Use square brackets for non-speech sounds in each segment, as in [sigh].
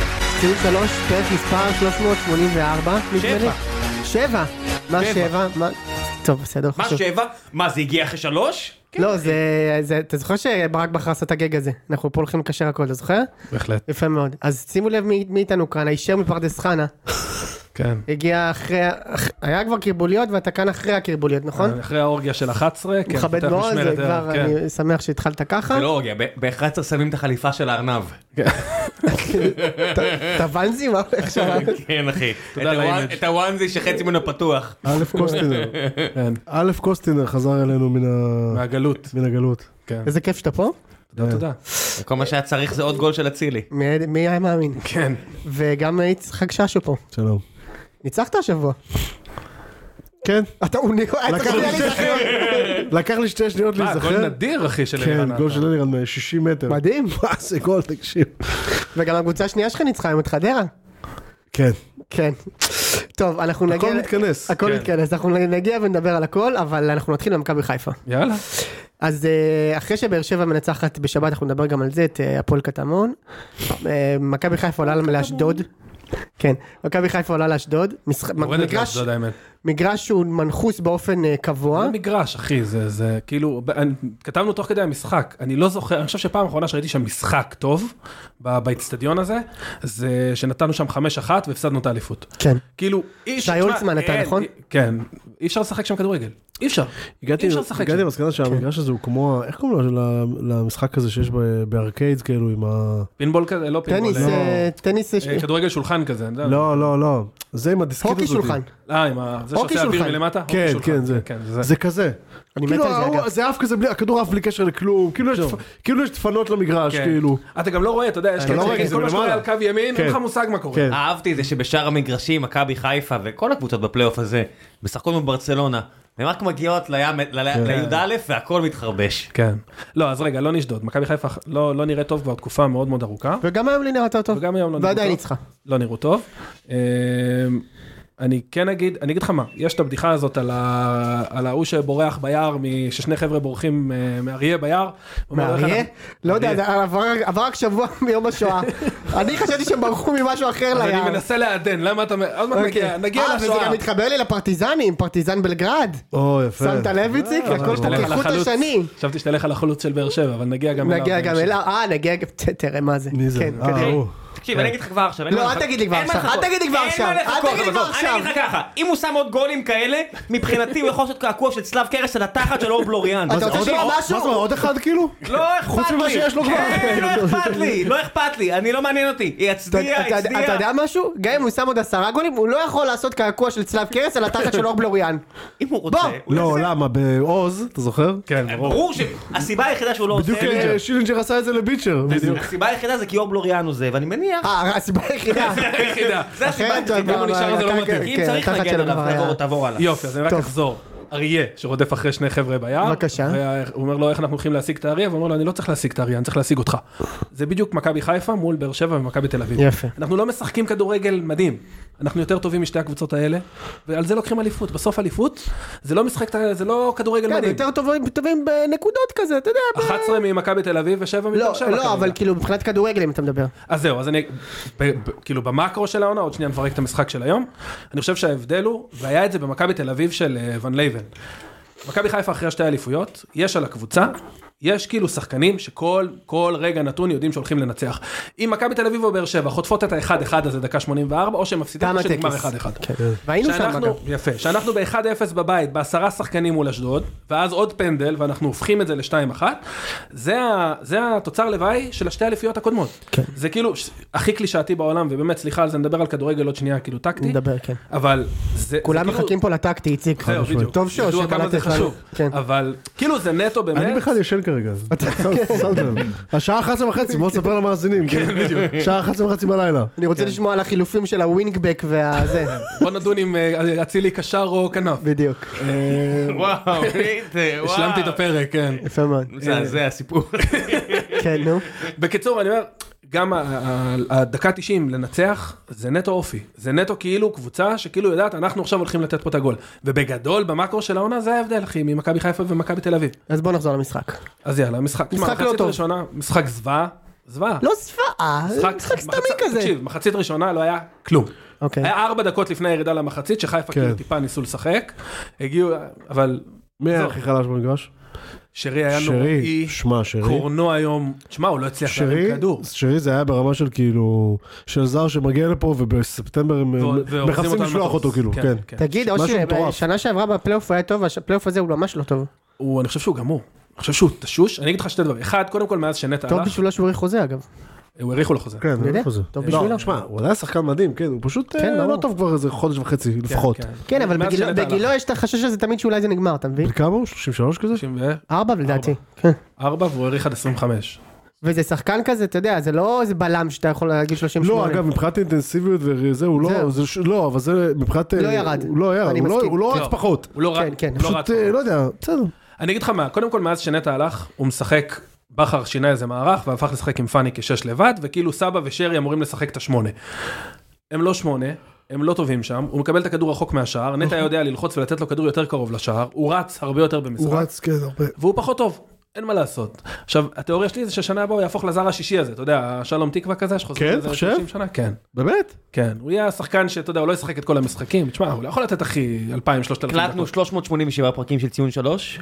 23, פרק מספר 384, נדמה לי. שבע. שבע. מה שבע. שבע? מה- טוב, בסדר, מה חשוב. שבע? מה זה הגיע אחרי שלוש? לא, זה... זה- אתה זוכר שברק בכר עשה את הגג הזה? אנחנו פה הולכים לקשר הכל, אתה זוכר? בהחלט, יפה מאוד. אז שימו לב מי מי איתנו כאן, הישר מפרדס חנה. [laughs] כן. הגיע אחרי... ה- אח- היה כבר קרבוליות ואתה כאן אחרי הקרבוליות, נכון? אחרי האורגיה של 11, כן, מכבד פותח מאוד, זה אה, כן, משמרת ערב, כבר, כן. אני שמח שהתחלת ככה. זה לא הוגע, ב-11 שמים את החליפה של הארנב. טוונזי, [laughs] מה איך שאלה? [laughs] כן אחי. את תודה הוואן- לאימג'. את הוואנזי שחצי ממנו פתוח. א' קוסטינר, כן, א' קוסטינר חזר אלינו מן ה- אה, מהגלות, מן הגלות. כן, כן. איזה כיף שאתה פה. תודה, תודה. כל מה שהיה צריך זה עוד גול של אצילי. מי- מי היה מאמין? כן. וגם יצחק ששו פה. שלום. ניצחת השבוע. כן, אתה הוא ניקו... אתה לקח גם לי היה שתי לי- שניות- לקח לי שתי שניות מה, גול להיזכר. אה, נדיר, אחי, של אלירן כן, גול עטר. של אלירן מ-60 מטר. מדהים. [laughs] מה זה גול, תקשיב. וגם הקבוצה השנייה שלך ניצחה היום את חדרה. כן, כן. טוב, אנחנו נגיע... הכל ל- מתכנס. הכל כן. מתכנס, אנחנו נגיע ונדבר על הכל, אבל אנחנו נתחיל במכבי חיפה. יאללה. אז אה, אחרי שבאר שבע מנצחת בשבת, אנחנו נדבר גם על זה, את אה, הפועל קטמון. אה, מכבי חיפה עולה לאשדוד. כן, מכבי חיפה עולה לאשדוד. משח- יורדת מגרש- לאשדוד, האמת. מגרש שהוא מנחוס באופן אה, קבוע. זה מגרש, אחי, זה, זה כאילו, ב- אני- כתבנו תוך כדי המשחק, אני לא זוכר, אני חושב שפעם אחרונה שראיתי שם משחק טוב, ב- באיצטדיון הזה, זה שנתנו שם 5-1 והפסדנו את האליפות. כן. כאילו, אי אפשר... שי תשמע, הולצמן נתן, אין, נכון? אי- כן, אי אפשר לשחק שם כדורגל, אי אפשר. הגעתי אי אפשר לשחק הגעתי שם. למסקנה שהמגרש הזה הוא כמו, ה- איך קוראים לו, ל- למשחק הזה שיש ב- בארקיידס, כאילו, עם ה... פינבול כזה, לא פינבול, טניס, אה, אה, טניס, אה, אה, כדורגל שולחן כזה, אני יודע. לא, לא, לא. זה עם הדיסקית הזאת. הוקי שולחן. אה, עם ה... זה אוקיי, שעושה אוויר שולחן. מלמטה? כן, אוקיי, שולחן, כן, זה. זה. זה כזה. אני מת כאילו, על זה, ההוא- אגב. זה עף כזה, בלי- הכדור עף בלי קשר לכלום, כאילו יש שוב. דפ- כאילו יש דפנות למגרש, כן. כאילו. אתה גם לא רואה, אתה יודע, יש אתה לא רואה, כאלה, זה כל מה שקורה על מלמעלה. קו ימין, אין כן. לך מושג מה קורה. כן. אהבתי את זה שבשאר המגרשים, מכבי חיפה וכל הקבוצות בפלייאוף הזה, משחקות בברצלונה, הן רק מגיעות לים- ל- כן. לי"א והכל מתחרבש. כן. לא, אז רגע, לא נשדוד. מכבי חיפה לא לא נראית טוב כבר תקופה מאוד מאוד ארוכה. וגם היום לי נראה יותר טוב. וגם היום לא נראו טוב. ועדיין ניצחה. לא נראו טוב. אמ, אני כן אגיד, אני אגיד לך מה, יש את הבדיחה הזאת על ה- על ההוא שבורח ביער, מ- ששני חבר'ה בורחים אה, מאריה ביער. הוא אומר, מאריה? "איך אנחנו-" לא יודע, אריה. זה עבר- עבר רק שבוע [laughs] מיום השואה. אני חשבתי שהם ברחו ממשהו אחר אז ליער. אני מנסה לעדן, למה אתה... מ- עוד מעט נגיע- אוקיי. נגיע אה, וזה לשואה. גם מתחבר לי לפרטיזנים, פרטיזן בלגרד. או, יפה. שמת לב אה, איציק? הכל חשבתי שתלך על כחוט החלוץ- השני. חשבתי שתלך על החלוץ של באר שבע, אבל נגיע גם אליו. נגיע גם אליו, אה נגיע, גם- ת- תראה מה זה. מי זה? כן, אה, קדימה. הוא. אוקיי? תקשיב, אני אגיד לך כבר עכשיו. אין לא, מה אל לחכות. תגיד לי כבר אין מה עכשיו, לחכות. אל תגיד לי כבר אין עכשיו, מה אל לחכות, תגיד לי אבל כבר בוא, אני אגיד לך ככה, אם הוא שם עוד גולים כאלה, מבחינתי הוא יכול לעשות קעקוע של צלב קרס על התחת של אור בלוריאן. אתה רוצה עוד- לשמוע עוד- משהו? מה זה, עוד אחד כאילו? לא אכפת לי. חוץ ממה שיש לו כבר. כן, לא אכפת לי, לא אכפת לי, אני לא מעניין אותי. אתה- יצדיע, אתה- יצדיע. אתה יודע משהו? גם אם הוא שם עוד עשרה גולים, הוא לא יכול לעשות קעקוע של צלב קרס על התחת של אור [laughs] בלוריאן. אם הוא רוצה, בוא. הוא לא, יעשה. למה? בעוז, אתה זוכר? כן, ברור. ברור שהסיבה היחידה שהוא לא עושה בדיוק את זה, אה, שילינג'ר עשה את זה לביצ'ר. בדיוק. הסיבה היחידה זה כי אור בלוריאן הוא זה, ואני מניח, אה, הסיבה [laughs] היחידה. יחידה. זה הסיבה אחרת היחידה. כבר- הוא נשאר, זה לא אתה- מתאים. כן, אם צריך התחת להגן שלו עליו, כבר היה. תעבור- תעבור הלאה. יופי, אז אני רק אחזור. אריה שרודף אחרי שני חבר'ה ביער. בבקשה. הוא אומר לו איך אנחנו הולכים להשיג את האריה, והוא אומר לו אני לא צריך להשיג את האריה, אני צריך להשיג אותך. זה בדיוק מכבי חיפה מול באר שבע ומכבי תל אביב. יפה. אנחנו לא משחקים כדורגל מדהים. אנחנו יותר טובים משתי הקבוצות האלה, ועל זה לוקחים אליפות. בסוף אליפות זה לא משחק, זה לא כדורגל כן, מדהים. אה, יותר טובים- טובים בנקודות כזה, אתה יודע. ב- 11 ממכבי תל אביב ושבע מבאר לא, שבע. לא, כרגע. אבל כאילו מבחינת כדורגל אם אתה מדבר. אז זהו, אז אני, ב, ב, כאילו במקרו של העונה, עוד שנייה נפרק את המשחק של היום, אני חושב שההבדל הוא, והיה את זה במכבי תל אביב של אה, ון לייבן. מכבי חיפה אחרי שתי אליפויות, יש על הקבוצה, יש כאילו שחקנים שכל כל רגע נתון יודעים שהולכים לנצח. אם מכבי תל אביב או באר שבע חוטפות את האחד-אחד הזה דקה 84, או שהן מפסידות תם או שנגמר הטקס. אחד אחד. והיינו שם כן, אה. שאנחנו, אגב. יפה, שאנחנו ב-1-0 בבית, בעשרה שחקנים מול אשדוד, ואז עוד פנדל, ואנחנו הופכים את זה ל-2-1, זה, ה- זה התוצר לוואי של השתי האליפויות הקודמות. כן. זה כאילו ש- הכי קלישאתי בעולם, ובאמת, סליחה על זה, נדבר על כדורגל עוד שנייה, כאילו טקטי, נדבר, כן. אבל זה... כולם זה כאילו- מחכים פה לטקטי, איציק. זהו, טוב בדיוק. ידוע שיושב כמה זה חשוב, כן. אבל כאילו זה נטו באמת... אני בכלל ישן כרגע. שמת לב. השעה 11 וחצי, בוא נספר למאזינים. כן, בדיוק. שעה 11 וחצי בלילה. אני כן. רוצה לשמוע על החילופים של הווינגבק [laughs] והזה. בוא נדון אם אה, אצילי קשר או כנף. בדיוק. אה, וואו, איזה, וואו. השלמתי את הפרק, כן. יפה מאוד. זה- זה הסיפור. כן, נו. בקיצור, אני אומר, גם ה- ה- הדקה 90 לנצח, זה נטו אופי. זה נטו כאילו קבוצה שכאילו יודעת, אנחנו עכשיו הולכים לתת פה את הגול. ובגדול, במקרו של העונה, זה ההבדל, אחי, ממכבי חיפה ומכבי תל אביב. אז בוא נחזור למשחק. אז יאללה, משחק. תשמע, משחק לא מחצית טוב. ראשונה, משחק זוועה. זוועה. לא זוועה, זה משחק סתמי מחצ- כזה. תקשיב, אה, מחצית ראשונה לא היה כלום. אוקיי. היה ארבע דקות לפני הירידה למחצית, שחיפה כן. כאילו טיפה ניסו לשחק. הגיעו, אבל מי היה זהו. הכי חלש במגרש? שרי היה נוראי. שרי, שמע שרי. קורנו היום, תשמע, הוא לא הצליח שרי, להרים כדור. שרי זה היה ברמה של כאילו, של זר שמגיע לפה ובספטמבר הם ו- ואורזים מחפשים אותו על לשלוח מטוס. אותו כאילו, כן. תגיד, משהו אושר, מטורף. שנה שעברה בפלייאוף הוא היה טוב, הש- הפלייאוף הזה הוא ממש לא טוב. הוא, אני חושב שהוא גמור. אני חושב שהוא תשוש. אני אגיד לך שתי דברים. אחד, קודם כל מאז שנטע טוב הלך, בשבילו שהוא הולך חוזה אגב. הוא האריכו לו חוזה. כן, אני יודע, איפה זה? טוב לא, בשבילו. תשמע, הוא עדיין שחקן מדהים, כן, הוא פשוט כן, אה, לא ברור. טוב כבר איזה חודש וחצי לפחות. כן. כן, אבל מאז בגילו- שנטע הלך. בגילו יש את החשש הזה תמיד שאולי זה נגמר, אתה מבין? בן כמה הוא? 33 כזה? 94 ארבע לדעתי. כן. והוא האריך עד 25. וזה שחקן כזה, אתה יודע, זה לא איזה בלם שאתה יכול להגיד 38. לא, אגב, מבחינת אינטנסיביות וזה, הוא זהו. לא, זה ש- לא, אבל זה מבחינת... לא אה, ירד. הוא לא ירד, אני הוא לא- מסכים. הוא לא כן. רץ פחות. הוא לא כן, רץ. כן. הוא לא רץ. פשוט, אה, לא יודע, בסדר. אני אגיד לך מה, קודם כל מאז שנטע הלך, הוא משחק, בכר שינה איזה מערך והפך לשחק עם פאני כשש לבד, וכאילו סבא ושרי אמורים לשחק את השמונה. הם לא שמונה, הם לא טובים שם, הוא מקבל את הכדור רחוק מהשער, אוקיי. נטע יודע ללחוץ ולתת לו כדור יותר קרוב לשער, הוא רץ הרבה יותר במשחק, הוא רץ, כן, הרבה. והוא פחות טוב. אין מה לעשות. עכשיו, התיאוריה שלי זה ששנה הבאה הוא יהפוך לזר השישי הזה, אתה יודע, השלום תקווה כזה, שחוזר כן, לזה אתה חושב? 30 שנה, כן. באמת? כן, הוא יהיה השחקן שאתה יודע, הוא לא ישחק את כל המשחקים, תשמע, הוא לא יכול לתת הכי 2,000-3,000 דקות. הקלטנו 387 פרקים של ציון 3,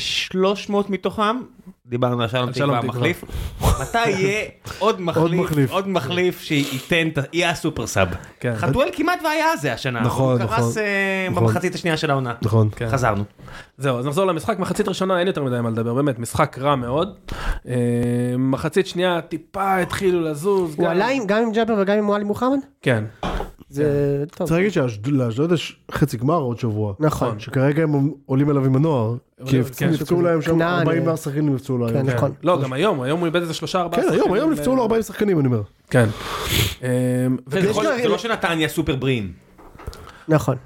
ב-300 מתוכם, דיברנו על שלום על תקווה שלום תקווה. המחליף, מתי יהיה עוד מחליף, מחליף. עוד מחליף שייתן, את ה- יהיה הסופר סאב. כן. חתואל כמעט והיה זה השנה, נכון, הוא קרס נכון. אה, נכון. במחצית השנייה של העונה. נכון. חזרנו. זהו, אז נחזור למשחק, מחצית ראשונה אין יותר מדי מה לדבר, באמת, משחק רע מאוד. אה, מחצית שנייה טיפה התחילו לזוז. הוא גם- עלה עם- גם עם ג'אבר וגם עם מועלי מוחמד? כן, זה טוב. צריך להגיד שלאשדוד יש חצי גמר עוד שבוע. נכון. שכרגע הם עולים אליו עם הנוער, כי כן, הפצ- נפצעו כן. להם שם כנען, 40 אה, מהשחקנים נפצעו להם. כן, כן, נכון. לא, גם היום, היום הוא איבד איזה שלושה ארבעה. כן, היום, שחקנים, היום אה, נפצעו לו 40 שחקנים, אני אומר. כן. אה, וזה יכול- זה לא שנתניה סופר בריאים. נכון.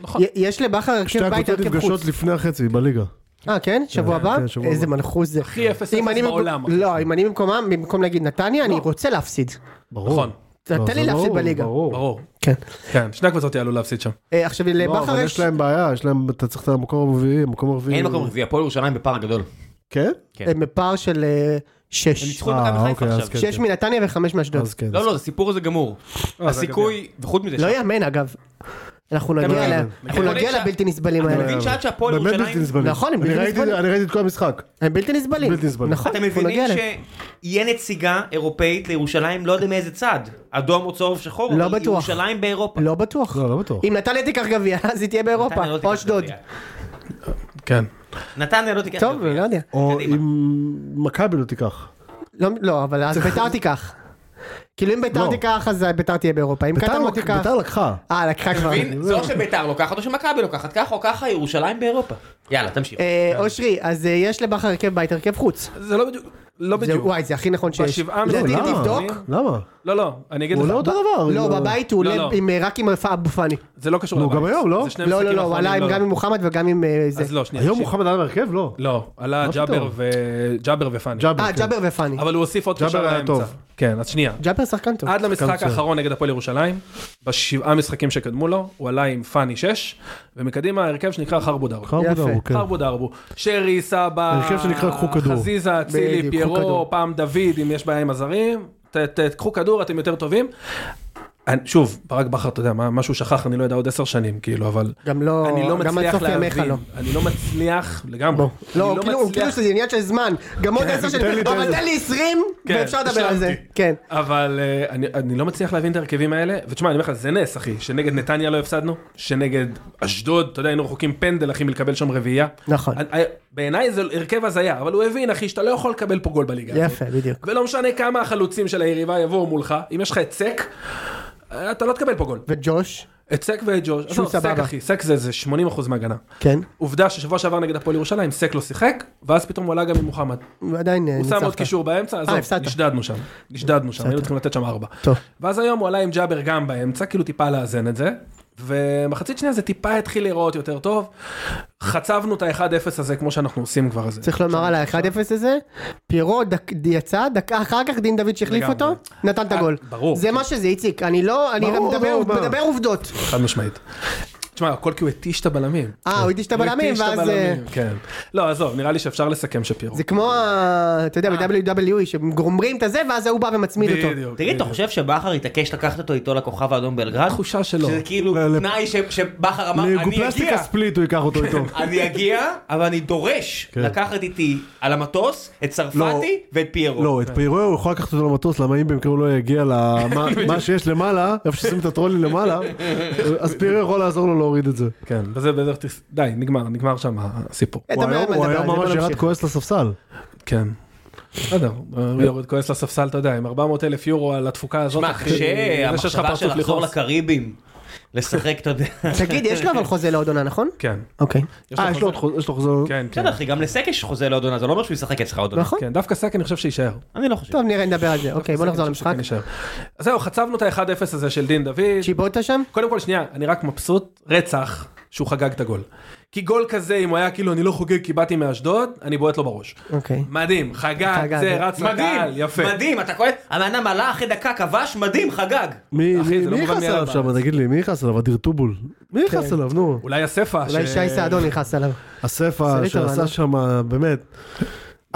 נכון. י- יש לבכר שתי הרכב בית הקבוצות הרכב נפגשות חוץ. לפני החצי בליגה. אה כן? שבוע הבא? כן, שבוע איזה הבא. מנחוס זה. הכי אפס אם אפס אני במקום- בעולם. לא, אם אני במקומם, במקום להגיד נתניה, לא, אני רוצה להפסיד. ברור. נכון, תן לא, לי זה להפסיד ברור, בליגה. ברור. ברור. כן. כן, שני הקבוצות יעלו להפסיד שם. אה, עכשיו לא, לבכר אבל יש... יש להם בעיה, יש להם, אתה צריך את המקום הרביעי, המקום הרביעי. אין מקום רביעי, הפועל ירושלים בפער גדול. כן? כן. הם בפער של אה, הם שש. ניצחו את מכבי אה, חיפה אוקיי, אז עכשיו. כן. שש מנתניה וחמש מאשדוד. אז כן. לא, לא, הסיפור הזה גמור. זה הסיכוי, וחוץ מזה, לא שה- יאמן אגב. אנחנו נגיע יאמן. ל- אנחנו יכול נגיע להיות ש- לבלתי נסבלים אתה האלה. מבין שעד שהפועל אה, באמת ירושלים... בלתי נסבלים. נכון, הם אני בלתי ראיתי- נסבלים. אני ראיתי את כל המשחק. הם בלתי נסבלים. בלתי נסבלים. נכון, אתם אנחנו מבינים נגיע אליהם. שיהיה נציגה אירופאית לירושלים, לא יודע מאיזה צד, אדום או צהוב שחור, לא אבל בטוח. ירושלים באירופה. לא בטוח. לא, לא בטוח. אם נתניה תיקח גביע, אז היא תהיה באירופה. נתניה לא תיקח או אשדוד. גביע. כן. נתניה לא תיקח טוב, גביע. לא יודע. [laughs] או קדימה. אם מכבי לא תיקח. לא, לא, אבל אז ביתר תיקח. כאילו אם ביתר לא. תיקח, אז ביתר תהיה באירופה. אם ביתר קטמון לא לק- תיקח... ביתר לא- לקחה. אה, לקחה כבר. מבין? זה או שביתר לוקחת או שמכבי לוקחת, ככה או ככה ירושלים באירופה. יאללה, תמשיך. אה, אושרי, אז אה, יש לבכר הרכב בית, הרכב חוץ. זה לא בדיוק, לא זה- בדיוק. וואי, זה הכי נכון שיש. בשבעה לדעתי, לא, למה? תבדוק. למה? לא, לא, אני אגיד הוא לך. לא אותו דבר. לא, עם ה- בבית הוא לא, עולה לא. עם, אה, רק עם רפאה אבו פאני. זה לא קשור נו, לבית. גם היום, לא? זה שני לא, לא, משחקים לא, הוא עלה אחרונים, עם- לא, גם עם מוחמד וגם עם אה, זה. אז לא, שנייה. היום שנייה. מוחמד עלה בהרכב? לא. לא, עלה מה ג'אבר פתאום? ו- ג'אבר ופאני. אה, כן. ג'אבר ופאני. אוקיי. אבל הוא הוסיף עוד ג'אבר קשר היה לאמצע. טוב. כן, אז שנייה. ג'אבר שחקן טוב. עד למשחק מצוין. האחרון נגד הפועל ירושלים, בשבעה משחקים שקדמו לו, הוא עלה עם פאני 6, ומקדימה הרכב שנקרא חרבו דרבו. חרבו יפה. דרבו, כן. חרבו דרבו, שרי, סבא, הרכב שנקרא קחו כדור. חזיזה, אצילי, בדיוק, קחו פיירו, כדור. פעם דוד, אם יש בעיה עם הזרים, ת- ת- קחו כדור, אתם יותר טובים. אני- שוב, ברק בכר, אתה יודע, מה מה שהוא שכח, אני לא יודע, עוד עשר שנים, כאילו, אבל... גם לא... אני לא גם עד מצליח סוף ימיך להבין, לא. אני לא מצליח לגמרי, אני לא, כאילו- הוא כאילו מצליח- שזה עניין של זמן. גם עוד עשר כן, תן לי, שנים. תן אבל לי. תן לי עשרים, כן, ואפשר לדבר על זה. השלמתי. כן. אבל אה, אני, אני לא מצליח להבין את ההרכבים האלה, ותשמע, אני אומר לך, זה נס, אחי, שנגד נתניה לא הפסדנו, שנגד אשדוד, אתה יודע, היינו רחוקים פנדל, אחי, מלקבל שם רביעייה. נכון. אני- בעיניי זה הרכב הזיה, אבל הוא הבין, אחי, שאתה לא יכול לקבל פה גול בליגה. יפה, בדיוק. ולא משנה כמה החלוצים של היריבה יבואו מולך, אם יש לך את סק, אה, אתה לא תקבל פה גול. וג'וש? את סק ואת ג'וש, שהוא עזוב, סק, סבבה. אחי, סק זה, זה 80% מהגנה. כן. עובדה ששבוע שעבר נגד הפועל ירושלים, סק לא שיחק, ואז פתאום הוא עלה גם עם מוחמד. הוא עדיין אה, הוא ניצחת. אה, שם עוד קישור באמצע, עזוב, הפסדת. נשדדנו שם, נשדדנו שם, היינו צריכים לתת שם ארבע. טוב. ואז היום הוא עלה עם ג'אבר גם באמצע, כאילו טיפה לאזן את זה, ומחצית שנייה זה טיפה התחיל להיראות יותר טוב. חצבנו את ה-1-0 הזה כמו שאנחנו עושים כבר. אז- צריך לומר על ה-1-0 הזה, פירו דק, יצא, דקה אחר כך דין דוד שהחליף לגמרי. אה, אותו, נתן את הגול. ברור. זה מה שזה, איציק, אני לא, אני ברור, מדבר, ברור, ברור. מדבר עובדות. חד משמעית. תשמע, הכל כי הוא התיש את הבלמים. אה, הוא התיש את הוא הבלמים, התיש את ואז... אה, הבלמים, כן. לא, עזוב, נראה לי שאפשר לסכם שפירו. זה כמו, ה- אתה יודע, ב-WWE, שגומרים את הזה, ואז ההוא בא ומצמיד אותו. אה. בדיוק, תגיד, אתה בדיוק. חושב שבכר התעקש לקחת אותו איתו לכוכב האדום באלגרד? התחושה שלו. שזה כאילו ל- תנאי ש- שבכר אמר, אני אגיע, לגופלסטיקה ספליט הוא ייקח אותו [laughs] איתו. אני אגיע, אבל אני דורש לקחת איתי על המטוס את צרפתי ואת פיירו. לא, את פיירו הוא יכול לקחת אותו למטוס, למה אם במקום לא יגיע [laughs] למה מה שיש למעלה, איפה ששמים את הטרולי [laughs] למעלה, אז פיירו יכול לעזור לו להוריד את זה. כן, וזה בערך, תס- די, נגמר, נגמר שם הסיפור. אין הוא דבר היום- מה הוא לדבר, היום אני ממש בוא ירד נמשיך. כועס לספסל. כן. בסדר, הוא יורד כועס לספסל, אתה יודע, עם 400 אלף יורו על התפוקה הזאת. שמע, אחי, זה קשה שיש לך המחשבה פרצוף של לחזור לכעוס. לקריבים, לשחק, אתה יודע. תגיד, יש לו אבל חוזה לעוד עונה, נכון? כן. אוקיי. אה, יש לו עוד חוז- יש לו חוזר. כן, כן. בסדר אחי, גם לסקש חוזה לעוד עונה, זה לא אומר שהוא ישחק אצלך עוד עונה. נכון? כן, דווקא סק אני חושב שיישאר. אני לא חושב. טוב, נראה, נדבר על זה. אוקיי, בוא נחזור אני חושב למשחק. שכן יישאר. אז זהו, חצבנו את ה-1-0 הזה של דין דוד. צ'יבוטה שם? קודם כל, שנייה, אני רק מבסוט, רצח, שהוא חגג את הגול. כי גול כזה, אם הוא היה כאילו, אני לא חוגג כי באתי מאשדוד, אני בועט לו בראש. אוקיי. מדהים, חגג, חגג. אוקיי. זה רץ לקהל, מדהים, יפה. מדהים, אתה קולט, המאמן עלה אחרי דקה, כבש, מדהים, חגג. מי אחי, מי- זה לא מי מובן נכנס מאליו אליו שם? תגיד לי, מי נכנס אליו? אדיר טובול. מי כן. נכנס אוקיי. אליו? נו. אולי הספה. אולי ש- שי סעדון נכנס עליו. הספר סריטה, שעשה לא? שם, באמת.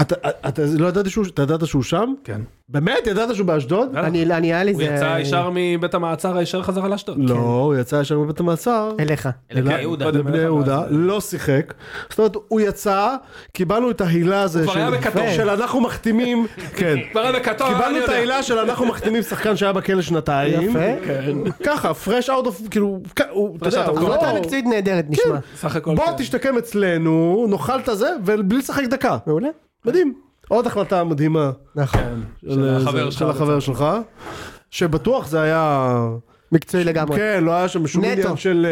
אתה אתה- לא ידעתי שהוא, אתה ידעת שהוא שם? כן. באמת? ידעת שהוא באשדוד? אה, אני, אני, היה לי הוא זה... יצא ישר מבית המעצר הישר חזרה לאשדוד. לא, הוא יצא ישר מבית המעצר. אליך. כן, אלא יהודה. קודם. לבני יהודה, לא שיחק, זאת אומרת הוא יצא, קיבלנו את ההילה הזה כבר היה של- בכתום. של אנחנו [laughs] מחתימים, כן, כבר היה בכתום, אני קיבלנו את יודע. ההילה של אנחנו מחתימים שחקן שהיה בכלא שנתיים, יפה. ככה פרש אאוט אוף, כאילו, כ- הוא, אתה יודע, כן. out of הוא החלטה לא- מקצועית נהדרת נשמע. סך הכל. בוא כן. תשתקם אצלנו, נאכל את הזה, ובלי לשחק דקה, מעולה. מדהים, עוד החלטה מדהימה נכון. של אה, החבר זה- שלך. של החבר שלך, שבטוח זה היה, מקצועי לגמרי. כן, לא היה שם שום נטו. עניין של,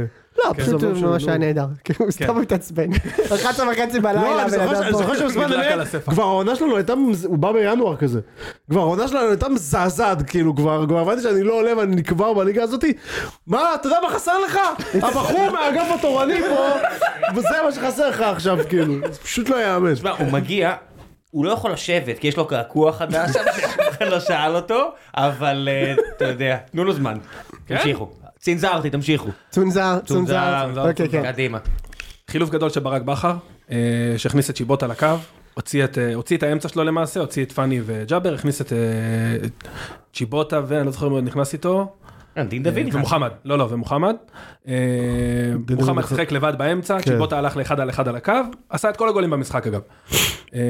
אה, לא, פשוט כן. הוא ממש היה נהדר. כאילו, הוא סתם מתעצבן. 11 וחצי לא, בלילה, אני הבן זוכר ש- אדם אני זוכר פה. שבזמן נדלק על אמת, הספח. כבר העונה שלנו הייתה, מז- הוא בא בינואר כזה. כבר העונה שלנו הייתה מזעזעת, כאילו כבר, כבר הבנתי שאני לא עולה ואני נקבר בליגה הזאתי. מה, אתה יודע מה חסר לך? [laughs] הבחור מהאגף התורני פה, וזה מה שחסר לך עכשיו, כאילו. זה פשוט לא יאמן. תשמע, הוא מגיע, הוא לא יכול לשבת, כי יש לו קעקוע חדש, אף אחד לא שאל אותו, אבל אה, אתה יודע, תנו לו זמן. תמשיכו. צנזרתי, תמשיכו. צונזר, צונזר. צונזר, אוקיי, כן. קדימה. חילוף גדול של ברק בכר, אה, שהכניס את שיבוט על הקו, הוציא את, אה, הוציא את האמצע שלו למעשה, הוציא את פאני וג'אבר, הכניס את, אה, את צ'יבוטה, ואני לא זוכר מי עוד נכנס איתו, אה, דין דוד. נכנס. ומוחמד, לא לא, ומוחמד. אה, דוד מוחמד נכנס. שיחק לבד באמצע, צ'יבוטה הלך לאחד על אחד על הקו, עשה את כל הגולים במשחק אגב. אה,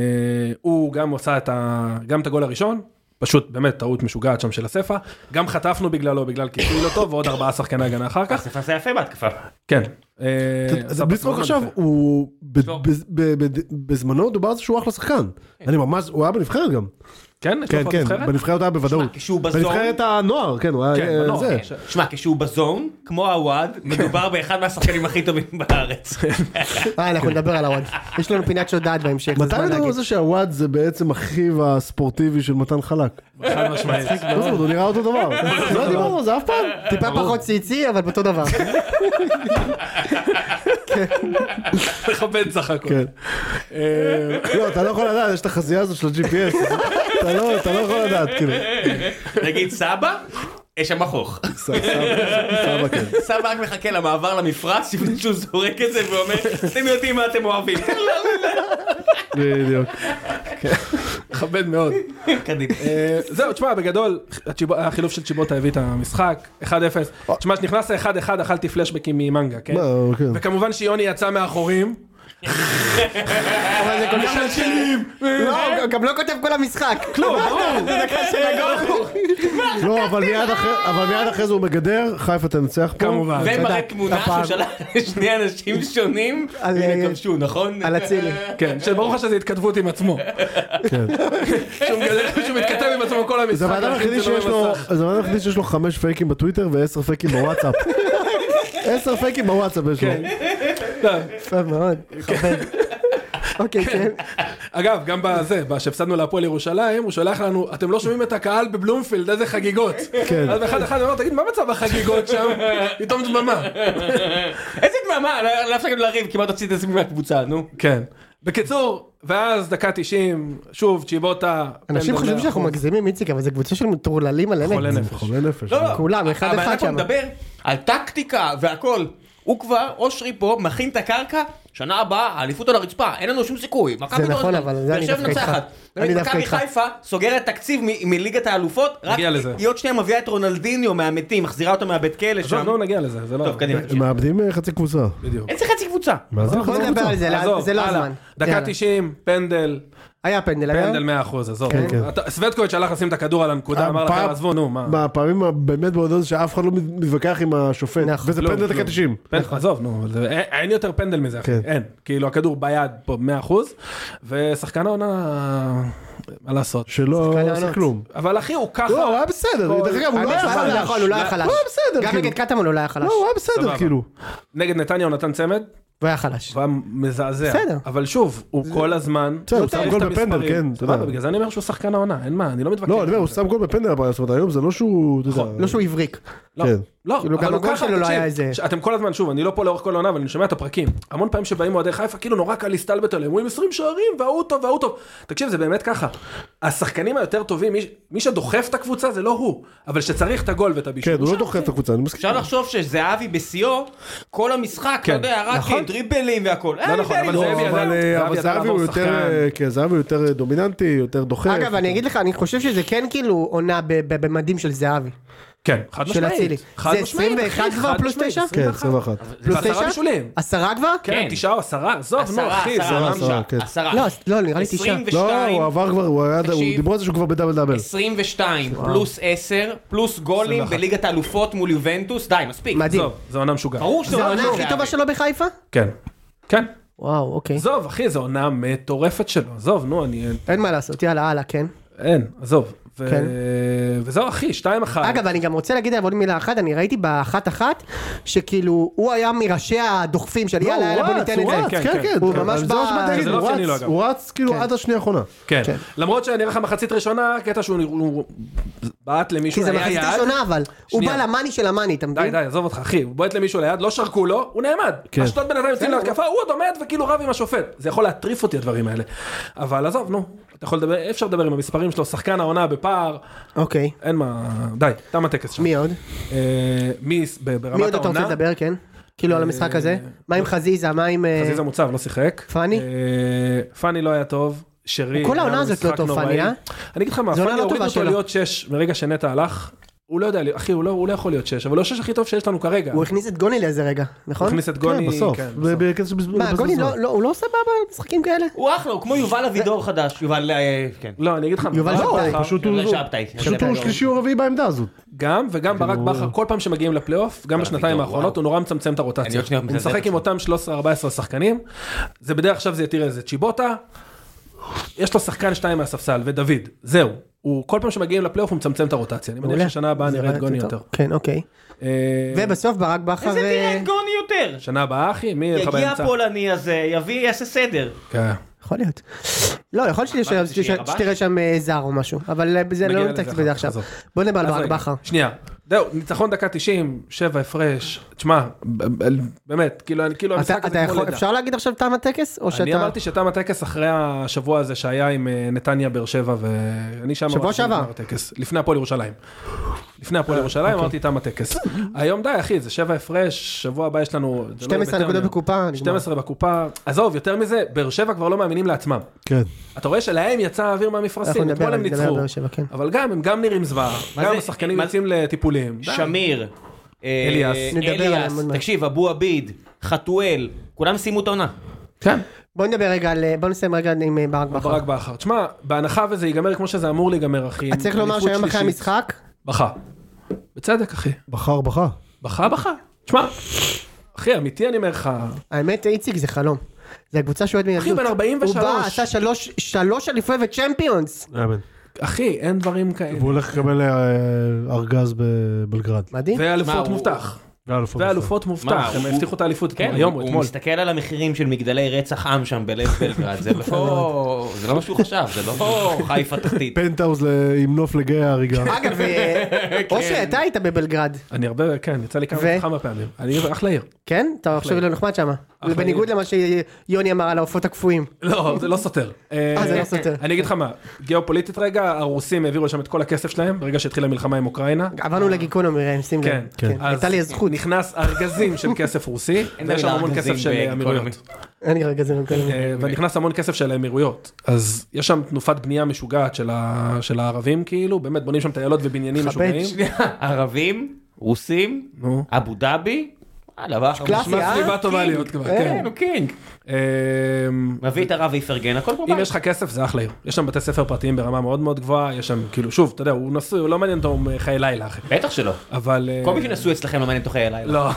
הוא גם עשה את ה... גם את הגול הראשון. פשוט באמת טעות משוגעת שם של הספע, גם חטפנו בגללו, בגלל קיפול אותו ועוד ארבעה שחקני הגנה אחר כך, אסף עשה יפה בהתקפה. כן. אה, זה בלי צחוק עכשיו, הוא... ב- לא. ב- ב- ב- בזמנו דובר על זה שהוא אחלה שחקן. אני ממש, הוא היה בנבחרת גם. כן, יש לו כן, כבר כן, נבחרת? בנבחרת היה בוודאות. שמע, כשהוא בזון- בנבחרת הנוער, כן, הוא כן, היה... בנוער, זה. כן. שמע, כשהוא בזון, כמו עווד, מדובר באחד מהשחקנים הכי טובים בארץ. אה, אנחנו נדבר על הוואד. יש לנו פינת שודד בהמשך. זה מתי זמן מדברים על להגיד. זה שהוואד זה בעצם אחיו הספורטיבי של מתן חלק? חד משמעית. לא זאת, הוא נראה אותו דבר. [laughs] לא דיברנו על זה אף פעם? אה. טיפה פחות ציצי, אבל אותו דבר. מכבד סך הכל. כן. לא, אתה לא יכול לדעת, יש את החזייה הזו של ה-GPS. אתה לא אתה לא יכול לדעת, [laughs] כאילו. נגיד סבא, יש שם מכוך. ס- סבא- סבא, כן. סבא רק מחכה למעבר למפרץ לפני שהוא זורק את זה ואומר, אתם יודעים מה אתם אוהבים. בדיוק. מכבד מאוד. קדימה. אה, זהו, תשמע, בגדול, הצ'יבו- החילוף של צ'יבוטה הביא את המשחק, 1-0. תשמע, שנכנס ל-1-1, אכלתי פלשבקים ממנגה, כן? מה, הוא- כן. וכמובן שיוני יצא מאחורים. אבל זה כל כך לא, הוא גם לא כותב כל המשחק. כלום, לא, אבל מיד אחרי- אבל מיד אחרי זה הוא מגדר, חיפה תנצח פה. כמובן. ומראה תודה. תמונה שהוא הפעם. שלח לשני אנשים שונים, על, והם אה, כבשו, נכון? על אצילי. כן, שברור לך שזו התכתבות עם עצמו. [laughs] כן. שהוא מגלה- שהוא מתכתב עם עצמו כל המשחק. זה הבן אדם היחידי זה לא שיש לו- במסך. זה הבן אדם היחידי שיש לו חמש פייקים בטוויטר ועשר פייקים [laughs] בוואטסאפ. עשר פייקים בוואטסאפ יש כן. לו. לא. יפה מאוד. מכבד. אוקיי, כן. אגב, גם בזה, שהפסדנו להפועל ירושלים, הוא שולח לנו, אתם לא שומעים את הקהל בבלומפילד, איזה חגיגות. כן. אז באחד אחד הוא אמר, תגיד, מה מצב החגיגות שם? [laughs] פתאום דממה. איזה דממה, לא לא הפסקנו לריב, כמעט הוציא את עצמי מהקבוצה, נו. כן. בקיצור, ואז דקה 90, שוב צ'יבוטה. אנשים פנדל חושבים מאה שאנחנו אחוז. מגזימים, איציק, אבל זו קבוצה של מטורללים על אמת. חולה נפש. חולה נפש. לא, לא. כולם, אחד הבן אדם אחד פה שם. מדבר על טקטיקה והכל. הוא הוא כבר, אושרי פה, מכין את הקרקע, שנה הבאה, האליפות על הרצפה, אין לנו שום סיכוי. מכבי לא נכון, עוזרת. אבל זה אני באר שבע דווקא איתך. מנצחת. אני מכבי דווקא איתך. חיפה סוגרת תקציב מ- מליגת האלופות, רק נגיע לזה. היא עוד שנייה מביאה את רונלדיניו מהמתים, מחזירה אותו מהבית כלא עזוב, שם. לא נגיע לזה, זה לא... טוב, קדימה. הם מאבדים אה, חצי קבוצה. בדיוק. איזה חצי קבוצה? מה זה? נכון? בוא נדבר על זה, לא- עזוב, זה לא הלאה. הזמן. דקה יאללה. 90, פנדל, היה פנדל היום. פנדל 100 אחוז, עזוב. כן, כן. אתה- סווטקוביץ' הלך לשים את הכדור על אה, הנקודה, אמר לכם, הפעם- עזבו, נו, מה. בפעמים הבאמת בודדות שאף אחד לא מת- מתווכח עם השופט. נכון. וזה כלום, פנדל דקה כלום. 90. לא, פנדל, עזוב, נו, זה- אין- אין יותר פנדל מזה, אחי, כן. אין. כאילו, הכדור ביד פה 100%, ושחקן העונה, מה לעשות. שלא שחקן עושה העונות. כלום. אבל אחי, הוא ככה... לא, הוא היה בסדר. דרך אגב, הוא אגב, הוא לא היה לא היה חלש. יכול, הוא לא היה חלש. הוא היה בסדר, גם כאילו. נגד קטמון הוא לא היה חלש. אוקיי. לא, הוא היה סבבה. בסדר, כאילו. נגד נתניה הוא נתן צמד, הוא היה חלש. והוא היה מזעזע. בסדר. אבל שוב, הוא כל הזמן... בסדר, הוא צריך שם את גול המספרים. בפנדל, כן, אתה יודע. סבבה, בגלל זה אני אומר שהוא שחקן העונה, אין מה, אני לא מתווכח. לא, אני אומר, עם הוא זה. שם גול בפנדל, אבל זאת אומרת, היום זה לא שהוא... אתה יודע, לא שהוא הבריק. לא, כן. לא, כאילו, גם אבל הוא הגול ככה, שלו לא היה תקשיב, איזה- ש- אתם כל הזמן, שוב, אני לא פה לאורך כל העונה, אבל אני שומע את הפרקים. המון פעמים שבאים אוהדי חיפה, כאילו נורא קל להסתלבט עליהם, אומרים 20 שערים, וההוא טוב, וההוא טוב. תקשיב, זה באמת ככה. השחקנים היותר טובים, מי ש- מי שדוחף את הקבוצה זה לא הוא, אבל שצריך את הגול ואת הבישול. כן, הוא לא דוחף את הקבוצה, אני מסכים. אפשר לחשוב שזהבי בשיאו, כל המשחק, אתה כן, יודע, נכון. רק דריבלים והכל. לא נכון, אבל לא, זאבי אבל, עדיין- אה, זהבי אבל עדיין זהבי הוא עבור יותר, שחקן. אה, כן, זהבי הוא יותר אה, דומיננטי, יותר דוחף. אגב, אני אגיד לך, אני חושב שזה כן כאילו עונה ב- ב- במדים של זהבי. כן, חד של אצילי. משמעית. חד זה משמעית, 21 אחי, כבר חד פלוס משמעית, תשע? כן, 21. 21. פלוס ועשרה תשע? בישולים. עשרה כבר? כן, כן. תשעה או עשרה, עזוב, נו עשרה, לא אחי, זה עשרה, רם עשרה, שם. כן. עשרה. לא, אז- לא, נראה לי תשעה. 22. לא, הוא עבר כבר, הוא היה, הוא תקשיב. אה, דיברו על זה שהוא כבר בדאבל דאבל. 22 פלוס 10 פלוס גולים 21. בליגת האלופות מול יובנטוס, די, מספיק. מדהים. עזוב, זו עונה משוגעת. ברור שזה זה עונה העונה הכי טובה שלו בחיפה? כן. כן. וואו, אוקיי. עזוב, אחי, זו עונה מטורפת שלו. עזוב, נו, אני... אין מה לעשות, יאללה, הלאה, כן. אין, עזוב. ו... כן. וזהו, אחי, שתיים אחת. אגב, אני גם רוצה להגיד עליו עוד מילה אחת, אני ראיתי באחת-אחת, שכאילו, הוא היה מראשי הדוחפים של יאללה, יאללה, בוא ניתן הוא את רץ, זה. לא, כן, כן, כן, כן. הוא כן. ממש אבל בא- זה מה שבאתי זה לא להגיד, אופייני לו, הוא רץ, אגב. הוא רץ כאילו כן. עד השנייה האחרונה. כן. כן. למרות שאני אראה לך מחצית ראשונה, קטע שהוא הוא- הוא בעט למישהו כי זה ליד. מחצית ראשונה, אבל. הוא שנייה. בא למאני של המאני, אתה די, מבין? די, עזוב אותך, אחי, הוא בועט למישהו ליד, לא שרקו לו, הוא נעמד. כן. אשדוד בינתיים יוצאים להתקפה, הוא עוד עומד וכאילו רב עם השופט. זה יכול להטריף אותי הדברים האלה. אבל עזוב, נו. אתה יכול לדבר, אי אפשר לדבר עם המספרים שלו, שחקן העונה בפער, אוקיי. אין מה, די, תם הטקס שם. מי עוד? אה, מי ס- ב- ברמת מי העונה? אה, לא. עוד אתה רוצה לדבר, כן? כאילו על המשחק הזה? מה עם חזיזה, מה עם... אה, חזיזה מוצב, לא שיחק. פאני? אה, פאני לא היה טוב. שרי, כל העונה היה הזאת לא משחק טוב, נוראי. פאני, אה? אני אגיד לך מה, זו עונה פאני לא הוריד טובה אותו שלו. להיות 6 מרגע שנטע הלך, הוא לא יודע, לי- אחי, הוא לא- הוא לא יכול להיות 6, אבל הוא השש הכי טוב שיש לנו כרגע. הוא הוא הכניס את גוני לאיזה רגע, נכון? הכניס את גוני, כן, בסוף. כן, ב- בקטע של בזבוז. מה, בזבוז גוני זמן. לא- לא- הוא לא סבבה במשחקים כאלה? הוא אחלה, הוא כמו יובל אבידור חדש. יובל, אה, כן. לא, אה, אני אגיד לך, מה, יובל ברק שבתאי. בכר, פשוט הוא- זה שבתאי, זה פשוט הוא שבתאי. שלישי או רביעי בעמדה הזאת. גם, וגם ברק בכר, כל פעם שמגיעים לפלייאוף, גם בשנתיים אבידור, האחרונות, אה, וואו. הוא נורא מצמצם את אני הרוטציה. עוד שנייה הוא מזלזל משחק עם בעצמי. אותם 13-14 שחקנים, זה בדרך עכשיו זה יתיר איזה צ'יבוטה, יש לו שחקן שתיים מהספסל, ודוד, זהו. הוא כל פעם שמגיעים לפלייאוף הוא מצמצם את הרוטציה, אני מניח מעולה. ששנה הבאה זה נראה את רעיון גוני טוב. יותר. כן, אוקיי. אה, ובסוף ברק בכר... איזה תראה אה, את גוני יותר. שנה הבאה אחי, מי יהיה לך יגיע באמצע? הפולני הזה, יביא, יעשה סדר. כן. יכול להיות. לא, יכול להיות שיש- זה שיהיה רבש? שתראה שם אה, זר או משהו, אבל אה, זה נגיע לא לזה נתקצב אחר בזה כך, עכשיו. עזוב. בוא נדבר על אז ברק רגע, לא, בכר. שנייה. זהו, ניצחון דקה 90, שבע הפרש, תשמע, ב- ב- באמת, כאילו, אני- כאילו אתה- המשחק אתה הזה כמו יכול, לידה. אפשר להגיד עכשיו תם הטקס? או שאתה... אני אמרתי שתם הטקס אחרי השבוע הזה שהיה עם אה, נתניה, באר שבע, ואני שם... שבוע אמרתי שעבר. שנגמר הטקס, לפני הפועל ירושלים. לפני הפועל ירושלים אוקיי. אמרתי תם הטקס. היום די, אחי, זה שבע הפרש, שבוע הבא יש לנו... זה לא 12 בטרנר. נקודות בקופה, נגמר. 12 בקופה. עזוב, יותר מזה, באר שבע כבר לא מאמינים לעצמם. כן. אתה רואה שלהם יצא האוויר מהמפרשים, אנחנו אתמול נדבר הם על- נדבר על ניצחו. באר שבע, כן. אבל גם, הם גם נראים זוועה, מה גם זה- השחקנים מה- יוצאים לטיפולים. די. שמיר. אה, אליאס. נדבר אליאס, עליהם עוד מעט. תקשיב, אבו עביד, חתואל, כולם סיימו את העונה. כן. בוא נדבר רגע על... בוא נסיים רגע עם אה, ברק בכר. ברק בכר. תשמע, בהנחה וזה ייגמר כמו שזה אמור להיגמר, אחי. אז צריך לומר אליפות שהיום אחרי שלישית. המשחק, בכה. בצדק, אחי. בחר, בחר. בכה, בכה. תשמע, אחי, אמיתי אני אומר לך, האמת איציק זה חלום. זה הקבוצה שאוהד מילדות. בן 43. הוא בא, עשה שלוש- שלוש אליפויות וצ'מפיונס. אמן. אחי, אין דברים כאלה. והוא הולך לקבל אה, ארגז בבלגרד. מדהים. מה, ואלופות הוא- מובטח. ואלופות. ואלופות מובטח. מה, הם הוא- הבטיחו את האליפות כן, אתמול, היום או הוא אתמול. מסתכל על המחירים של מגדלי רצח עם שם בלב בלגרד, זה לא זה לא מה שהוא חשב, זה לא חיפה תחתית. פנטהאוז ל- עם נוף לגיא ההריגה. אגב, [laughs] אה, כן. אושרי, אתה היית בבלגרד, אני הרבה, כן, יצא לי כמה ו- וכמה פעמים. אני אחלה עיר. כן? אתה עכשיו לא נחמד שמה. אחלה בניגוד למה שיוני אמר על העופות הקפואים. לא, זה לא סותר. אה, זה לא סותר. אני אגיד לך מה, גיאופוליטית רגע, הרוסים העבירו לשם את כל הכסף שלהם, ברגע שהתחילה המלחמה עם אוקראינה. עברנו לגיקונומי, ראם, שים לב. כן, כן. אז הייתה לי הזכות. נכנס ארגזים של כסף רוסי, ויש שם המון ארגזים כסף של בכל אמירויות. אני רגע זה לא מקבל. אה, ונכנס המון כסף של האמירויות. אז יש שם תנופת בנייה משוגעת של ה- של הערבים, כאילו, באמת בונים שם טיילות ובניינים חבט, משוגעים. שנייה, ערבים, רוסים, נו. אבו דאבי, יאללה, ואחר קלאסי, מה אה? סביבה טובה קינג. להיות כבר, אה, כן. כן, הוא קינג. אמ, מביא את הרב ויפרגן, הכל פה אם יש לך כסף זה אחלה עיר, יש שם בתי ספר פרטיים ברמה מאוד מאוד גבוהה, יש שם כאילו שוב, אתה יודע, הוא נשוי, הוא לא מעניין אותו הוא חיי לילה אחי, בטח שלא. אבל... אה, כל מי שנשוי אצלכם לא מעניין תוכי הלילה. לא.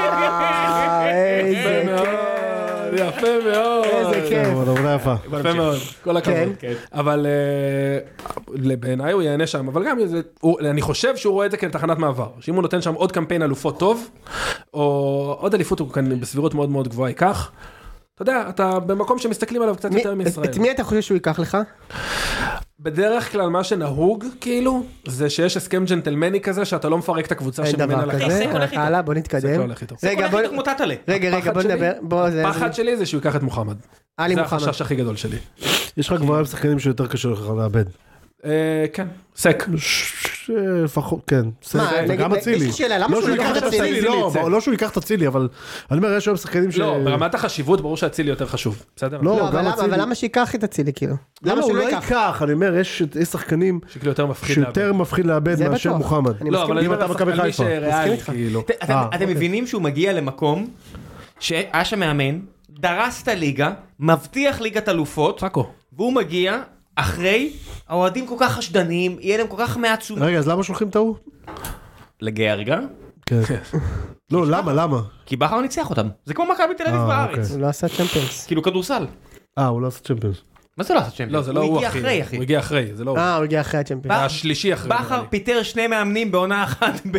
וואי, איזה יפה מאוד, יפה מאוד. כן. איזה כיף. אבל עבודה יפה. יפה מאוד, כל הכבוד. כן. אבל אה, בעיניי הוא ייהנה שם, אבל גם זה, הוא- אני חושב שהוא רואה את זה כתחנת מעבר, שאם הוא נותן שם עוד קמפיין אלופות טוב, או עוד אליפות הוא כאן בסבירות מאוד מאוד גבוהה ייקח. אתה יודע, אתה במקום שמסתכלים עליו קצת מי- יותר מישראל. את מי אתה חושב שהוא ייקח לך? בדרך כלל מה שנהוג כאילו זה שיש הסכם ג'נטלמני כזה שאתה לא מפרק את הקבוצה אין שממנה דבר לקחת. כן. כזה. זה הולך איתו. הלאה, בוא זה נתקדם. הולך איתו. זה רגע, הולך בוא... איתו כמו טאטלה. רגע, רגע, הפחד בוא שלי- נדבר. בוא, לא, זה... הפחד שלי זה שהוא ייקח את מוחמד. עלי זה מוחמד. החשש הכי גדול שלי. יש לך כבר היום שחקנים שיותר קשה לך לאבד. אה, כן, סק. ש- לפחות, כן. בסדר, מה, נגיד, גם יש אצילי. לי שאלה, למה לא שהוא לקח את אצילי? לא, זה- לא שהוא ייקח את אצילי, אבל אני אומר, יש היום שחקנים ש... לא, ברמת החשיבות ברור שאצילי יותר חשוב. בסדר? לא, לא, אבל גם למה- אצילי. אבל למה שייקח את אצילי כאילו? למה למה הוא שהוא לא ייקח? אני אומר, יש יש שחקנים שכאילו יותר מפחיד. שיותר לאבד. מפחיד לאבד זה מאשר בטוח. מוחמד. אני לא, מסכים. אבל אני אם מדבר אתה על מכבי שחקן מי חיפה. מסכים שריאלי איתך. כאילו. ת- אתם- אה, אתם מבינים שהוא מגיע למקום שהיה שם מאמן, דרס את הליגה, מבטיח ליגת אלופות, [laughs] פאקו. והוא מגיע אחרי, האוהדים כל כך חשדניים, יהיה להם כל כך מעט תשומת. אה. רגע, אז למה שולחים את ההוא? לגרגה, כן. לא, למה, למה? כי בכר ניצח אותם. זה כמו מכבי תל אביב אה, בארץ. אוקיי. הוא לא עשה צ'מפיונס. כאילו כדורסל. אה, הוא לא עשה צ'מפיונס. מה זה לא עשה צ'מפיונס? לא, זה לא הוא הוא הגיע אחרי, אחי. הוא הגיע אחרי, זה לא הוא. אה, הוא הגיע אחרי הצ'מפיונס. זה השלישי אחרי. נראה בכר לי. פיטר שני מאמנים בעונה אחת ב-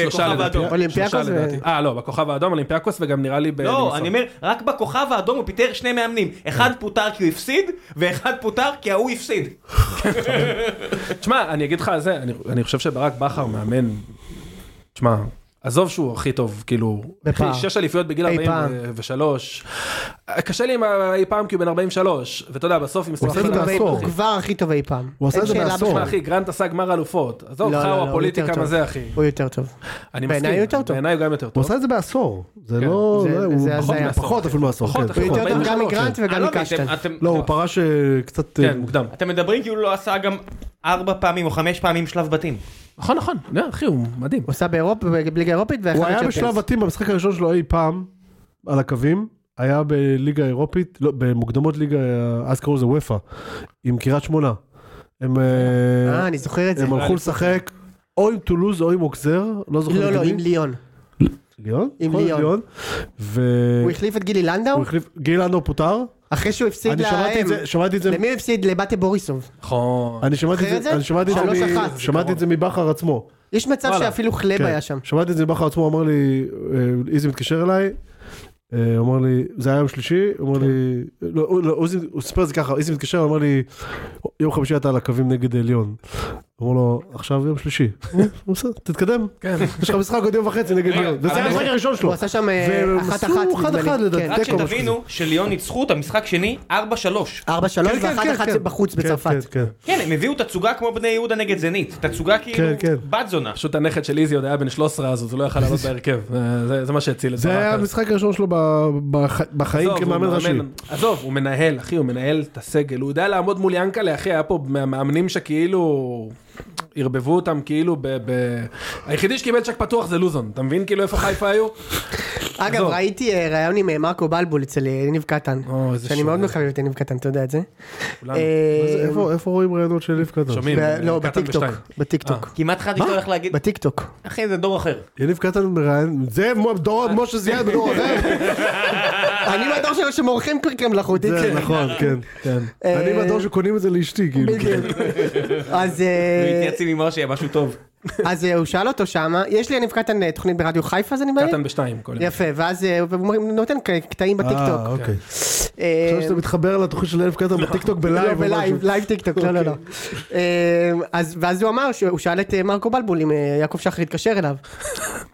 שלושה בכוכב לדעתי. האדום. אולימפיאקוס שלושה ו- לדעתי. אה, לא, בכוכב האדום, אולימפיאקוס וגם נראה לי ב... לא, בנמסון. אני אומר, רק בכוכב האדום הוא פיטר שני מאמנים. אחד פוטר כי הוא הפסיד, ואחד פוטר כי ההוא הפסיד. תשמע, אני אגיד לך על זה, אני, אני חושב שברק בכר מאמן, תשמע, עזוב שהוא הכי טוב, כאילו, בפער. אחי, שש אליפויות בגיל אי פעם. 43, קשה לי עם ה- אי פעם כי הוא בן 43, ואתה יודע, בסוף עם עושה את זה סמכים- בעשור. הוא כבר הכי טוב אי פעם. הוא עשה את אין זה שאלה בעשור. בכלל. תשמע, אחי, גרנט עשה גמר אלופות, עזוב, לא, לא, לא, חרא הוא הפוליטיקה יותר מה טוב. זה, אחי. הוא יותר טוב. אני בעיניי מסכים, הוא יותר טוב. בעיניי הוא גם יותר הוא טוב. עשה את זה בעשור. זה כן. לא... זה- לא, זה הוא הזיה. פחות- פחות אפילו מעשור. פחות, כן. הוא אחי, יותר טוב גם 43, מגרנט אני וגם לא מבין, מקשטן. אתם- אתם- לא, הוא פרש אה, קצת... אה, כן, מוקדם. אתם מדברים כאילו לא עשה גם ארבע פעמים או חמש פעמים שלב בתים. נכון, נכון, לא, אחי, הוא מדהים. הוא עשה באירופה, בליגה האירופית, ואחד הוא היה בצ'מפיונס. בשלב בתים במשחק הראשון שלו אי פעם, על הקווים, היה בליגה האירופית, לא, במוקדמות ליגה, אז קראו לזה וופא, עם קריית שמונה. הם, אה, אה, אני זוכר את זה. הם הלכו לשחק או עם טולוז או עם אוקזר, לא זוכר. לא, לא, נגד עם מי. ליון. ליון. עם יכול להיות ליון. הוא והוא החליף את גילי לנדאו, החליף, גיל אנו פוטר. אחרי שהוא הפסיד אני שמעתי את להם. זה, שמעתי את זה. למי הוא הפסיד? לבתי בוריסוב. נכון. אני שמעתי זוכר את את זה, זה? אני שמעתי את זה, שלוש מ- אחת. שמעתי את זה מבכר עצמו. יש מצב וואלה. שאפילו חלב כן. היה שם. שמעתי את זה בכר עצמו, אמר לי, אה, איזי מתקשר אליי, אה, אמר לי, זה היה יום שלישי, הוא כן. אמר לי, לא, הוא- לא, איזי- הוא סיפר את זה ככה, איזי מתקשר, אמר לי, יום חמישי אתה על הקווים נגד עליון. הוא אמר לו, עכשיו יום שלישי. אה. [laughs] הוא אומר, בסדר, תתקדם, כן. יש לך משחק עוד יום וחצי נגד רגע, עליון. וזה אבל היה זה- המשחק הראשון שלו. הוא עשה שם אה, והם אחת עשו אחת. נדמה אחד לי. כן. אחד לדעתי. רק תיקו, משהו שתבינו שליון ניצחו את המשחק שני 4-3. 4 3 כן, כן, ואחת כן, לא אחת כן. בחוץ כן, בצרפת. כן, כן. כן, הם הביאו תצוגה כמו בני יהודה נגד זנית. תצוגה כאילו כן, כן. בת זונה. פשוט הנכד של איזי עוד היה בן 13 אז הוא לא [laughs] יכל לעלות בהרכב, אה, זה- זה מה שהציל את זה היה אוקיי. ברק. המשחק הראשון שלו ב- בח- בחיים עזוב, כמאמן הוא ראשי. מאמן- עזוב, הוא מנהל, אחי, הוא מנהל את הסגל. הוא יודע לעמוד מול ינקלה, אחי, היה פה מהמאמנים שכאילו... ערבבו אותם כאילו ב... ב... היחידי שקיבל צ'ק פתוח זה לוזון, אתה מבין כאילו איפה חיפה היו? כן. אגב, עזוב. ראיתי אה, ראיון עם אה, מרקו בלבול אצל אה, יניב קטן. או, איזה שאני שוב. מאוד מחבב את יניב קטן, אתה יודע את זה. כולנו. אה, מה זה, איפה- איפה רואים רעיונות של ליף קטן? אה. שומעים? אה, ב- לא, קטן בטיקטוק. בשתיים. בטיקטוק. כמעט חשבתי שאתה הולך להגיד, בטיקטוק. אחי זה דור אחר. יניב קטן מראיין, זה מו- אה. דור- משה זיאד בדור אחר. אני לא בטוח שלו שמורחים קרקע מלאכותית. זה נכון, כן. אני בדור שקונים את זה לאשתי, כאילו. אה, בדיוק. אז אה, מתייעצים לא עם משה, משהו טוב. אז אה, הוא שאל אותו שמה, יש לי יניב קטן אה, תוכנית ברדיו חיפה זה נדמה לי? קטן בשתיים כל יום. יפה, ואז אה, הוא אומר, הוא נותן כ- קטעים אה, בטיקטוק. אוקיי. אה, עכשיו שאתה מתחבר לתוכנית של אלף קטן בטיקטוק לא, בלייב. או בלייב, משהו. אוקיי. לייב טיקטוק, לא, לא, לא. אה, אז, ואז הוא אמר, שהוא שאל את אה, מרקו בלבול אם אה, יעקב שחר התקשר אליו.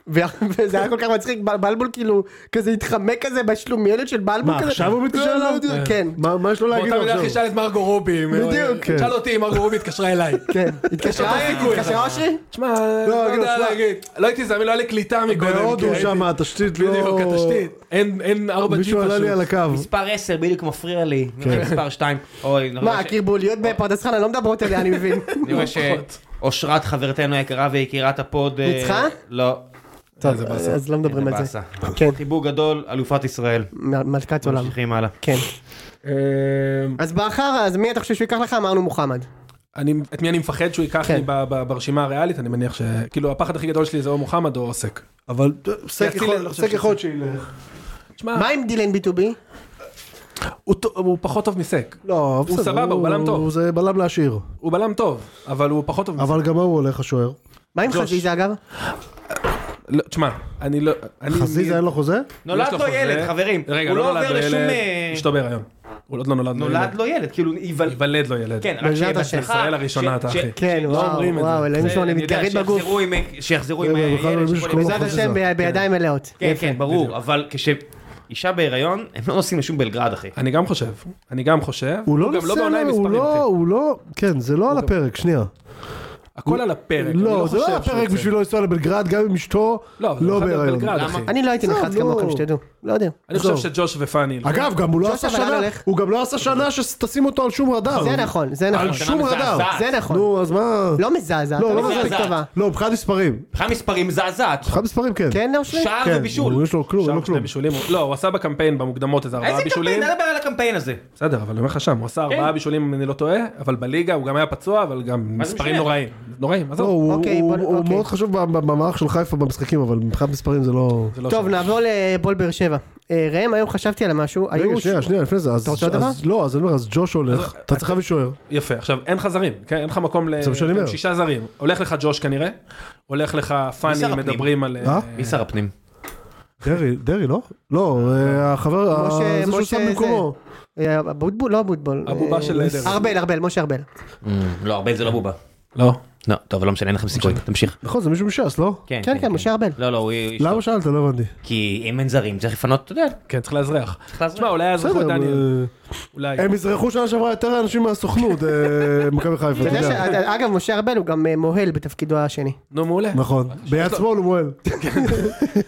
ו- וזה היה כל כך מצחיק, בל- בלבול כאילו, כזה התחמק כזה בשלומיאליות של בלבול כזה. מה, עכשיו הוא מתקשר לא, לא, אליו? כן, מה מה יש לו להגיד באותה לו מידה אחי עכשיו? שאל את מרגו רובי. אם- בדיוק, כן. שאל אותי אם מרגו רובי התקשרה [laughs] אליי. כן. התקשרה היה סיכוי. התקשרה אשרי? תשמע, לא כאילו, יודע שמע- להגיד. לא הייתי זמין, לא היה לי קליטה מקודם. בהודו כי שם הייתי- התשתית לא... כן. בדיוק, התשתית. אין- אין 4G מישהו עלה לי על פשוט. הקו. מספר 10 בדיוק מפריע לי. מספר 2. אוי, נורא מה, ש- הקרבוליות בפרדס חנה לא מדברות אליה, אני מבין. אני רואה שאושרת חברתנו היקרה ויקירת הפוד... אה, ניצחה? לא. טוב, איזה באסה. אז לא מדברים איזה על זה. באסה. כן, חיבוק גדול, אלופת ישראל. מ- מלכת עולם. ממשיכים הלאה. כן. אמ, אז בחרא, אז מי אתה חושב שהוא ייקח לך? אמרנו מוחמד. אני, את מי אני מפחד שהוא ייקח כן. לי ב, ב, ברשימה הריאלית, אני מניח ש... כאילו, הפחד הכי גדול שלי זה או מוחמד או עוסק. אבל סק יציל, יכול- אני לא חושב סק שזה- יכול להיות שילך. תשמע, מה עם דילן B2B? הוא, ט- הוא פחות טוב מסק. לא, הוא סבבה, הוא בלם טוב. זה בלם לעשיר. הוא בלם טוב, אבל הוא פחות טוב מסק. אבל גם הוא הולך השוער. מה עם ג'וש. חזיזה אגב? לא, תשמע, אני לא... אני, חזיזה אין לו חוזה? נולד יש לו חוזה. ילד, חברים. רגע, הוא לא לא נולד עובר לו לשום... ילד, אה, אשתו בהיריון. הוא עוד לא נולד לו נולד ילד. לו ילד, כאילו, ייוולד. ייוולד לו ילד. כן, רק בעזרת שיהיה השם. בהצלחה. ישראל הראשונה, אתה ש- אחי. ש- כן, אומרים וואו, את וואו, זה. אלוהים זה, שלו, כן, אני יודע, מתגרד בגוף. שיחזרו עם- שיחזרו עם כן, הילד בכלל לא מישהו שפועל שקוראים לו בעזרת בעזרת חזיזה. השם ב- בידיים מלאות. כן, כן, ברור, אבל כשאישה בהיריון, הם לא נוסעים לשום בלגרד, אחי. אני גם חושב, אני גם חושב. הוא לא גם לא נוסע, בעונה עם הוא מספרים, לא, אחי. הוא לא, כן, זה לא על הפרק, שנייה. כן. הכל על הפרק. אני לא, זה לא חושב על שהוא הפרק יוצא. בשבילו לנסוע לבלגרד, גם עם אשתו, לא, אבל לא הוא חייב בהיריון. בבלגרד, למה? אחי. אני לא הייתי עזוב, נחרץ לא. כמוכם, שתדעו. לא יודע. אני חושב עזוב. שג'וש ופאני... אגב, גם הוא לא ג'וש עשה אבל לאן שנה, הולך? הוא גם לא עשה שנה שתשים אותו על שום רדאר. זה נכון, זה נכון. על שום שנה רדאר. מזעזעת. זה נכון. נו, אז מה? לא מזעזע, לא, אתה לא לא מספיק מזעזעת. טובה. לא, מבחינת מספרים. מבחינת מספרים מזעזעת. מבחינת מספרים, כן. כן, אושרי? שער כן, ובישול. הוא- יש לו כלום, אין שם לו שני כלום. בישולים, הוא- לא, הוא עשה בקמפיין במוקדמות איזה ארבעה איזה בישולים. קמפיין? אין לבעיה על כן. הקמפיין הזה. בסדר, אבל אני אומר לך שם, הוא עשה ארבעה בישולים אם אני לא טועה, אבל בליגה הוא גם היה פצוע, אבל גם זה מספרים משנה? נוראים. נוראים, לא, עזוב. הוא- אוקיי, הוא בוא- הוא אוקיי. מאוד חשוב ב- ב- במערך של חיפה במשחקים, אבל מבחינת מספרים זה לא... זה לא טוב, שם. נעבור לפועל באר שבע. אה, ראם, היום חשבתי על משהו. רגע, היו- שנייה, שנייה, לפני זה. אז- אתה רוצה עוד דבר? אז לא, אז אני אומר, אז ג'וש הולך, אתה צריך להביא שוער. יפה, עכשיו אין לך זרים, כן? אין לך מקום ל... זה מה שאני אומר. שישה זרים. הולך לך ג'וש כנראה, הולך לך שר פאני, הפנים? מדברים על... אה? מי שר הפנים? דרעי, דרעי, לא? לא, אה, החבר, ה- משה, זה שהוא משה שם במקומו. אה, אבוטבול, לא אבוטבול. הבובה אה, של עדר. ארבל, ארבל, משה ארבל. אה. לא, ארבל זה לא בובה. לא. לא, טוב, לא משנה, אין לכם סיכוי. תמשיך. נכון, זה מישהו מש"ס, לא? כן, כן, משה ארבל. לא, לא, הוא... הוא- למה שאלת? לא הבנתי. כי אם אין זרים, צריך לפנות, אתה יודע. כן, צריך לאזרח. לאזרח. לא. תשמע, אולי יעזרו את בסדר, דניאל. אה, אולי. הם יזרחו שנה שעברה יותר אנשים מהסוכנות, אה, [laughs] מכבי חיפה, אתה אתה יודע יודע. ש- אגב, משה ארבל הוא גם אה, מוהל בתפקידו השני. נו, מעולה. נכון, ביד שמאל הוא מועל.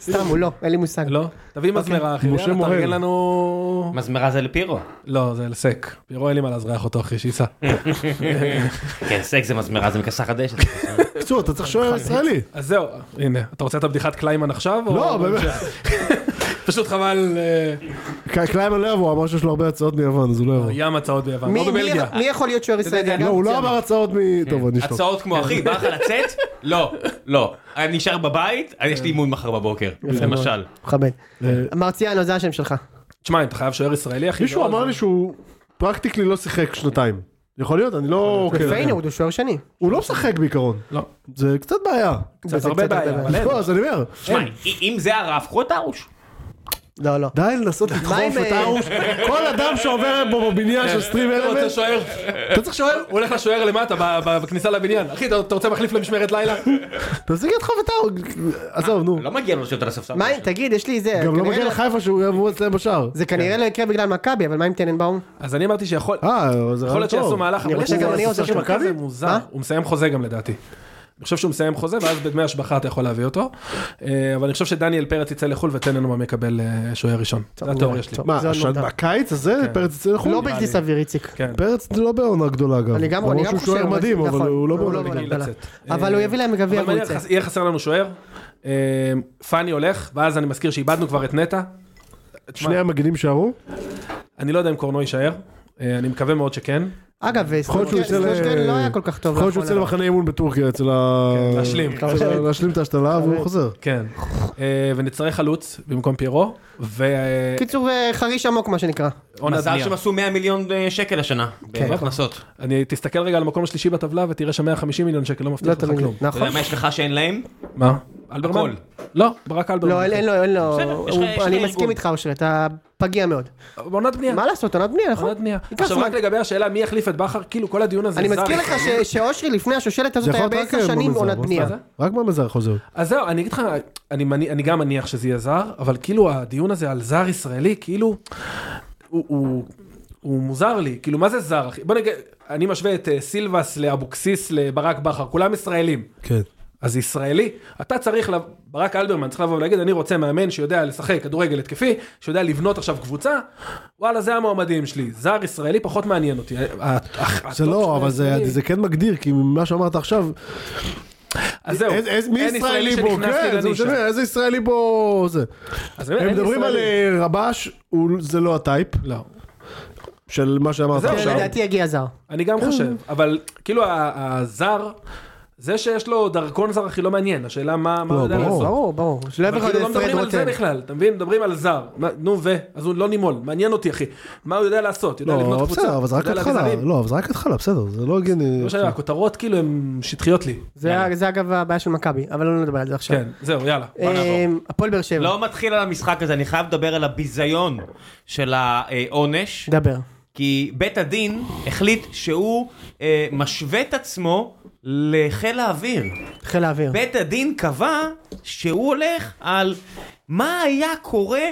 סתם, הוא לא, אין לי מושג. לא? תביא מזמרה, אחי. אוקיי. משה יאללה, מוהל. תארגן לנו... מזמרה זה לפירו. לא, זה לסק. פירו אין לי מה לאזרח אותו, אחי, [laughs] שייסע. כן, סק זה מזמרה, זה מכסה [laughs] חדשת. בקיצור, אתה צריך שוער ישראלי. אז זהו, הנה, אתה רוצה את הבדיחת קליימן עכשיו? או- לא, באמת. [laughs] פשוט חבל, אה, ק- קליימן לא יבוא, הוא אמר שיש לו הרבה הצעות מיוון, אז הוא לא יבוא. ים הצעות ביוון, מי- או מי- בבלגיה. מי יכול להיות שוער ישראלי? לא, אגב? הוא לא אמר הצעות כן, מ... טוב, אני אשתוק. הצעות כן. כמו אחי, בא לך [laughs] לצאת? לא, לא. אני נשאר בבית, אני- כן. יש לי אימון מחר בבוקר. למשל. מכבד. אה, מרציאנו, זה השם שלך. תשמע, אם אתה חייב שוער ישראלי, אחי. מישהו לא, אמר אז- לי שהוא פרקטיקלי לא שיחק שנתיים. יכול להיות, אני לא... כן. והנה, הוא שוער שני. הוא לא משחק בעיקרון. לא. זה קצת בעיה. קצת וזה הרבה קצת בעיה, הרבה אבל אין. לא, אז אני אומר. תשמע, אם זה הרף, קחו את הרוש. לא, לא. די לנסות מה לדחוף עם, את הארוש. כל אדם שעובר בו בבניין של סטרים אה, כן, אתה רוצה אלמנט, שוער? אתה צריך שוער? הוא הולך לשוער למטה, ב- ב- בכניסה לבניין. אחי, אתה אתה רוצה מחליף למשמרת [laughs] לילה? תפסיק לדחוף את הארוש. עזוב, נו. לא מגיע לו לשבת על הספסל. מה, תגיד, יש לי זה. אה, גם לא כנראה מגיע כן. לחיפה שהוא יעבור אצלם בשער. זה כנראה לא יקרה בגלל מכבי, אבל מה עם טננבאום? אז אני אמרתי שיכול אה, יכול זה רעיון להיות שיעשו טוב. מהלך, אני אבל רוצה יש גם איזה אני עוזר ספסל של כזה מכבי? מוזר. מה? הוא מסיים חוזה גם לדעתי. אני חושב שהוא מסיים חוזה, ואז בדמי השבחה אתה יכול להביא אותו. אה, אבל אני חושב שדניאל פרץ יצא לחו"ל ותננום יקבל אה, שוער ראשון. טוב, זה התיאוריה שלי. טוב. מה, זה עוד השנה- מותר. בקיץ הזה פרץ נכון? יצא לחו"ל? לא בלתי סביר, איציק. כן. פרץ לא בעונה גדולה גם. אני גם אני גם למרות שהוא שוער חושב, מדהים, נכון, אבל הוא לא הוא בעונה לא גדולה. בעונה גדולה. לצאת. אבל הוא יביא להם גביע אבל מעניין, והוא יצא. חס- יהיה חסר לנו שוער. אה, פאני הולך, ואז אני מזכיר שאיבדנו כבר את נטע. שני המגינים שערו? אני לא יודע אם קורנו יישאר. אה, אני מקווה מאוד שכן. אגב, יכול להיות שהוא יצא ל- סלושטיין לא היה כל כך טוב. יכול להיות שהוא יוצא לאחרונה. למחנה אימון בטורקיה אצל ה... כן, [laughs] להשלים. אצל ה- להשלים [laughs] את ההשתלה והוא חוזר. כן. אה, ונצטרך חלוץ במקום פיירו. ואני קיצור, אה, חריש עמוק מה שנקרא. מזל שהם עשו 100 מיליון אה, שקל השנה. כן. בהכנסות. אתה תסתכל רגע על המקום השלישי בטבלה ותראה ש-150 מיליון שקל לא לא מבטיח לך תמיד, כלום. נכון. יודע מה יש לך שאין להם? מה? אלברמן? הכל. לא, ברק אלברמן. לא, אין- אין לו, אין לו. בסדר, יש לך- הוא- יש לך אני ארגון. מסכים איתך, אושר, אתה פגיע מאוד. עונת בנייה. מה לעשות, עונת בנייה, נכון? עונת בנייה. ייקח עכשיו זמן. רק לגבי השאלה מי יחליף את בכר, כאילו כל הדיון הזה אני זר. מזכיר לך ש- שאושרי לפני השושלת זה הזאת יכול היה להיות רק בעשר שנים במזר, עונת מה בנייה. זה? רק במזר חוזר. אז זהו, אני אגיד לך, אני, מני- אני גם מניח שזה יהיה זר, אבל כאילו הדיון הזה על זר ישראלי, כאילו, הוא, הוא, הוא מוזר לי, כאילו מה זה זר, אחי? בוא נגיד, אני משווה את אה, סילבס לאבוקסיס לברק בכר, כולם ישראלים. כן. אז ישראלי, אתה צריך, לב... ברק אלברמן צריך לבוא ולהגיד, אני רוצה מאמן שיודע לשחק כדורגל התקפי, שיודע לבנות עכשיו קבוצה, וואלה, זה המועמדים שלי. זר ישראלי פחות מעניין אותי. אה, ה- ה- אה, זה הטופ של לא, אבל זה- הישראלי- זה כן מגדיר, כי ממה שאמרת עכשיו, אז זהו, איזה- איזה- מי אין ישראלי פה, שנכנס לי כן, זה לנישה. משנה, איזה ישראלי פה זה. אז אני אומר, הם אין מדברים על ישראלי. אה, רבש, הוא- זה לא הטייפ לא. של מה שאמרת זהו, כן, עכשיו. לדעתי יגיע זר. אני גם חושב, אבל כאילו ה- הזר, זה שיש לו דרכון זר הכי לא מעניין, השאלה מה מה הוא לא, יודע ברור. לעשות. ברור, ברור. שלא יביא אבל לך כאילו לא את פרד מדברים על זה כן. רוטן. בכלל, אתה מבין? מדברים על זר, מה- נו ו, אז הוא לא נימול, מעניין אותי אחי, מה הוא יודע לעשות, יודע לבנות לא, קבוצה, בסדר, אבל זה רק יודע להביא התחלה, זרים. לא, אבל זה רק התחלה, בסדר, זה לא הגיוני. לא משנה, הכותרות כאילו הן שטחיות לי, זה ה- זה אגב הבעיה של מכבי, אבל לא נדבר על זה עכשיו. כן, זהו יאללה, בוא נעבור. אה, הפועל באר שבע, לא מתחיל על המשחק הזה, אני חייב לדבר על הביזיון של אה, העונש, דבר. כי בית הדין החליט שהוא אה, משווה את עצמו לחיל האוויר. חיל האוויר. בית הדין קבע שהוא הולך על מה היה קורה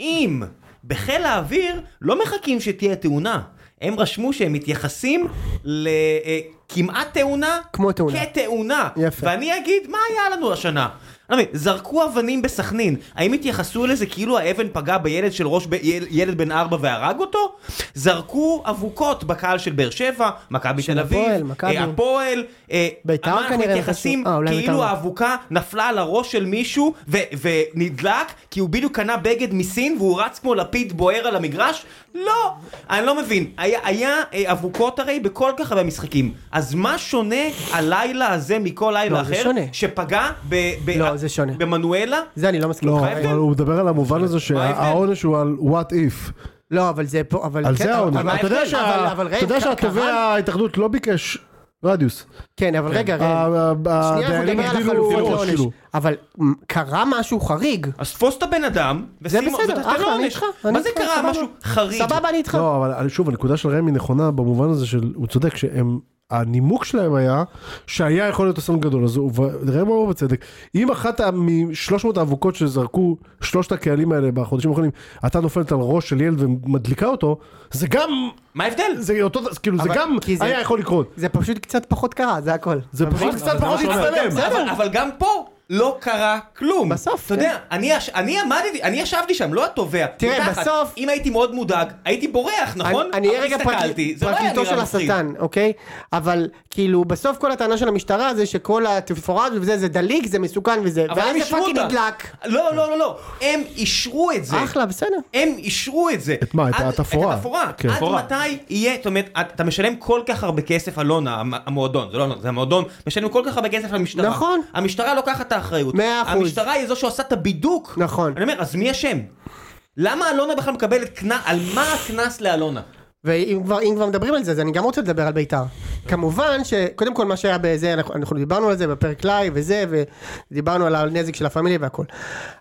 אם בחיל האוויר לא מחכים שתהיה תאונה. הם רשמו שהם מתייחסים לכמעט תאונה, כמו תאונה. כתאונה. יפה. ואני אגיד, מה היה לנו השנה? אני לא מבין, זרקו אבנים בסכנין, האם התייחסו לזה כאילו האבן פגעה בילד של ראש, ב... יל- ילד בן ארבע והרג אותו? זרקו אבוקות בקהל של באר שבע, מכבי של תל אביב, הפועל, מכבי. אה, הפועל, אה, בית"ר אנחנו כנראה מתייחסים נכנסו. אה, אולי בית"ר כאילו לא. האבוקה נפלה על הראש של מישהו ו- ונדלק כי הוא בדיוק קנה בגד מסין והוא רץ כמו לפיד בוער על המגרש? לא! אני לא מבין. היה, היה אה, אבוקות הרי בכל כך הרבה משחקים. אז מה שונה הלילה הזה מכל לילה לא, זה אחר? שונה. שפגע ב- ב- לא, זה שונה. במנואלה? זה אני לא מסכים לא, איתך. אבל הוא מדבר על המובן הזה ההבדל? שהעונש הוא על what if. לא, אבל זה פה, אבל... על כן, זה העונש. אבל- אתה יודע אבל- שה- אבל רגע, אתה יודע ק- שהתובע קהל- ההתאחדות לא ביקש רדיוס. כן, אבל רגע, רגע. שנייה, אנחנו הדיינים נדבר על הגדילו החלופות ראש, לעונש. כאילו. אבל מ, קרה משהו חריג. אז תפוס את הבן אדם, ושים- בסדר, ותתן לו אחלה, אני עונש. איתך, מה אני זה איתך, קרה? סבבה. משהו חריג. סבבה, אני איתך. לא, אבל שוב, הנקודה של ראם היא נכונה במובן הזה של, הוא צודק, שהם, הנימוק שלהם היה שהיה יכול להיות אסון גדול, אז הוא- וראם אמר בצדק, אם אחת מ-300 האבוקות שזרקו שלושת הקהלים האלה בחודשים האחרונים, אתה נופלת על ראש של ילד ומדליקה אותו, זה גם, מה ההבדל? זה אותו, זה כאילו, זה אבל- גם כי זה- היה יכול לקרות. זה פשוט קצת פחות קרה, זה הכל. זה אבל- פשוט קצת זה פחות מה שאומר. להצטלם. בסדר. אבל, אבל גם פה לא קרה כלום. בסוף, אתה כן. יודע, אני, יש- אני עמדתי, אני ישבתי שם, לא התובע. תראה, מתחת. בסוף- אם הייתי מאוד מודאג, הייתי בורח, נכון? אני אהיה אבל רגע הסתכלתי, פרקליט- זה לא היה פרקליטו נראה של מפחיד. השטן, אוקיי? אבל כאילו בסוף כל הטענה של המשטרה זה שכל התפאורה הזו וזה, זה דליק, זה מסוכן וזה, אבל הם ואז זה אישרו פאקינג אותה. נדלק. לא, לא, לא, לא. הם אישרו את זה. אחלה, בסדר. הם אישרו את זה. את מה? את עד- התפאורה. את התפאורה. כן. עד תפאורה. מתי יהיה, זאת אומרת, את- אתה משלם כל כך הרבה כסף, אלונה, המ- המועדון, זה לא אלונה, זה המועדון, משלם כל כך הרבה כסף למשטרה. נכון. המשטרה לוקחת את האחריות. מאה אחוז. המשטרה היא זו שעושה את הבידוק. נכון. אני אומר, אז מי אשם? למה אלונה בכלל מקבלת קנס, על מה הקנס לאלונה? ואם כבר, אם כבר מדברים על זה, אז אני גם רוצה לדבר על בית"ר. כמובן שקודם כל מה שהיה בזה, אנחנו, אנחנו דיברנו על זה בפרק לייב וזה, ודיברנו על הנזק של הפמיליה והכל.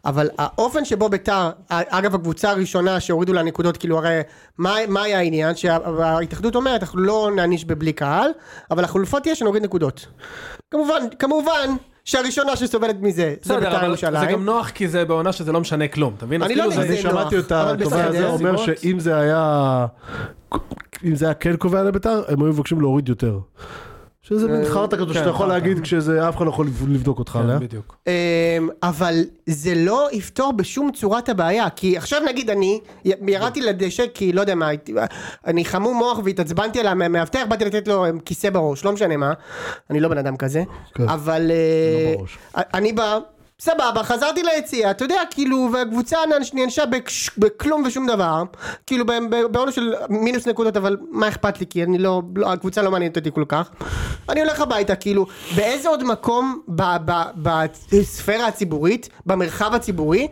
אבל האופן שבו בית"ר, אגב הקבוצה הראשונה שהורידו לה נקודות, כאילו הרי מה, מה היה העניין? שההתאחדות אומרת, אנחנו לא נעניש בבלי קהל, אבל החלופה תהיה שנוריד נקודות. כמובן, כמובן שהראשונה שסובלת מזה, זה בסדר, בית"ר אבל זה גם ירושלים. נוח כי זה בעונה שזה לא משנה כלום, אתה מבין? אז אני לא כאילו מבין, זה- אני זה נוח, שמעתי את אבל התובע הזה בסדר. אומר סיבות. שאם זה היה, אם זה היה כן קובע לביתר, הם היו מבקשים להוריד יותר. שזה מין חרטא כזו שאתה יכול חרטא. להגיד כשזה אף אחד לא יכול לבדוק אותך לא. לא? עליה. כן, בדיוק. אמ, אבל זה לא יפתור בשום צורה את הבעיה, כי עכשיו נגיד אני י- ירדתי לדשא כי לא יודע מה, הייתי- אני חמום מוח והתעצבנתי על המאבטח, באתי לתת לו אמ, כיסא בראש, לא משנה מה, אני לא בן אדם כזה, כן. אבל אה, לא בראש. א- אני בא, סבבה, חזרתי ליציאה, אתה יודע, כאילו, והקבוצה נענש- נענשה בקש- בכלום ושום דבר, כאילו ב- ב- בעונש של מינוס נקודות, אבל מה אכפת לי, כי אני לא, לא- הקבוצה לא מעניינת אותי כל כך. אני הולך הביתה, כאילו, באיזה עוד מקום ב- ב- בספירה הציבורית, במרחב הציבורי,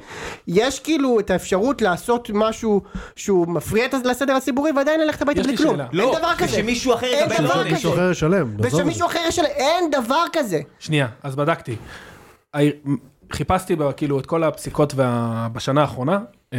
יש כאילו את האפשרות לעשות משהו שהוא מפריע את- לסדר הציבורי ועדיין ללכת הביתה יש בלי לי כלום. שאלה. לא, אין דבר כזה. ושמישהו אחר אין יקבל דבר עונש. כזה. מישהו אחר ישלם, נעזוב את זה. ושמישהו אחר יש... אין דבר כזה. שנייה, אז בדקתי. הא- חיפשתי ב- כאילו את כל הפסיקות וה... בשנה האחרונה. אמ,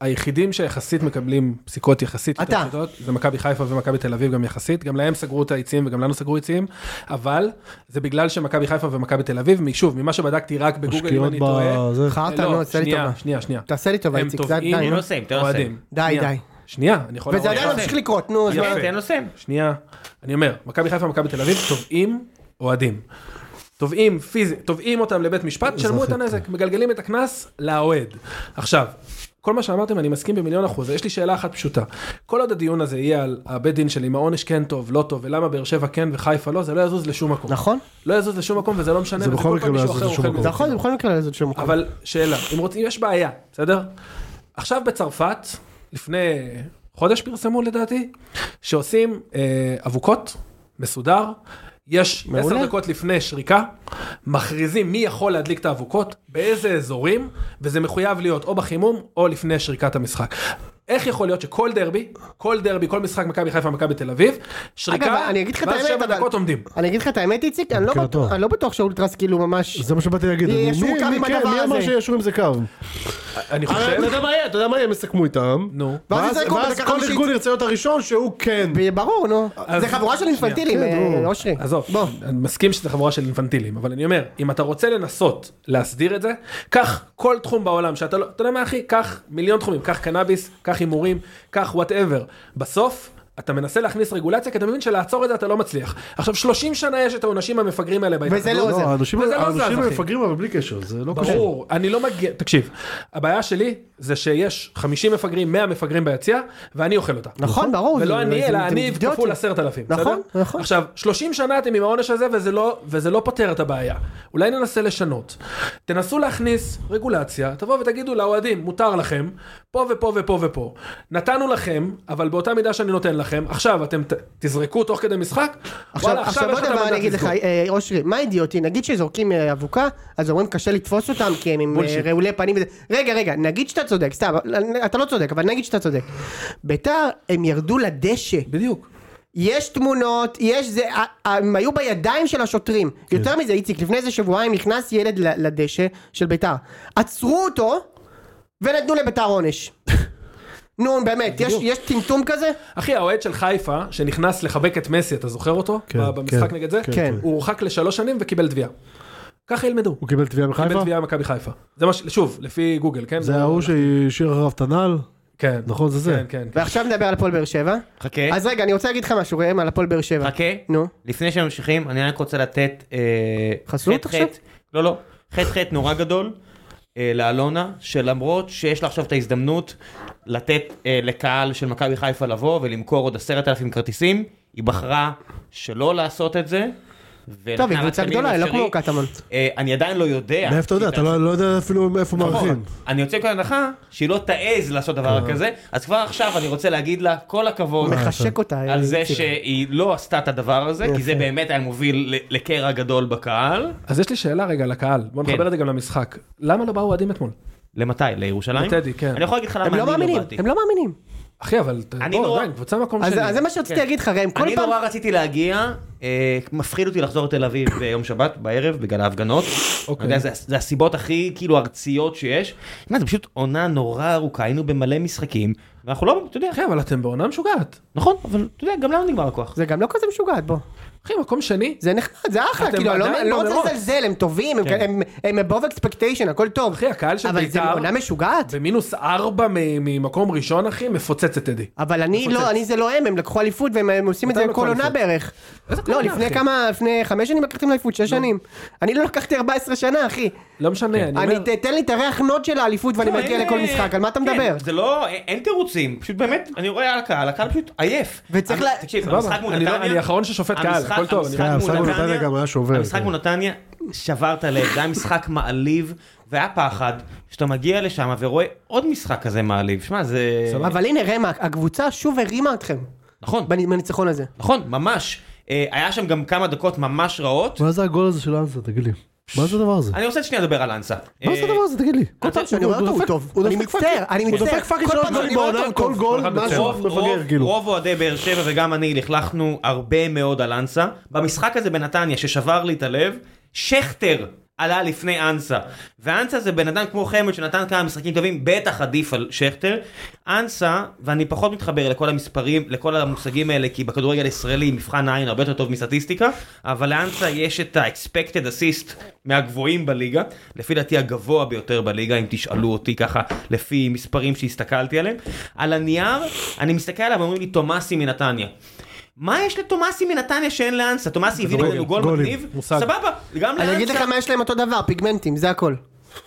היחידים שיחסית מקבלים פסיקות יחסית יותר אתה. פשוטות, זה מכבי חיפה ומכבי תל אביב גם יחסית, גם להם סגרו את היציעים וגם לנו סגרו יציעים, אבל זה בגלל שמכבי חיפה ומכבי תל אביב, שוב, ממה שבדקתי רק בגוגל אם משקיעות אני ב... טועה, זה... חרטא, לא, נו, תעשה לי שנייה, טובה. שנייה, שנייה. תעשה לי טובה, הם איציק, זה טובים, עדיין, תן לא? לו לסיים, תן לו לסיים. אוהדים. די, שנייה. די. שנייה, אני יכול... וזה לעבור. עדיין לא- ממשיך לקרות, נו, אז מה? יפה, תן לו לסיים. שנייה, אני אומר, מכבי חיפה ומכבי תל אביב תובעים אוהדים. תובעים פיזית, תובעים אותם לבית משפט, שלמו את הנזק, כן. מגלגלים את הקנס לאוהד. עכשיו, כל מה שאמרתם אני מסכים במיליון אחוז, יש לי שאלה אחת פשוטה. כל עוד הדיון הזה יהיה על הבית דין של אם העונש כן טוב, לא טוב, ולמה באר שבע כן וחיפה לא, זה לא יזוז לשום מקום. נכון, לא יזוז לשום מקום וזה לא משנה, זה וזה בכל כל מקרה פעם לא מישהו יזוז אחר לשום אוכל מקום. מזה. נכון, זה בכל מקרה לא זאת שום מקום. אבל שאלה, אם רוצים, יש בעיה, בסדר? עכשיו בצרפת, לפני חודש פרסמו לדעתי, שעושים אה, אבוקות, מסודר, יש מעולה. עשר דקות לפני שריקה, מכריזים מי יכול להדליק את האבוקות, באיזה אזורים, וזה מחויב להיות או בחימום או לפני שריקת המשחק. איך יכול להיות שכל דרבי, כל דרבי, כל משחק מכבי חיפה, מכבי תל אביב, שריקה, אגב, אני אגיד לך את ואז האמת, שבע אבל- דקות עומדים. אני אגיד לך את האמת, איציק, אני לא מכיר בטוח- אותו. אני לא בטוח שאולטרס כאילו ממש... זה מה שבאתי להגיד. יהיה אני- ישור מי- קו מי- עם כן, הדבר מי אמר הזה? שישור עם זה קו? אני הרי אה, חושב, אתה יודע מה יהיה, אתה יודע מה יהיה, הם יסכמו איתם. נו. ואז ואז יזרקו ואז בדקה כל חמישית. ארגון ירצה להיות הראשון שהוא כן. ב- ברור, נו. אז- זה חבורה של אינפנטילים, כן, אה, ברור. אושרי. עזוב, בוא. אני מסכים שזה חבורה של אינפנטילים, אבל אני אומר, אם אתה רוצה לנסות להסדיר את זה, קח כל תחום בעולם שאתה לא, אתה יודע מה אחי, קח מיליון תחומים, קח קנאביס, קח הימורים, קח וואטאבר. בסוף, אתה מנסה להכניס רגולציה, כי אתה מבין שלעצור את זה אתה לא מצליח. עכשיו, 30 שנה יש את העונשים המפגרים האלה וזה לא עוזר. לא, האנשים וזה לא זז, האנשים אחי. מפגרים אבל בלי קשר, זה לא קשור. ברור, אני לא מגיע, תקשיב, הבעיה שלי זה שיש 50 מפגרים, 100 מפגרים ביציע, ואני אוכל אותה. נכון, ברור. ולא זה- אני, זה- אלא זה אני אידיוטי. כפול עשרת אלפים. נכון, בסדר? נכון. עכשיו, 30 שנה אתם עם העונש הזה, וזה לא, וזה לא פותר את הבעיה. אולי ננסה לשנות. תנסו להכניס רגולציה, תבואו ותגידו לאוהדים, מותר לכם, פה ופה ופה ופה. נתנו לכם, אבל באותה מידה שאני נותן לכם, עכשיו אתם ת, תזרקו תוך כדי משחק, עכשיו, וואלה, עכשיו לא יש לך יודע מה את אני המנדט אגיד לך, לסגור. אה, אושרי, מה אידיוטי? נגיד שזורקים אה, אבוקה, אז אומרים קשה לתפוס אותם כי הם עם אה, בולשיט. רעולי פנים וזה. רגע, רגע, נגיד שאתה צודק, סתם, אה, אתה לא צודק, אבל נגיד שאתה צודק. ביתר, הם ירדו לדשא. בדיוק. יש תמונות, יש זה, ה- ה- הם היו בידיים של השוטרים. כן. יותר מזה, איציק, לפני איזה שבועיים נכנס ילד ל- לדשא של ביתר. עצרו אותו, ונתנו לביתר [laughs] עונש. נו, באמת, יש- יש טמטום כזה? אחי, האוהד של חיפה, שנכנס לחבק את מסי, אתה זוכר אותו? כן, ב- במשחק כן, נגד זה? כן, כן. הוא הורחק לשלוש שנים וקיבל תביעה. ככה ילמדו. הוא קיבל תביעה קיבל מחיפה? תביעה ממכבי חיפה. זה מה ש... שוב, לפי גוגל, כן? זה ההוא שהשאיר אחריו את הנעל? כן. נכון, זה זה. כן, כן. ועכשיו נדבר על הפועל באר שבע. חכה, אז רגע, אני רוצה להגיד לך משהו, ראם, על הפועל באר שבע. כן. חכה. נו. לפני שממשיכים, אני רק רוצה לתת... אה, חסות חטא-חטא- עכשיו? לא, לא. חטא חטא נורא גדול אה, לאלונה, שלמרות שיש לה עכשיו את ההזדמנות לתת אה, לקהל של מכבי חיפה לבוא ולמכור עוד עשרת אלפים כרטיסים, היא בחרה שלא לעשות את זה. ונתנה טוב, היא קבוצה רק את המינימום גדולה, היא לא האפשרי. כמו קטמון. אה, אני עדיין לא יודע. מאיפה אתה יודע? היא אתה לא לא יודע אפילו מאיפה מארחים. נכון. אני יוצא מכל הנחה שהיא לא תעז לעשות דבר כן. כזה, אז כבר עכשיו אני רוצה להגיד לה כל הכבוד. מחשק אותה. אה, על זה איציק. שהיא לא עשתה את הדבר הזה, כי זה באמת היה מוביל ל- לקרע גדול בקהל. אז יש לי שאלה רגע לקהל, בוא כן. נחבר את זה גם למשחק. למה לא באו אוהדים אתמול? למתי? לירושלים? לטדי, כן. אני יכול להגיד לך למה הם אני לא לא מאמינים, באתי. הם לא מאמינים. אחי, אבל ת- אני בוא, נורא- עדיין, קבוצה מקום אז שני. אז זה מה שרציתי כן. להגיד לך, ראם, כל אני פעם... נורא רציתי להגיע, אה, מפחיד אותי לחזור לתל אביב ביום שבת בערב בגלל ההפגנות. אוקיי. אתה יודע, זה- זה הסיבות הכי כאילו ארציות שיש. מה, זה פשוט עונה נורא ארוכה, היינו במלא משחקים, ואנחנו לא, אתה יודע, אחי, אבל אתם בעונה משוגעת. נכון, אבל אתה יודע, גם לנו נגמר הכוח. זה גם לא כזה משוגעת, בוא. אחי, מקום שני? זה נחמד, זה אחלה, אתם כאילו, אני לא- עדיין אני לא במרוץ. כן. רוצה לזלזל, הם טובים, הם כאלה- הם- הם above expectation, הכל טוב. אחי, הקהל של אבל זה בית"ר- עונה משוגעת. במינוס ארבע מ- ממקום ראשון, אחי, מפוצץ את טדי. אבל אני מפוצץ. לא, אני זה לא הם, הם לקחו אליפות והם הם עושים את מתי זה הם לקחו כל עונה אליפות? בערך. איזה כל לא, עונה, לפני אחי? כמה, לפני חמש שנים לקחתם אליפות, שש שנים. אני לא לקחתי 14 שנה, אחי. לא משנה, אני אני, אומר... כן. ת- תן לי את הריח נוד של האליפות ואני לא, מגיע אין- לכל משחק, על מה אתה כן, מדבר? זה לא, אין- אין תירוצים, פשוט באמת, אני רואה על הקהל, הקהל פשוט עייף. וצריך אני- לה- תקשיב, סבבה, המשחק מול אני לא- נתניה... אני האחרון ששופט קהל, המשחק- הכל טוב, המשחק אני- כן, מול המשחק מול נתניה גם היה שובר, המשחק כן. מול נתניה שבר את הלב, זה היה משחק מעליב, והיה פחד, שאתה מגיע לשם ורואה עוד משחק כזה מעליב. שמע, זה... לא אבל הנה, ראם, הקבוצה שוב הרימה אתכם. נכון, בנ- בניצחון הזה. נכון, ממש. אה, היה שם גם כמה דקות ממש רעות. מה זה הגול הזה של אנסה, תגיד לי? מה זה הדבר הזה? אני רוצה שנייה לדבר על אנסה. מה זה אה, הדבר הזה, תגיד לי? כל פעם שאני רואה אותו הוא טוב. אני מצטער, אני מצטער. הוא דופק פאקינג כל שלוש פעם שאני גולים רואה בעונה, אותו, כל הוא גול, אחד משהו רוב- רוב- מפגר, כאילו. רוב אוהדי באר שבע וגם אני לכלכנו הרבה מאוד על אנסה. במשחק הזה בנתניה ששבר לי את הלב, שכטר עלה לפני אנסה. ואנסה זה בן אדם כמו חמד שנתן כמה משחקים טובים, בטח עדיף על שכטר. אנסה, ואני פחות מתחבר לכל המספרים, לכל המושגים האלה, כי בכדורגל הישראלי מבחן העין הרבה יותר טוב מסטטיסטיקה, אבל לאנסה יש את ה-expected assist מהגבוהים בליגה, לפי דעתי הגבוה ביותר בליגה, אם תשאלו אותי ככה, לפי מספרים שהסתכלתי עליהם. על הנייר, אני מסתכל עליו ואומרים לי תומאסי מנתניה. מה יש לתומאסי מנתניה שאין לאנסה? תומאסי הביא לנו גול גולים, מגניב, מושג. סבבה, גם לא, לאנסה. אני אגיד לך מה יש להם אותו דבר, פיגמנטים, זה הכל.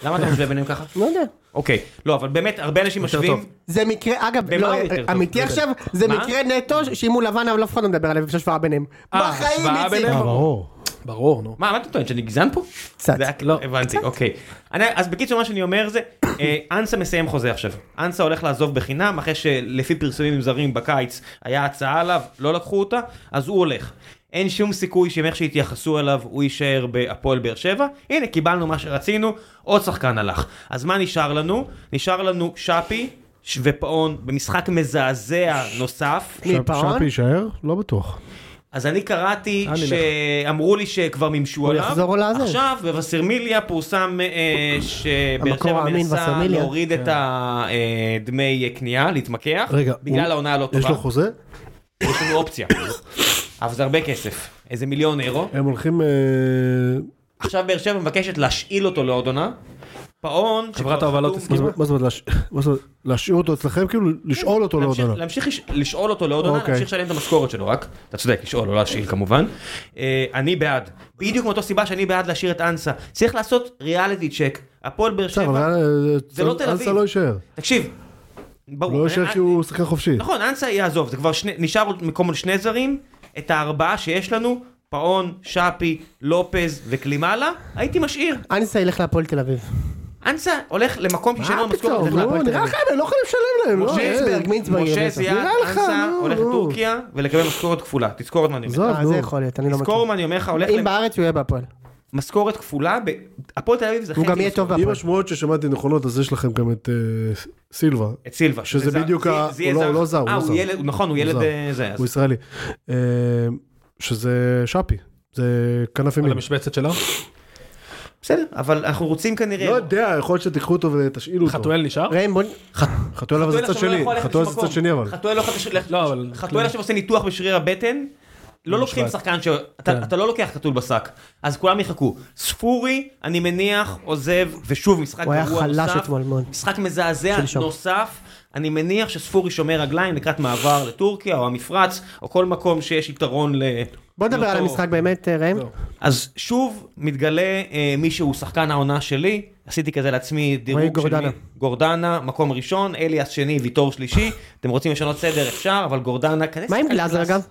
למה אתה משווה ביניהם ככה? לא יודע. אוקיי, לא, אבל באמת, הרבה אנשים משווים. טוב. זה מקרה, אגב, במה לא, הוא יותר טוב? אמיתי רגע. עכשיו, זה מה? מקרה נטו שאם הוא לבן אבל אף אחד לא מדבר עליו, יש השוואה ביניהם. אה, בחיים השוואה איציק. ביניהם? אה, ברור. ברור, נו. מה, מה אתה טוען, שאני גזען פה? קצת. זה היה- לא. הבנתי, אוקיי. אני- אז בקיצור, מה שאני אומר זה, אה, אנסה מסיים חוזה עכשיו. אנסה הולך לעזוב בחינם, אחרי שלפי פרסומים זרים בקיץ, היה הצעה עליו, לא לקחו אותה, אז הוא הולך. אין שום סיכוי שאם איך שיתייחסו אליו, הוא יישאר בהפועל באר שבע. הנה, קיבלנו מה שרצינו, עוד שחקן הלך. אז מה נשאר לנו? נשאר לנו שפי ש- ופאון במשחק מזעזע נוסף. מי, שפ- פאון? שפי יישאר? לא בטוח. אז אני אה, קראתי אני שאמרו לי שכבר מימשו הוא עליו. יחזור או לעזוב. עכשיו בווסרמיליה פורסם אה, שבאר המקור שבע האמין, מנסה וסרמיליה. להוריד את הדמי קנייה, להתמקח. כן. רגע, בגלל הוא- העונה הלא יש טובה. לו חוזה? יש לנו אופציה. אבל זה הרבה כסף. איזה מיליון אירו. הם הולכים... אה, עכשיו באר שבע מבקשת להשאיל אותו לעוד עונה. פאון. שכבר חתום- ההובלות מה הסכימה. זאת- מה זאת אומרת להש- מה זאת אומרת? להשאיר אותו אצלכם? כאילו לשאול אותו לעוד להמשיך- עונה. להמשיך לש- לשאול אותו לעוד עונה, אוקיי. להמשיך לשלם את המשכורת שלו רק. אתה צודק, לשאול, לא להשאיל כמובן. אה, אני בעד. בדיוק מאותה סיבה שאני בעד להשאיר את אנסה. צריך לעשות ריאליטי צ'ק. הפועל באר בסדר, שבע. אבל אה, זה לא תל אנסה אביב. לא יישאר. תקשיב. ברור. הוא לא יישאר אה, כי הוא שחקן חופשי. נכון, אנסה יעזוב, זה כבר שני, נשאר עוד מקום על שני זרים, את הארבעה שיש לנו, פאון, שפי, לופז וקלימאלה, הייתי משאיר. אנסה ילך להפועל תל אביב. אה, אנסה הולך למקום ששאין לו מה משכורת. פתאום? הולך להפועל. נו, נראה לך, אני לא יכול לשלם להם. לא, משה אה, איסברג, מינסברג, משה יראה. זיאד, נראה לך, אנסה נו, הולך נו. לטורקיה ולקבל משכורת כפולה, תזכור את מה אני אומר. עזוב, אה, נו. זה יכול להיות, אני לא תזכור מכיר. מה אני אומר לך, הולך אם בארץ הוא יהיה בהפועל. למשכורת כפולה, ב- הפועל תל אביב זה הוא חצי גם יהיה טוב משכורת. אם בהפועל. השמועות ששמעתי נכונות, אז יש לכם גם את אה, ס- סילבה. את סילבה. שזה זר. בדיוק זה- ה- זה יהיה הוא לא- הוא לא זר, הוא אה, לא הוא זר. ילד, נכון, הוא ילד זר. אה, זה. אז- הוא ישראלי. אה, שזה שפי. זה כנף על ימין. המשבצת שלו. בסדר, אבל אנחנו רוצים כנראה... לא יודע, יכול להיות שתיקחו אותו ותשאילו אותו. חתואל נשאר? ראם, בוא... חתואל אבל זה חתואל צד עכשיו לא שני. יכול ללכת לשום חתואל זה מקום. צד שני אבל. חתואל לא יכול לש- ללכת- לא, אבל- חתואל עכשיו עושה ניתוח בשריר הבטן. לא לוקחים נשבע. שחקן ש... כן. אתה אתה לא לוקח חתול בשק, אז כולם יחכו. ספורי, אני מניח, עוזב, ושוב משחק הוא גרוע היה נוסף. חלש אתמול מאוד. משחק מזעזע שלשום. נוסף. אני מניח שספורי שומר רגליים לקראת מעבר לטורקיה, או המפרץ, או כל מקום שיש יתרון ל... בוא נדבר על לאותו- המשחק באמת, אה, לא. ראם. אז שוב מתגלה אה, מי שהוא שחקן העונה שלי, עשיתי כזה לעצמי רועי דירוג של גורדנה. מי. גורדנה, מקום ראשון, אליאס שני, ויטור שלישי. אתם רוצים לשנות סדר אפשר, אבל גורדנה כזה... מה עם שחקן גלאזר קלאס. אגב?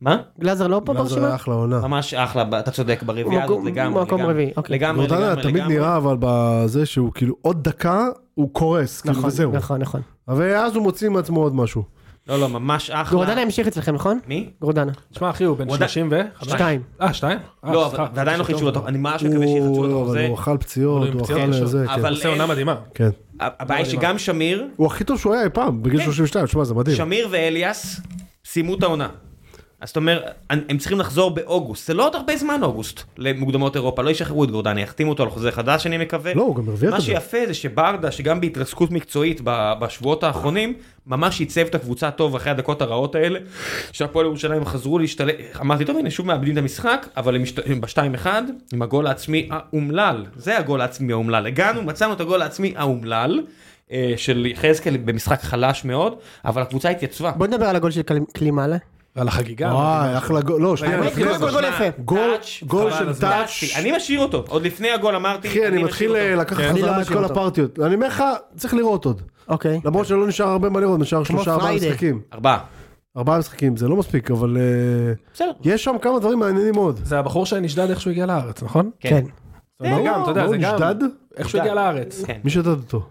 מה? גלאזר לא פה אבל זה היה ברשימה? אחלה עונה. ממש אחלה, אתה צודק, ברביעייה מקום- הזאת לגמרי. מקום לגמרי. רביעי, אוקיי. לגמרי, לגמרי, גורדנה לגמרי. תמיד נראה אבל בזה שהוא כאילו עוד דקה הוא קורס, כאילו וזהו. נכון, נכון, נכון. ואז הוא מוציא מעצמו עוד משהו. לא, לא, ממש אחלה. גורדנה המשיך אצלכם, נכון? מי? גורדנה. תשמע אחי, הוא בן הוא עדיין- 30 ו... שתיים. אה, שתיים? אה, לא, סליחה. אבל- ועדיין לא חידשו אותו. אני ממש מקווה שיחדשו הוא אותו לא, אבל חוזה. הוא אכל פציעות, עם הוא פציעות אכל עכשיו. זה, כן. אבל עושה עונה מדהימה. כן. הבעיה היא שגם שמיר, הוא הכי טוב שהוא היה אי פעם, כן. בגיל 32, תשמע זה מדהים. שמיר ואליאס סיימו את העונה. אז אתה אומר, הם הם צריכים לחזור באוגוסט, זה לא עוד הרבה זמן אוגוסט למוקדמות אירופה, לא ישחררו את גורדני, יחתימו אותו על חוזה חדש אני מקווה. לא, הוא גם הרוויח מה את זה. שיפה זה שברדה, שגם בהתרסקות מקצועית ב- בשבועות האחרונים, ממש עיצב את הקבוצה טוב אחרי הדקות הרעות האלה, שהפועל ירושלים חזרו להשתלט, אמרתי, טוב הנה שוב מאבדים את המשחק, אבל הם, משת- הם ב-2-1 עם הגול העצמי האומלל, זה הגול העצמי האומלל, הגענו, מצאנו את הגול העצמי האומלל. אה, של יחזקאל במשחק חלש מאוד, אבל הקבוצה התייצבה. בוא נדבר על הגול של קל- קלימאלה. ועל כן, החגיגה. וואי, אחלה גול, לא, שנייה, באמת, לפני גול, זה. גול, גול שמע, יפה. גול- טאץ', גול חבל של על הזמן. טאץ'. טאץ'. אני משאיר אותו, עוד לפני הגול אמרתי, אחי, אני משאיר מתחיל אותו. כן. אה, לקחת אני לא חזרה את משאיר כל אותו. הפרטיות. אני אומר לך, צריך לראות עוד. [laughs] אוקיי. לא. למרות שלא נשאר הרבה מה לראות, נשאר שלושה ארבעה פריידי. משחקים. ארבעה. ארבעה משחקים, זה לא מספיק, אבל אה, בסדר. יש שם כמה דברים מעניינים מאוד. זה הבחור שנשדד איך שהוא הגיע לארץ, נכון? כן. זה גם, אתה יודע, הוא זה גם... לא, נשדד? איך שהוא הגיע לארץ. כן. מי שדד אותו?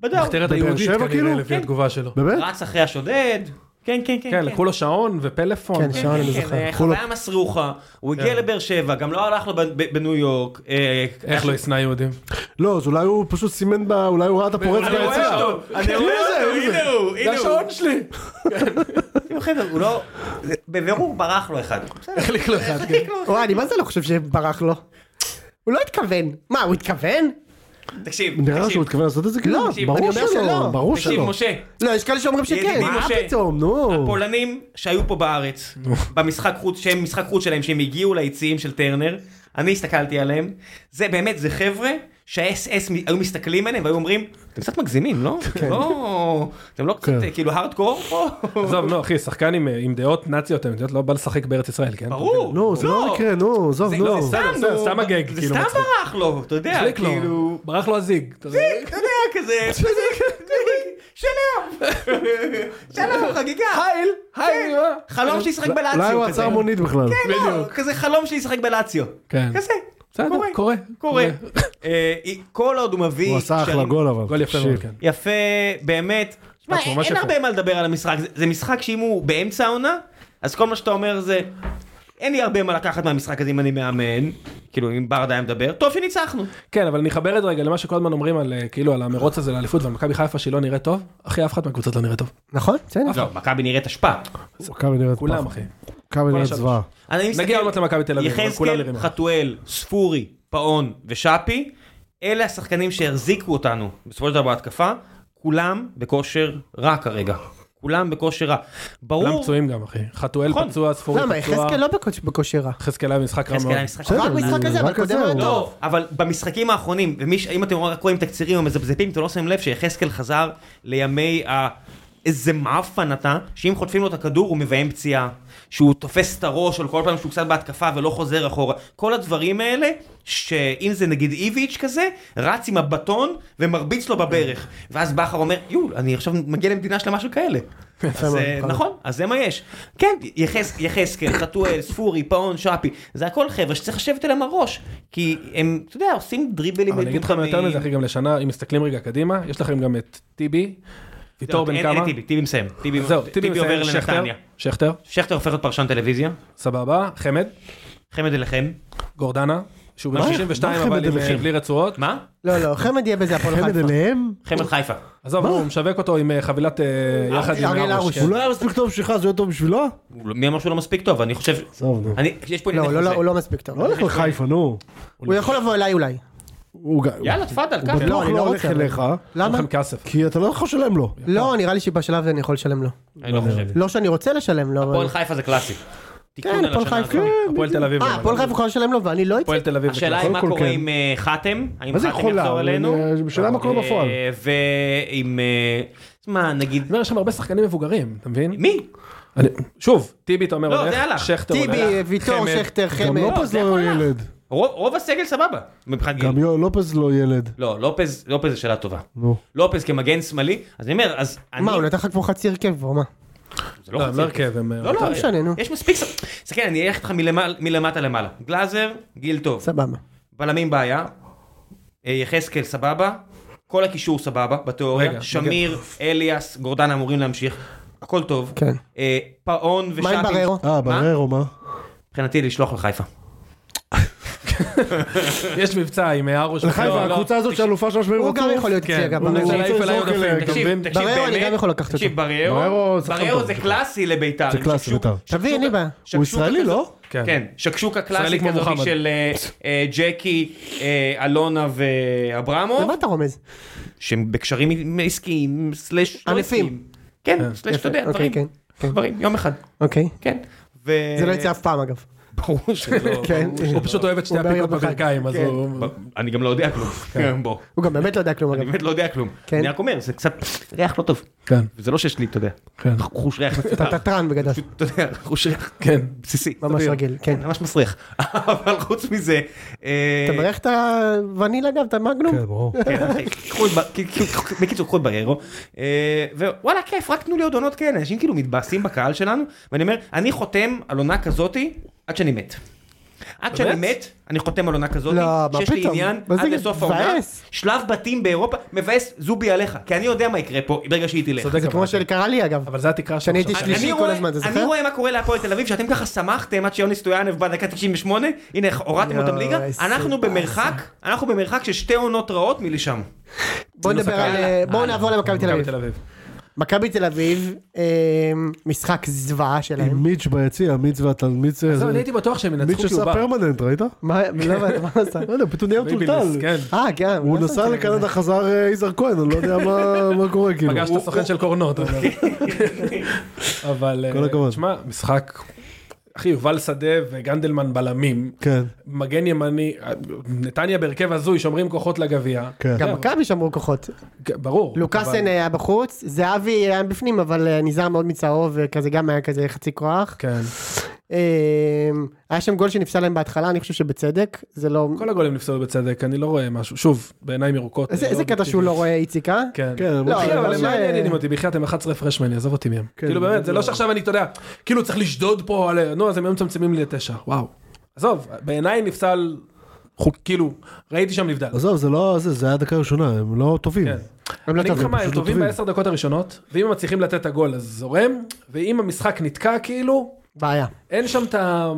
בדאו. מחתרת בבאר היהודית שבע, כנראה כאילו? לפי כן. התגובה שלו. באמת? רץ אחרי השודד. כן, כן, כן. כן, לקחו לו שעון ופלאפון. כן, שעון. אני כן, זוכר. כן, כולו- כן. חוויה מסרוכה, הוא הגיע לבאר שבע, גם לא הלך לו ב- ב- בניו יורק. אה, איך לא ישנא יהודים? לא, אז אולי הוא פשוט סימן ב... אולי הוא ראה את הפורץ אני רואה ביציע. אותו, אני רואה אותו, הנה הוא, זה הנה הוא. השעון [laughs] שלי! תראו, חבר'ה, הוא לא, בבירור ברח לו אחד. בסדר, החליק לו אחד. תחליק לו. וואי, אני מה זה לא חושב שברח לו? הוא לא התכוון. מה, הוא התכוון? תקשיב, נראה לך שהוא תקשיב. התכוון לעשות את זה? כאילו? לא, אני ברור אומר שלא. שלא, ברור תקשיב, שלא. משה, לא, יש כאלה שאומרים שכן. ידידי מה? משה. מה פתאום, נו. הפולנים שהיו פה בארץ, במשחק חוץ, שהם משחק חוץ שלהם, שהם הגיעו ליציעים של טרנר, אני הסתכלתי עליהם, זה באמת, זה חבר'ה שהאס אס היו מסתכלים עליהם והיו אומרים, אתם קצת מגזימים, לא? אתם לא- אתם לא קצת כן. אה, כאילו הארדקור פה? עזוב, נו, אחי, שחקן עם- עם דעות נאציות, הם יודעות, לא בא לשחק בארץ ישראל, כן? ברור, נו, זה לא יקרה, נו, עזוב, זה- לא. נו. זה סתם, בסדר, נו, סתם הגג, זה כאילו, סתם מצחיק. ברח לו, אתה יודע, מצחיק לו, כאילו, ברח לו הזיק. אתה יודע. אתה יודע, כזה, שלום, שלום, חגיגה, הייל, כן. הייל. אה? חלום שישחק אולי הוא בלאציו, כזה. עצר לא מונית בכלל. לא, כזה חלום שלי לשחק בלאציו. כן. כזה. בסדר, קורה, קורה. קורה. אה, כל עוד הוא מביא... הוא עשה אחלה קשרים- גול אבל. גול יפה תקשיב. מאוד, כן. יפה, באמת. תשמע, ממש אין יפה. הרבה מה לדבר על המשחק. זה- זה משחק שאם הוא באמצע העונה, אז כל מה שאתה אומר זה... אין לי הרבה מה לקחת מהמשחק הזה אם אני מאמן. כאילו, אם ברדה היה מדבר, טוב שניצחנו. כן, אבל אני אחבר את זה רגע למה שכל הזמן אומרים על, אה, כאילו, על המרוץ הזה לאליפות ועל מכבי חיפה שהיא לא נראית טוב. אחי, אף אחת מהקבוצות לא נראית טוב. נכון, בסדר. לא, מכבי נראית אשפה. מכבי נראית כולם, פח. אחי. מכבי נראית השלוש. זוועה. אז אני מסתכל- עוד מעט למכבי תל אביב, אבל כולם יחזקאל, נראים רע. חתואל, ספורי, פאון ושאפי, אלה השחקנים שהחזיקו אותנו בסופו של דבר בהתקפה, כולם בכושר רע כרגע. כולם בכושר רע. כולם ברור, פצועים גם, אחי. חתואל נכון. פצוע, ספורי למה, פצוע. יחזקאל לא בכוש- בכושר רע. יחזקאל היה משחק רע יחזקאל מאוד. היה משחק רק בסדר, משחק זה הזה, אבל רק קודם כזה, היה אבל- טוב. טוב, לא. אבל במשחקים האחרונים, ומי ש... אם אתם רק רואים תקצירים ומזפזפים, אתם לא שמים לב שיחזקאל חזר לימי ה... איזה מאפן אתה, שאם חוטפים לו את הכדור הוא מביים פציעה, שהוא תופס את הראש על כל פעם שהוא קצת בהתקפה ולא חוזר אחורה. כל הדברים האלה, שאם זה נגיד איביץ' כזה, רץ עם הבטון ומרביץ לו בברך. ואז בכר אומר, יו, אני עכשיו מגיע למדינה שלמה של [laughs] כאלה. אז, מאוד, אה, נכון. נכון, אז זה מה יש. כן, יחז- יחזקאל, חתואל, ספורי, פאון, שפי, זה הכל חבר'ה שצריך לשבת עליהם הראש. כי הם, אתה יודע, עושים דריבלים אבל אני אגיד לך מתוחכמים. יותר מזה, אחי, גם לשנה, אם מסתכלים רגע קדימה, יש לכם גם את טיבי, ויטור בן לא, אין- כמה. אין טיבי, טיבי [laughs] מסיים. טיבי זהו, טיבי עובר מסיים, שכטר, לנתניה. שכטר, שכטר הופך להיות פרשן טלוויזיה, סבבה, חמד, חמד אליכם. גורדנה, שהוא בן מה? 62 מה חמד אבל עם, אליכם? אה, בלי רצועות. מה? לא, לא, חמד יהיה בזה הפועל חמד חיפה. אליהם? חמד חיפה. עזוב, נו, הוא משווק אותו עם אה, חבילת אה, יחד עם אריאל הרוש. הרוש. הוא לא היה מספיק טוב בשבילך, זה יהיה טוב בשבילו? הוא לא- מי אמר שהוא לא מספיק טוב? אני חושב... עזוב, נו. אני- יש פה לא, ענייני לא, לא, חוזה. הוא לא מספיק טוב. לא הולך לחיפה, נו. הוא יכול לבוא אליי אולי. הוא ג- יאללה, תפאדל, הוא ככה. לא, בטוח אני לא לא הולך רוצה, אליך, למה? למה? כסף. כי אתה לא יכול לשלם לו. לא, נראה לי שבשלב הזה אני יכול לשלם לו. אני לא חושב. לא שאני רוצה לשלם לו, אבל... הפועל חיפה זה קלאסי. כן, תיקון על הפועל השנה חיפה. הזאת. הפועל תל אביב. אה, אבל. הפועל חיפה יכולה לשלם לו ואני לא אצא? הפועל תל אביב. זה השאלה היא קלאס. מה קודם כל, קורה כן. עם אה, חאתם, האם מה זה חאתם יכולה? יחזור אלינו? אני- השאלה מה קורה אה, בפועל. ועם, אה, מה נגיד, אני אומר, יש שם הרבה שחקנים מבוגרים, אתה מבין? מי? אני- שוב, טיבי אתה אומר לא, הולך, זה הלך. שכטר הולך, טיבי, ויטור, חמד. שכטר, חמד. גם לופז זה לא יכול ילד. רוב רוב הסגל סבבה. מבחינת גיל. גם יו- לופז לא ילד. לא, לופז, לופז זו שאלה טובה. נו. לופז כמגן שמאלי, אז אני אומר, אז אני... מה, הוא נתן לך כבר חצי הרכב כבר, מה? זה לא, הם חצי לא הרכב. הרכב, הם... לא, לא, לא משנה, נו. יש מספיק... ש- תסתכל, אני אלך איתך מלמעלה- מלמטה למעלה. גלאזר, גיל טוב. סבבה. בלמים בעיה. אה, יחזקאל סבבה. כל הקישור סבבה, בתיאוריה. רגע, שמיר, אליאס, גורדנה אמורים להמשיך. הכל טוב. כן. אה, פאון ושאפי. מה עם בררו? אה, בררו, מה? מבחינתי לשלוח לחיפה. יש מבצע עם הרוש. לחיפה, הקבוצה הזאת שהאלופה שלוש פעמים הוא גם יכול להיות אצלי, כן, אגב. הוא ברור. רוצה להעיף אליי לזרוק עודפים, אליהם. אתה תקשיב, מבין? תקשיב, אוקיי. בררו, אני באמת, גם יכול לקחת תקשיב, בררו, בררו, שחקן בררו טוב. זה קלאסי לביתר. זה עם קלאסי שקשוק- בית"ר. תביא, אין לי בעיה. הוא שקשוקה ישראלי, כזאת. לא? כן. כן, שקשוקה ישראלי קלאסית כמו כזאת מוחמד. של אה, אה, ג'קי, אה, אלונה ואברמוב, למה אתה רומז? שהם בקשרים עם- עסקיים, סלאש לא ענפים. עסקיים. כן, סלאש, אתה יפה, יודע, אוקיי, דברים, כן. כן. דברים, יום אחד, אוקיי. כן. ו- זה לא יצא אף פעם, אגב. ברור שלא. כן. הוא פשוט אוהב את שתי הוא אומר הפיקות יום אחד. בברכיים, אז כן. הוא... אני גם לא יודע כלום, בוא, הוא גם באמת לא יודע כלום, אני אגב. באמת לא יודע כלום. כן. אני רק אומר, זה קצת ריח לא טוב. כן, זה לא שיש לי, אתה יודע, כן. חוש ריח אתה מפותח. תתרן בגדול. פשוט, אתה יודע, חוש ריח כן. בסיסי. ממש סביר. רגיל, כן. ממש מסריח. [laughs] אבל חוץ מזה... אה, אתה מברך את הווניל, אגב, את המגנום? כן, ברור. כן, אחי, קחו את ב- כאילו, קחו- בקיצור, קחו את בררו, אה, ווואלה כיף, רק תנו לי עוד עונות כאלה, אנשים כאילו מתבאסים בקהל שלנו, ואני אומר, אני חותם על עונה כזאתי עד שאני מת. עד שאני מת, אני חותם על עונה כזאתי, לא, מה שיש לי פתאום? עניין, מה זה עד לסוף העונה, מבאס? שלב בתים באירופה, מבאס זובי עליך, כי אני יודע מה יקרה פה ברגע שהיא תלך. צודק, זה כמו שקרה לי, אגב. אבל זה התקרה שאני עכשיו. הייתי אני- שלישי אני כל רואה- הזמן, אתה זוכר? אני רואה מה קורה להפועל תל אביב, שאתם ככה שמחתם עד שיוני סטויאנב בא דקה 98, הנה הורדתם יואו, אותם ליגה, איזה אנחנו באסה. במרחק, אנחנו במרחק של שתי עונות רעות מלשם. בוא נדבר על... בואו נעבור למכבי תל מכבי אביב. תל אביב. מכבי תל אביב, אה, משחק זוועה שלהם. עם מיץ' ביציע, מיץ' והתלמיץ. אה, זהו, זה- אני הייתי בטוח שהם מיץ' ינצחו כי עשה הוא בא. פרמננט, ראית? מה, לא הבנתי, מה [laughs] עשה? לא יודע, פתאום נהיה ביבילס, מטולטל. כן. אה, כן. הוא לא נסע שמתי לב לזה. לקנדה, חזר אה, יזהר כהן, אני לא יודע [laughs] מה- מה קורה, כאילו. פגש את הסוכן של קורנות. אבל- אבל... כל אה, הכבוד. תשמע, משחק... אחי, יובל שדה וגנדלמן בלמים, כן, מגן ימני, נתניה בהרכב הזוי, שומרים כוחות לגביע. כן. גם מכבי שמרו כוחות. ג- ברור. לוקאסן אה, אבל- היה בחוץ, זהבי היה בפנים, אבל אה, נזהר מאוד מצהוב, וכזה גם היה כזה חצי כוח. כן. אה, היה שם גול שנפסל להם בהתחלה, אני חושב שבצדק, זה לא... כל הגולים נפסלו בצדק, אני לא רואה משהו. שוב, בעיניים ירוקות. איזה אה, איזה קטע שהוא לא רואה איציק, אה? כן. כן, אבל לא, אחי, אבל אבל הם זה- מעניינים אותי, בחייאת, הם 11 הפרש ממני, עזוב אותי מהם. כן, כאילו באמת, זה לא. לא שעכשיו אני, אתה יודע, כאילו צריך לשדוד פה, על- נו, אז הם היו מצמצמים לי לתשע, וואו. עזוב, בעיניי נפסל, חוק- כאילו, ראיתי שם נבדל. עזוב, זה לא זה, זה היה דקה ראשונה, הם לא טובים. כן. הם לא אני אגיד לך טובים. מה, הם פשוט לא טובים טובים. בעשר דקות הראשונות, ואם הם מצליחים לתת את הגול אז זורם, ואם המשחק נתקע כאילו, בעיה. אין שם את ה...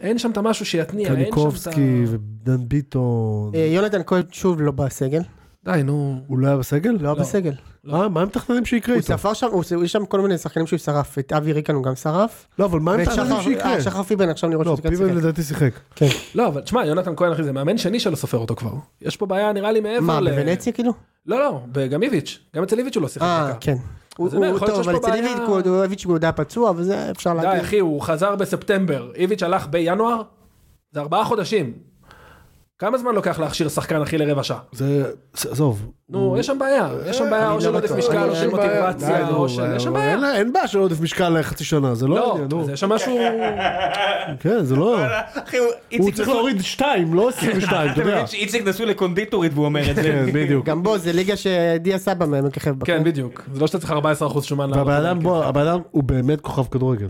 אין שם את המשהו שיתניע, אין שם את ה... קניקובסקי ודן ביטון. אה, יונתן כהן שוב לא בסגל. די, נו. הוא לא היה בסגל? לא בסגל. אה, מה הם מתכננים שיקרה הוא איתו? ספר שם, הוא- הוא- יש שם כל מיני שחקנים שהוא שרף, את אבי ריקן הוא גם שרף. לא, אבל מה הם ואת מתכננים שחר- שיקרה? אה, שחר פיבן עכשיו נראה לא, שהוא כן פיבן שיחק. לדעתי שיחק. כן. לא, אבל תשמע, יונתן כהן, אחי, זה מאמן שני שלא סופר אותו כבר. יש פה בעיה, נראה לי, מעבר מה, ל... בוונציה כאילו? לא, לא, גם איביץ'. גם אצל איביץ' הוא לא שיחק. אה, דקה. כן. הוא אני אומר, הוא יכול להיות טוב, שיש אבל פה אצל בעיה- איביץ' הוא הוא- איביץ' הוא עוד היה פצוע, וזה אפשר די, כן. להגיד. אחי, הוא חזר בספטמבר. איביץ' הלך בינואר? זה ארבעה חודשים. כמה זמן לוקח להכשיר שחקן, אחי, לרבע שעה? זה, זה- עזוב. נו, יש שם בעיה. יש שם אה, בעיה אני או של לא עודף בטוח. משקל, או אין של בעיה. מוטיבציה, די, או נו, של... יש שם אבל בעיה. אין לה- אין בעיה של עודף משקל לחצי שנה, זה לא לא, אה, העניין, נו. אז יש שם משהו... כן, זה לא... אחי, הוא- הוא איציק צריך נשוי- להוריד שתיים, לא 22, [laughs] אתה אתה יודע. מבין שאיציק נשוי לקונדיטורית והוא אומר את זה. כן, [laughs] בדיוק. גם בו, זה ליגה שדיה סבא מככב בה. אוקיי. כן, בדיוק. זה לא שאתה צריך 14% שומן. והבן לעלות. אדם, בוא, הבן אדם הוא באמת כוכב כדורגל.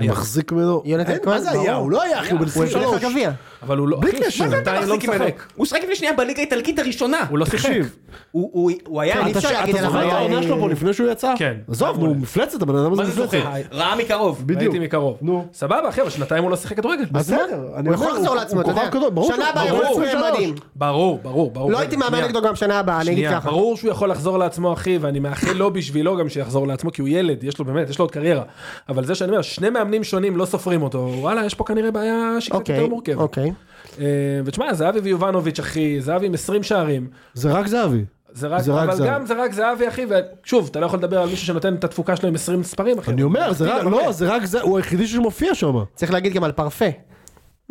הוא מחזיק ממנו. יונתן אין, כהן, מה זה היה? ברור. הוא לא היה, אחי, הוא בן הוא הפסיד 23. לך גביע. אבל הוא לא... בלי אחי, קשר. שנתיים לא מחזיק ממנו. משחק. הוא שחק לפני שנייה בליגה האיטלקית הראשונה. הוא לא שיחק. תקשיב, הוא- הוא הוא היה... אי כן, אתה אפשר ש- להגיד אתה עליו, זוכר את היה- העונה שלו פה לפני שהוא יצא? כן. עזוב, נו, הוא מפלצת, הבן אדם הזה מה זה זוכר? מפלצת. ראה מקרוב. בדיוק. ראיתי מקרוב. נו. סבבה, אחי, אבל שנתיים הוא לא שיחק כדורגל. אז מה? אני הוא אומר, יכול לחזור הוא- לעצמו, אתה הוא יודע. כוכב גדול, ברור שנה שהוא- הבאה ברור הוא שהוא יצא 23. מדהים. ברור, ברור, ברור. לא הייתי מאמן שנייה. נגדו גם שנה הבאה, אני אגיד שנייה, ככה. ברור שהוא יכול לחזור לעצמו אחי ואני מאחל לו בשבילו גם שיחזור לעצמו כי הוא ילד יש לו באמת יש לו עוד קריירה אבל זה שאני אומר שני מאמנים שונים לא סופרים אותו וואלה יש פה כנראה בעיה שהיא קצת אוקיי, יותר מורכבת. אוקיי. אה, ותשמע זהבי ויובנוביץ' אחי זהבי עם 20 שערים זה רק זהבי. זה רק זה רק אבל זהבי. גם זה רק זהבי אחי ושוב אתה לא יכול לדבר על מישהו שנותן את התפוקה שלו עם 20 ספרים אחי. אני אומר, זה רק, לא, זה רק זה, הוא היחידי שמופיע שם. לא. צריך להגיד גם על פרפה.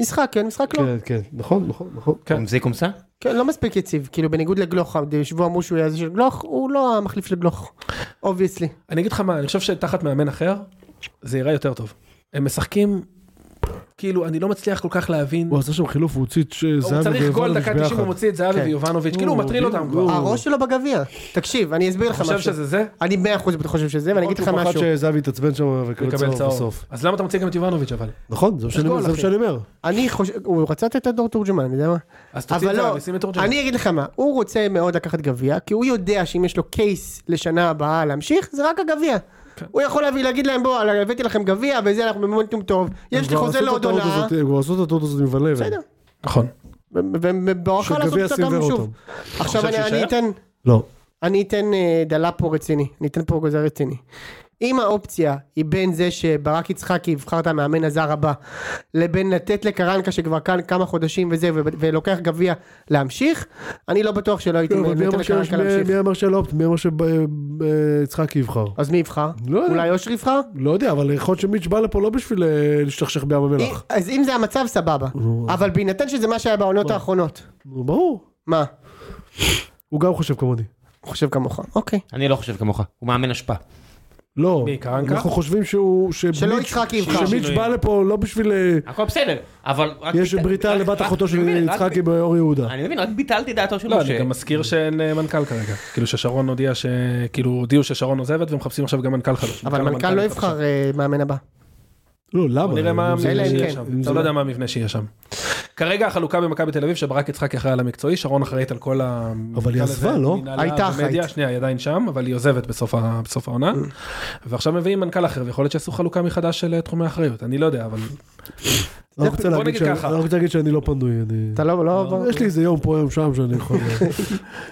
משחק כן, משחק לא. כן, כן, נכון, נכון, נכון. קומסה קומסה? כן, לא מספיק יציב. כאילו בניגוד לגלוך, שבו אמרו שהוא היה זה של גלוך, הוא לא המחליף של גלוך. אובייסלי. אני אגיד לך מה, אני חושב שתחת מאמן אחר, זה יראה יותר טוב. הם משחקים, כאילו, אני לא מצליח כל כך להבין. הוא עשה שם חילוף, הוא הוציא את ש- זהבי הוא צריך גול ויובנוביץ' דקה 90, הוא ביחד. מוציא את זהבי כן. ויובנוביץ', כאילו הוא מטריל אותם כבר. אתה הראש שלו בגביע. תקשיב, אני אסביר לך חושב משהו. שזה זה? אני 100% חושב שזה, ואני אגיד לך הוא פחד משהו. שזהבי יתעצבן שם ויקבל מקבל צהוב צהוב. בסוף. אז למה אתה מוציא גם את יובנוביץ' אבל? נכון, זה מה שאני אומר, גול, זה מה אחי. שאני אומר. אני חושב, הוא רצה לתת את דור תורג'מן, אני יודע מה. אז תוציא את זהבי, שים את תורג'מן. לא, אני אגיד לך מה, הוא רוצה מאוד לקחת גביע, כי הוא יודע שאם יש לו קייס לשנה הבאה להמשיך, זה רק הגביע. כן. הוא יכול להביא, להגיד להם בוא, הבאתי לכם גביע וזה, אנחנו במומנטום טוב, יש לי כבר חוזה עשו את לעוד הטעות עונה, הזאת, הם כבר עשו את הטעות הזאת עם ון לבן. בסדר. נכון. וברכה שגביע לעשות אותה סילבר גם שוב. אותם. עכשיו חושב אני- שיישאר? אני אתן, לא. אני אתן אה, דלה פה רציני, אני אתן פה גוזר רציני. אם האופציה היא בין זה שברק יצחקי יבחר את המאמן הזר הבא, לבין לתת לקרנקה שכבר כאן כמה חודשים וזה, ו- ולוקח גביע להמשיך, אני לא בטוח שלא הייתי לא, אבל מי נותן אמר שיש- לקרנקה מי- להמשיך. מי אמר שלא אופט? מי אמר שיצחקי יבחר? אז מי יבחר? לא יודע. אולי אושר יבחר? לא יודע, אבל יכול להיות שמיץ' בא לפה לא בשביל אה, להשתכשך בים המלח. אם- אז אם זה המצב סבבה, אבל בהינתן שזה מה שהיה לא. בעונות האחרונות, נו, ברור. מה? הוא גם חושב כמוני. הוא חושב כמוך, אוקיי. אני לא חושב כמוך, הוא מאמן אשפה. לא. מי, קרנקה? אנחנו חושבים שהוא... שלא שמיץ'- יצחקי יבחר. שמיץ' בא לפה לא בשביל... אה, הכל בסדר, אבל... רק יש ביט- בריתה רק- לבת רק- אחותו של אני מבין, רק- יצחקי באור יהודה. אני מבין, רק ביטלתי דעתו של לא, משה. אני גם מזכיר שאין אה, מנכ"ל כרגע. כאילו ששרון הודיע ש... כאילו הודיעו ששרון עוזבת ומחפשים עכשיו גם מנכ"ל חדש. אבל מנכ"ל לא המנכ"ל יבחר אה, מאמן הבא. לא, בוא למה? נראה מה זה- אלא המבנה אם שיהיה כן. שם. אתה לא יודע מה המבנה שיהיה שם. כרגע החלוקה במכבי תל אביב שברק יצחקי אחראי על המקצועי, שרון אחראית על כל ה... אבל היא עזבה, לא? מנהלה הייתה ומדיה, אחראית. שנייה, היא עדיין שם, אבל היא עוזבת בסוף ה- בסוף אה. העונה. ועכשיו מביאים מנכ"ל אחר, ויכול להיות שיעשו חלוקה מחדש של אה, תחומי האחריות, אני לא יודע, אבל... אני רק רוצה בוא להגיד נגיד שאני- ככה. אני רק רוצה להגיד שאני לא פנוי, אני... אתה לא... לא- יש לי איזה יום פה יום שם [laughs] שאני יכול...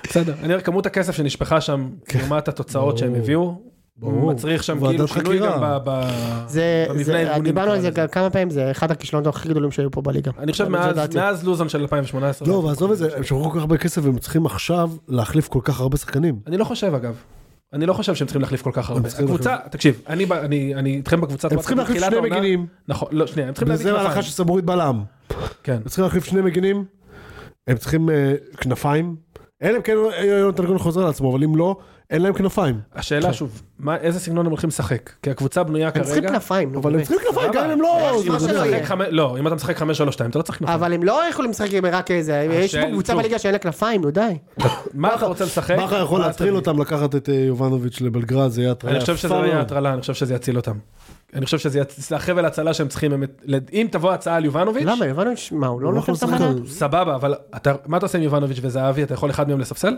בסדר. אני אומר, כמות הכסף שנשפכה שם, לעומת התוצאות שהם הביאו, כן. ברור. מצריך שם ועדת כאילו שינוי חקירה. גם ב- ב- זה, במבנה זה, הארגוני. דיברנו נקרא על זה לזה. גם כמה פעמים, זה אחד הכישלונות הכי גדולים שהיו פה בליגה. אני חושב זו מאז- דעתי. מאז לוזון של 2018. לא, ועזוב את זה, הם שפכו כל כך הרבה כסף והם צריכים עכשיו להחליף כל כך הרבה שחקנים. אני לא חושב אגב. אני לא חושב שהם צריכים להחליף כל כך הרבה. צריכים הקבוצה, תקשיב, אני ב- אני אני איתכם בקבוצת... הם וואטסאפ צריכים להחליף מתחילת שני העונה. מגינים. נכון, לא, שנייה, הם צריכים להביא וזה ההלכה כנפיים. של סבורית בלם. כן. הם צריכים להחליף שני מגינים, הם צריכים אה, כנפיים. אלא אם כן יונתן כהן חוזר לעצמו, אבל אם לא, אין להם כנפיים. השאלה שוב, מה- איזה סגנון הם הולכים לשחק? כי הקבוצה בנויה הם כרגע... צריכים כנפיים, נו, אבל הם באמת. צריכים כנפיים, גם אם הם אה, אבל לא... אם אתה זה מדהים. משחק- משחק חמש- לא, אם אתה משחק 5-3-2 אתה לא צריך כנפיים. אבל הם לא יכולים לשחק עם רק איזה, יש פה השאל- קבוצה שוב. בליגה שאין לה כנפיים, נו די. אה, מה אתה רוצה לשחק? בכר יכול מה להטריל אתה- אותם לקחת את אה, יובנוביץ' לבלגרד, זה יהיה הטרלה. אני חושב שזה לא יהיה הטרלה, אני חושב שזה יציל אותם. אני חושב שזה יצ- זה החבל הצלה שהם צריכים, באמת, לד- אם תבוא הצעה על יובנוביץ', למה, הבנו, ש- מה, הוא לא הוא לא נותן את יכול לשחק המנה? על- סבבה, אבל אתה- מה אתה עושה עם יובנוביץ' וזהבי, אתה יכול אחד מהם לספסל?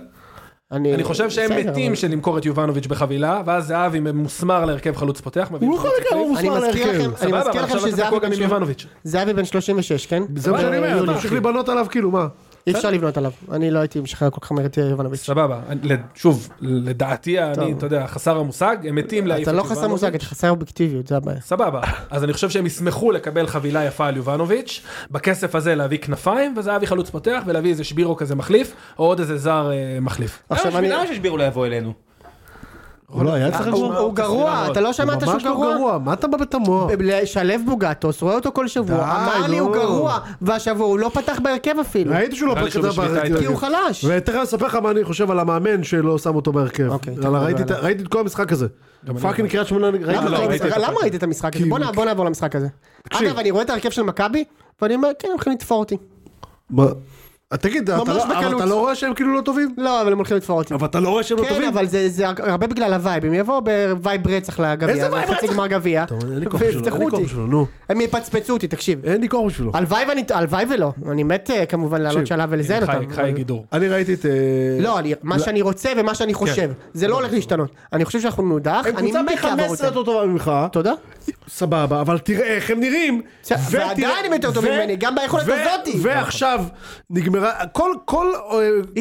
אני חושב שהם בסדר, מתים אבל- שלמכור את יובנוביץ' בחבילה, ואז זהבי מוסמר להרכב חלוץ פותח, מביאים הוא לא יכול חלוץ לקחת, הוא החליף. אני מוסמר מזכיר להרכב. לכם- אני סבבה, מזכיר אבל לכם עכשיו שזהבי אתה תקוע בן גם עם שלוש- יובנוביץ'. זהבי בן 36, כן? זה מה שאני אומר, ביולי. אתה ממשיך לבנות עליו כאילו, מה? אי אפשר לבנות עליו, אני לא הייתי משחרר כל כך מהר את יובנוביץ'. סבבה, אני- לד- שוב, לדעתי, אני, אתה יודע, חסר המושג, הם מתים להעיף אתה את לא חסר יובנוביץ'. מושג, אתה חסר אובייקטיביות, זה הבעיה. סבבה, אז אני חושב שהם ישמחו לקבל חבילה יפה על יובנוביץ', בכסף הזה להביא כנפיים, וזהבי חלוץ פותח, ולהביא איזה שבירו כזה מחליף, או עוד איזה זר אה, מחליף. עכשיו למה אני... למה ששבירו לא יבוא אלינו? הוא לא היה אצלך הוא- גרוע? הוא גרוע, אתה לא הוא שמעת שהוא ממש לא גרוע? גרוע, מה אתה בא בתמוה? לשלב בוגטוס, רואה אותו כל שבוע, די, אמר לי הוא נו. גרוע, והשבוע הוא לא פתח בהרכב אפילו, ראיתי שהוא לא נראה לי שהוא פתח בשביתה בהרכב. איתו. כי הוא חלש. ותכף אני אספר לך מה אני חושב על המאמן שלא שם אותו בהרכב. אוקיי, אלא תכף נדבר ראיתי את- עליו. ראיתי את כל המשחק הזה. פאקינג קריית שמונה, ראיתי למה לא, את ראית- ראיתי את הפרק. למה ראית את המשחק הזה? כי- בוא נע- בוא נעבור למשחק הזה. תקשיב. אגב, אני רואה את ההרכב של מכבי, ואני אומר, כן, הם הולכים לתפור אותי. מה? תגיד, אתה ממש לא- אבל בקלות. אתה לא רואה שהם כאילו לא טובים? לא, אבל הם הולכים לתפור אותי. אבל אתה לא רואה שהם לא כן, טובים? אבל זה זה הרבה בגלל הווייב, הם יבואו בווייב רצח לגביע, איזה וייב חצי רצח? גמר גביע, אתה אומר, אין לי כוח בשבילו, אין ויפתחו לי כוח אותי. בשבילו, נו. הם יפצפצו אותי, תקשיב. אין לי כוח בשבילו. הלוואי ואני, הלוואי ולא, אני מת אה, כמובן לעלות תקשיב, שלב ולזיין חי- אותם. חי גידור. אני ראיתי את... אה, לא, אני- מה שאני רוצה ומה שאני חושב, זה לא הולך להשתנות. אני חושב שאנחנו נודח, כן. הם אני קבוצה פי מת לעבור 15 אותם. יותר טובה ממך, תודה. סבבה, אבל תראה איך הם נראים. בסדר, ותראה- ועדיין הם יותר טובים ו- ממני, גם ביכולת ו- הזאתי. ועכשיו נגמרה, כל- כל אה,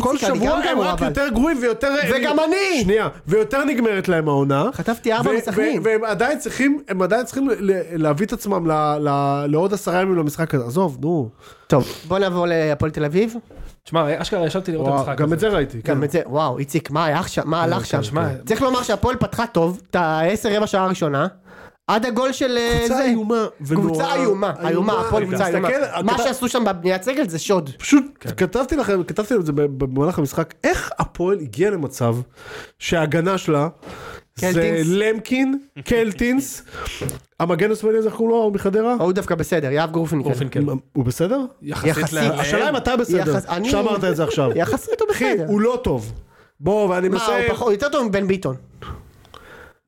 כל איציק, אני גם שבוע הם גרוע, רק אבל. יותר גרועים ויותר... וגם אני! שנייה, ויותר נגמרת להם העונה. חטפתי ארבע ו- מסכנין. ו- והם עדיין צריכים, הם עדיין צריכים ל- להביא את עצמם ל- ל- לעוד עשרה ימים למשחק הזה. עזוב, נו. טוב, בוא נעבור להפועל תל אביב. תשמע, אשכרה ישבתי לראות את וואו, המשחק גם את הזה. זה ראיתי. כן. גם את זה, וואו, איציק, מה היה עכשיו? מה הלך שם? שמע, צריך לומר שהפועל פתחה טוב, את העשר רבע שעה הראשונה, עד הגול של אה, זה. קבוצה איומה ונוראה. קבוצה איומה, איומה, הפועל אני קבוצה איומה. מסתכל, מה אתה- שעשו שם בבניית סגל זה שוד. פשוט כתבתי לכם, כתבתי את זה במהלך המשחק, איך הפועל הגיע למצב שההגנה שלה זה קלטינס. למקין, קלטינס, המגן השמאלי הזה, איך קוראים לו? הוא מחדרה? הוא דווקא בסדר, יהב גרופינקל. גורפינקל. הוא בסדר? יחסית. ל- השאלה אם אתה בסדר, יחס- אני- שאמרת את זה עכשיו. יחסית הוא אחי, בסדר. הוא לא טוב. בוא, ואני מה, הוא מסיים, פחות- הוא יותר טוב מבן ביטון.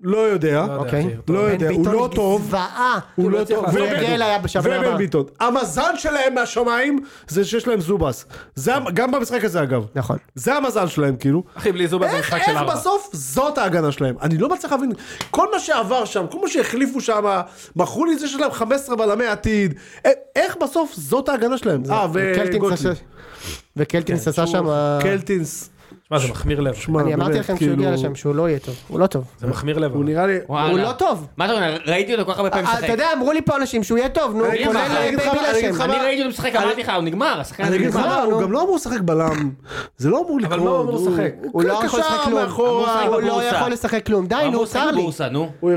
לא יודע, לא יודע, אוקיי. אחי, לא בן יודע, הוא ביטון לא היא טוב. זוועה. הוא לא לא טוב, הצליח לעשות ובן- כדורגל היה בשבוע ובן הבא. ביטון. המזל שלהם מהשמיים זה שיש להם זובס. זה המ- גם במשחק הזה אגב. נכון. זה המזל שלהם כאילו. אחי, בלי זובה זה איך, משחק של איך ארבע. בסוף זאת ההגנה שלהם? אני לא מצליח להבין, כל מה שעבר שם, כל מה שהחליפו שם, מכרו לי את זה שיש להם 15 בלמי עתיד, א- איך בסוף זאת ההגנה שלהם? אה, וקלטינס וגוטליב. עשה- וקלטינס כן, עשה שם... אה, קלטינס, שמע, זה מחמיר לב. שמע, אני אמרתי באמת, לכם שהוא הגיע כאילו, לשם שהוא לא יהיה טוב, הוא לא טוב. זה מחמיר לב. הוא אבל. נראה לי... הוא לא טוב. מה אתה אומר? ראיתי אותו כל כך הרבה פעמים אה, משחק. אתה יודע, אמרו לי פה אנשים שהוא יהיה טוב, נו, אני אגיד לך, אני כולל אגיד לך, בביל אני אגיד לך השם. אני ראיתי אותו משחק, אמרתי לך, הוא נגמר, השחקן אני הזה אגיד לך, נגמר. מה, הוא גם לא אמור לשחק בלם, זה לא אמור לקרות. אבל מה הוא אמור לשחק? הוא לא יכול לשחק קשר כלום. מאחורה, הוא לא בבורסה. יכול לשחק כלום. די, הוא נו, עושה צר לי. בבורסה, נו. הוא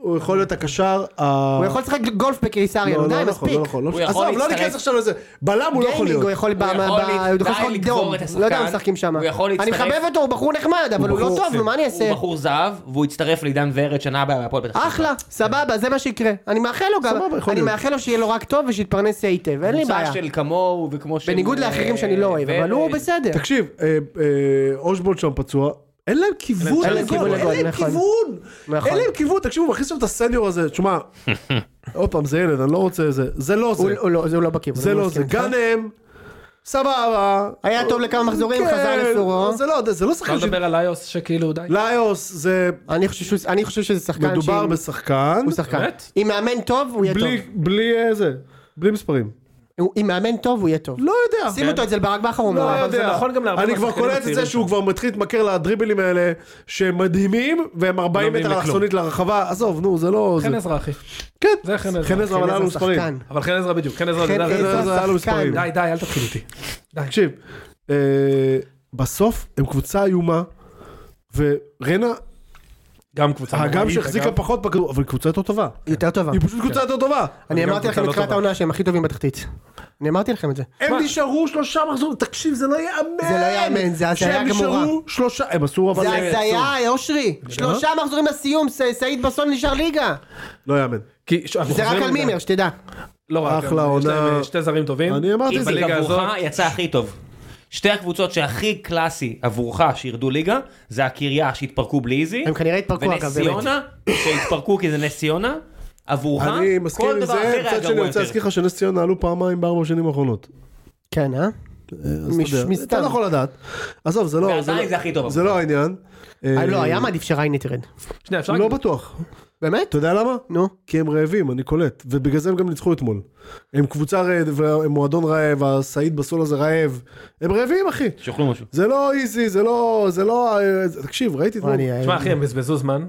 הוא יכול להיות הקשר... ה- הוא יכול לשחק גולף בקיסריה, לא, נו, די, לא נכון, מספיק. לא נכון, לא הוא משנה. יכול עזוב, לא להצטרף. ניכנס עכשיו לזה. בלם הוא לא יכול גיימינג, הוא להיות. יכול ב- הוא ב- יכול ב- לה- הוא יכול די לשחק לקבור דום. את השחקן. לא יודע מה משחקים שם. הוא יכול אני להצטרף. מחבב אותו, הוא בחור נחמד, אבל הוא לא טוב, נו, מה אני אעשה? הוא בחור זהב, והוא יצטרף לעידן ורד שנה הבאה בהפועל פתח תקווה. אחלה, סבבה, זה מה שיקרה. אני מאחל לו גם, סבבה, יכול אני להיות. מאחל לו שיהיה לו רק טוב ושיתפרנס היטב, אין לי בעיה. קבוצה של כמוהו וכמו של... בניגוד אה, לאחרים שאני לא אוהב, אבל הוא ורד. בסדר. תקשיב, אה, אה, אושבולד שם פצוע, אין להם כיוון, אין להם לגול, כיוון אין לגול, להם נכון. כיוון, נכון. אין להם כיוון, תקשיבו, מכניס שם את הסניור הזה, [laughs] תשמע, עוד פעם, זה ילד, אני לא רוצה זה, זה לא הוא זה, הוא לא, זה הוא לא בכיוון. זה אני לא מסכים זה, איתך. גאנם, סבבה. היה טוב לכמה מחזורים, כן, חזר לסורו. זה לא, זה לא אפשר שחקן ש... לדבר על איוס שכאילו לא, די. ליוס, זה אני חושב שהוא- אני חושב שזה שחקן מדובר שאם- בשחקן, הוא שחקן. באמת? אם מאמן טוב, הוא יהיה בלי- טוב. בלי אה, זה, בלי מספרים. הוא- אם מאמן טוב, הוא יהיה טוב. לא יודע. שים אותו אצל ברק בכר, הוא לא מעורב. אבל זה יודע. נכון גם להרבה אני כבר מהשחקנים קולט את הצעירים זה שהוא כבר מתחיל להתמכר לדריבלים האלה שהם מדהימים והם לא 40 עומדים מטר לכלום. אלכסונית לרחבה עזוב נו זה לא חן זה- עזרא אחי. כן זה חן עזרא. חן עזרא אבל היה לו מספרים לא, שחקן. אבל חן עזרא בדיוק, חן עזרא חן נדע. עזרא חן עזרא היה לו שחקן. מספרים. די, די, אל תתחיל איתי. תקשיב אה, בסוף הם קבוצה איומה ורנה גם קבוצה. האגם נוראית, שהחזיקה אגב. כן. פחות בכדור אבל קבוצה יותר טובה יותר טובה. היא פשוט קבוצה יותר טובה אני גם אמרתי קבוצה לכם לא מתחילת טובה. העונה שהם הכי טובים בתחתית. אני אמרתי לכם את זה. הם נשארו שלושה מחזורים תקשיב זה לא ייאמן זה לא ייאמן, זה הזיה שהם גמורה. נשארו שלושה הם עשו אבל אה? זה הם עשו. הזיה, אושרי. שלושה מחזורים לסיום, ס- סעיד בסון נשאר ליגה. לא ייאמן כי ש- אנחנו זה רק חוזרים על לזה. מימר, שתדע. לא רק, אחלה יש להם, עונה. אה, שתי זרים טובים. אני אמרתי אם את זה בליגה בליגה עבורך הזאת- יצא הכי טוב. שתי הקבוצות שהכי קלאסי עבורך שירדו ליגה, זה הקריה שהתפרקו בלי איזי, הם כנראה התפרקו, אגב, ונס באמת. ציונה, שהתפרקו כי זה נס ציונה, עבורך, אני מסכים אה? כל עם דבר זה אחר היה מצד שני אני גרוע רוצה יותר. להזכיר לך שנס ציונה עלו פעמיים בארבע שנים האחרונות כן, אה? אז מש- אתה יודע, מסתם. אתה לא יכול לדעת. עזוב, זה לא... ועדיין זה הכי טוב. זה לא העניין. אה, אה, לא, היה מעדיף שריינה תרד. שנייה, אפשר לא להגיד? בטוח. באמת? אתה יודע למה? נו. כי הם רעבים, אני קולט. ובגלל זה הם גם ניצחו אתמול. הם קבוצה רעב, הם מועדון רעב, הסעיד בסול הזה רעב. הם רעבים, אחי. שיאכלו משהו. זה לא איזי, זה לא... זה לא... אה, תקשיב, ראיתי את זה. אני- תשמע אחי, הם בזבזו זמן.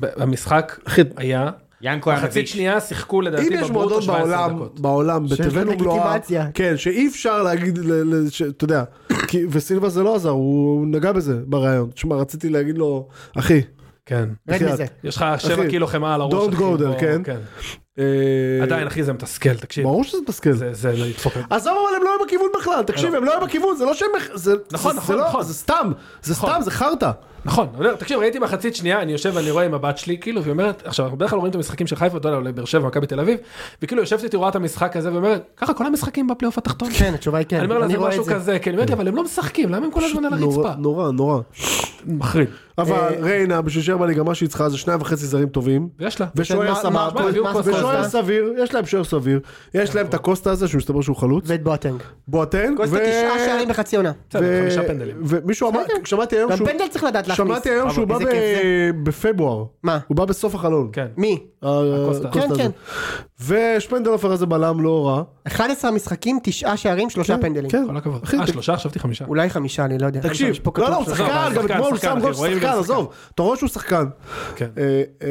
ב- המשחק היה. ינקו היה מחצית מביש. שנייה שיחקו לדעתי אם יש בברוטו מועדון 17 בעולם, דקות. בעולם, שיש בתבל לו ומלואה, לגיטימציה. כן, שאי אפשר להגיד, ל- ל- ש- אתה יודע, [coughs] כי- וסילבה זה לא עזר, הוא נגע בזה בריאיון. תשמע, רציתי להגיד לו, אחי, כן. רד בחייאת. מזה. יש לך 7 קילו חמאה על הראש. Don't אחי, go there, בוא, כן. אה, עדיין אחי זה מתסכל, תקשיב. ברור שזה מתסכל. זה זה זה ידפוק. עזוב אבל הם לא היו בכיוון בכלל, תקשיב, הם לא היו בכיוון, זה לא שהם... זה- נכון, זה- נכון, זה לא- נכון. זה סתם, זה נכון. סתם, זה חרטא. נכון, אני אומר, תקשיב, ראיתי מחצית שנייה, אני יושב ואני רואה עם הבת שלי, כאילו, והיא אומרת, עכשיו, אנחנו בדרך כלל רואים את המשחקים של חיפה, אתה יודע, אולי באר שבע, מכבי תל אביב, וכאילו יושבת איתי, רואה את המשחק הזה, ואומרת, ככה כל המשחקים בפלייאוף התחתון. כן, התשובה היא כן. אני אומר לה, אני זה רואה משהו את זה. כזה, כן, היא אומרת לי, אבל הם לא משחקים, למה הם כל הזמן על הרצפה? נורא, נורא, נורא. מחריד. אבל אה, ריינה, בשביל שיהיה בליגה, מה שהיא צריכה זה שניים וחצי זרים טובים. ויש לה. ושוער מה- מה- סבבה, מה- מה- ושוער קוסטה? סביר, יש להם שוער סביר, יש להם את הקוסטה הזה שמסתבר שהוא חלוץ, ואת בואטנג. בואטן, קוסטה תשעה שערים בחצי עונה. בסדר, חמישה פנדלים. ומישהו אמר, בסדר. שמעתי היום גם שהוא, פנדל צריך לדעת להכניס. שמעתי היום אבל שהוא בא איזה כיף זה. ב- בפברואר, מה? הוא בא בסוף החלון, כן. מי? הקוסטה. הקוסטה כן, הזה. כן. ושפנדלופר הזה בלם לא רע, 11 משחקים, תשעה שערים, שלושה פנדלים. כן, כל הכבוד. אחי, אה, שלושה, חשבתי חמישה. אולי חמישה, אני לא יודע. תקשיב, יש פה כתוב לא, לא, הוא שלושה. שחקן, אבל גם שחקן, אתמול הוא שחקן, שם גול אחי, רואים שחקן, גם שחקן. עזוב, אתה רואה שהוא שחקן. כן. אה, אה,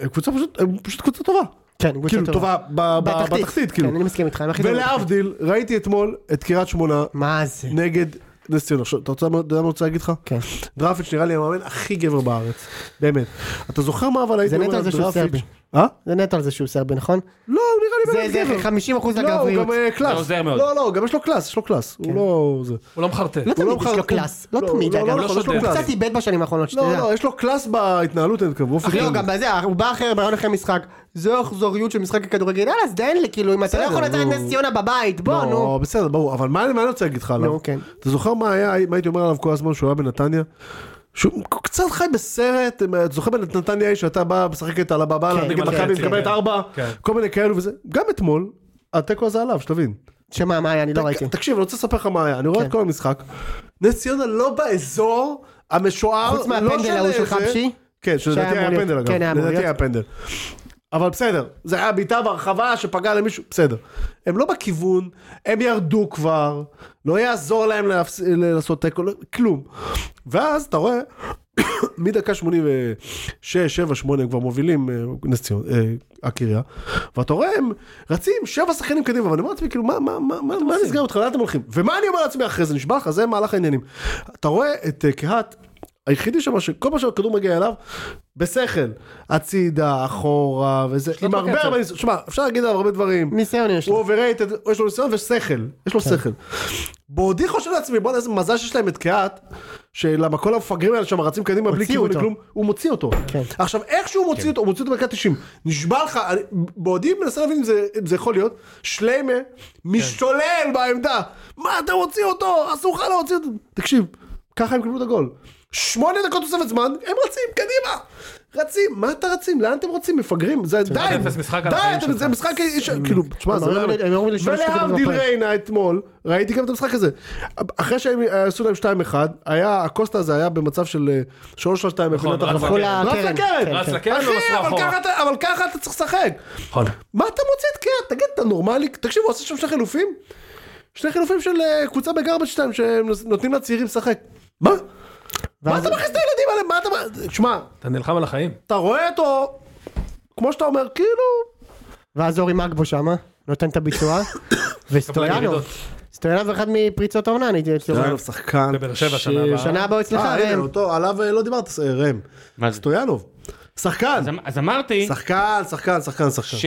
הם קבוצה פשוט, הם פשוט קבוצה טובה. כן, קבוצה כאילו, טובה. טובה ב- ב- בתחתית, כאילו. כן, אני מסכים איתך, הם הכי טובים. ולהבדיל, ראיתי אתמול את קריית שמונה מה זה? נגד נס ציונה. עכשיו, אתה רוצה, אתה יודע מה אני רוצה להגיד לך? כן. דרפיץ' נראה לי המאמן הכי גבר בארץ, באמת. אתה זוכר מה אבל הייתי נטו אומר על זה שהוא דרפיץ'? סרבי. אה? זה נטו על זה שהוא סרבי, נכון? לא, הוא נראה לי זה- זה באמת גבר. 50% לא, הוא לגבריות. גם אה, קלאס. זה עוזר מאוד. לא, לא, גם יש לו קלאס, יש לו קלאס. כן. הוא לא... זה. הוא לא מחרטט. לא הוא לא תמיד יש מחר- לו קלאס. לא לא, תמיד, לא, אגב. לא, יש נכון, לו יש לו קלאס. קלאס. קצת איבד בשנים האחרונות, לא, שתדע. לא, יש לו קלאס בהתנהלות, אין כמובן. אך לא, גם בזה, הוא בא אחרי בריאיון אחרי משחק, זו אכזוריות של משחק הכדורגל, יאללה, אז דיין לי, כאילו, אם אתה לא בסדר, יכול לנצח את נו. נס ציונה בבית, בוא, נו. לא, בסדר, ברור, אבל מה מה אני רוצה להגיד לך עליו? נו, כן. אתה זוכר מה היה, מה הייתי אומר עליו כל הזמן שהוא היה בנתניה? שהוא קצת חי בסרט, אתה זוכר בנתניה שאתה בא, משחקת על הבאבלה כן, נגד כן, מכבי, כן, מקבלת כן. ארבע, כן. כל מיני כאלו וזה, גם אתמול, התיקו הזה עליו, שתבין. שמה, מה היה, אני לא ת- ראיתי. תקשיב, אני רוצה לספר לך מה היה, אני רואה כן. את כל המשחק, נס ציונה לא באזור המשוער, חוץ לא מהפנדל ההוא של איזה- חבשי? כן, שלדעתי שהיה היה אמור פנדל להיות. אגב, כן, היה אמור לדעתי להיות. היה פנדל. אבל בסדר, זה היה בעיטה בהרחבה שפגעה למישהו, בסדר. הם לא בכיוון, הם ירדו כבר, לא יעזור להם להפס... לעשות תיקו, לא- כלום. ואז אתה רואה, [coughs] מדקה 86, 7, 8 הם כבר מובילים, אה, נס ציון, אה, הקריה, ואתה רואה הם רצים שבע שחקנים קדימה, ואני אומר לעצמי, כאילו, מה, מה, מה, מה, מה נסגר אותך, לאן אתם הולכים? ומה אני אומר לעצמי אחרי זה, נשבע לך, זה מהלך העניינים. אתה רואה את אה, קהת, היחידי שם, שכל פעם שהכדור מגיע אליו, בשכל, הצידה, אחורה, וזה, עם לו הרבה קצב. הרבה, ניסיון. שמע, אפשר להגיד עליו הרבה דברים. ניסיון יש הוא לו. כן. אוברייטד, יש לו ניסיון ושכל, יש לו שכל. בעודי חושב לעצמי, בוא'נה איזה מזל שיש להם את קהת, שלמה כל המפגרים האלה שם רצים קדימה בלי הוציאו כיוון אותו. לכלום, הוא מוציא אותו. כן. עכשיו איך שהוא כן. מוציא אותו, הוא מוציא אותו בדקה 90, נשבע לך, אני- בעודי מנסה להבין אם זה- אם זה יכול להיות, שליימה כן. משתולל בעמדה, מה אתה מוציא אותו, אסור לך להוציא אותו, תקשיב, ככה הם קיבלו את הגול. שמונה דקות תוספת זמן, הם רצים, קדימה! רצים, מה אתה רצים? לאן אתם רוצים? מפגרים? זה די, אפס משחק על די, החיים אתם- שלך. זה משחק, איש- כאילו, תשמע, הם זה אמורים לא... ל- הם אמורים לשלוש נקודות ולהבדיל בפרק. ריינה אתמול, ראיתי גם את המשחק הזה. אחרי שהם אה, עשו להם 2-1, היה, הקוסטה הזה היה במצב של אה, 3-3-2 נכון, מבחינת רץ הרחבה. כל רץ הקרן. לקרן. רץ לקרן אחי, ומסרו אבל אחורה. ככה אתה- אבל ככה אתה צריך לשחק. נכון. מה אתה מוציא את קרן? תגיד, אתה נורמלי? תקשיב, הוא עושה שם שני חילופים? שני חילופים של אה, קבוצה בגרבג' 2 שנותנים לצעירים לשחק. מה? מה ואז- אתה מכניס את הילדים האלה? מה אתה... תשמע, אתה נלחם על החיים. אתה רואה אותו, כמו שאתה אומר, כאילו... ואז אורי מגבו שמה, נותן את [coughs] הביצוע, וסטויאנוב, ירידות. סטויאנוב אחד מפריצות העונה, אני הייתי אצלו. סטויאנוב שחקן. בבאר שבע ש- שנה הבאה. שנה הבאה אצלך, אה, הנה, ראם. אותו, עליו אה, לא דיברת, אה, ראם. מה זה? סטויאנוב. שחקן. אז אמ- אז אמרתי שחקן, שחקן, שחקן, שחקן.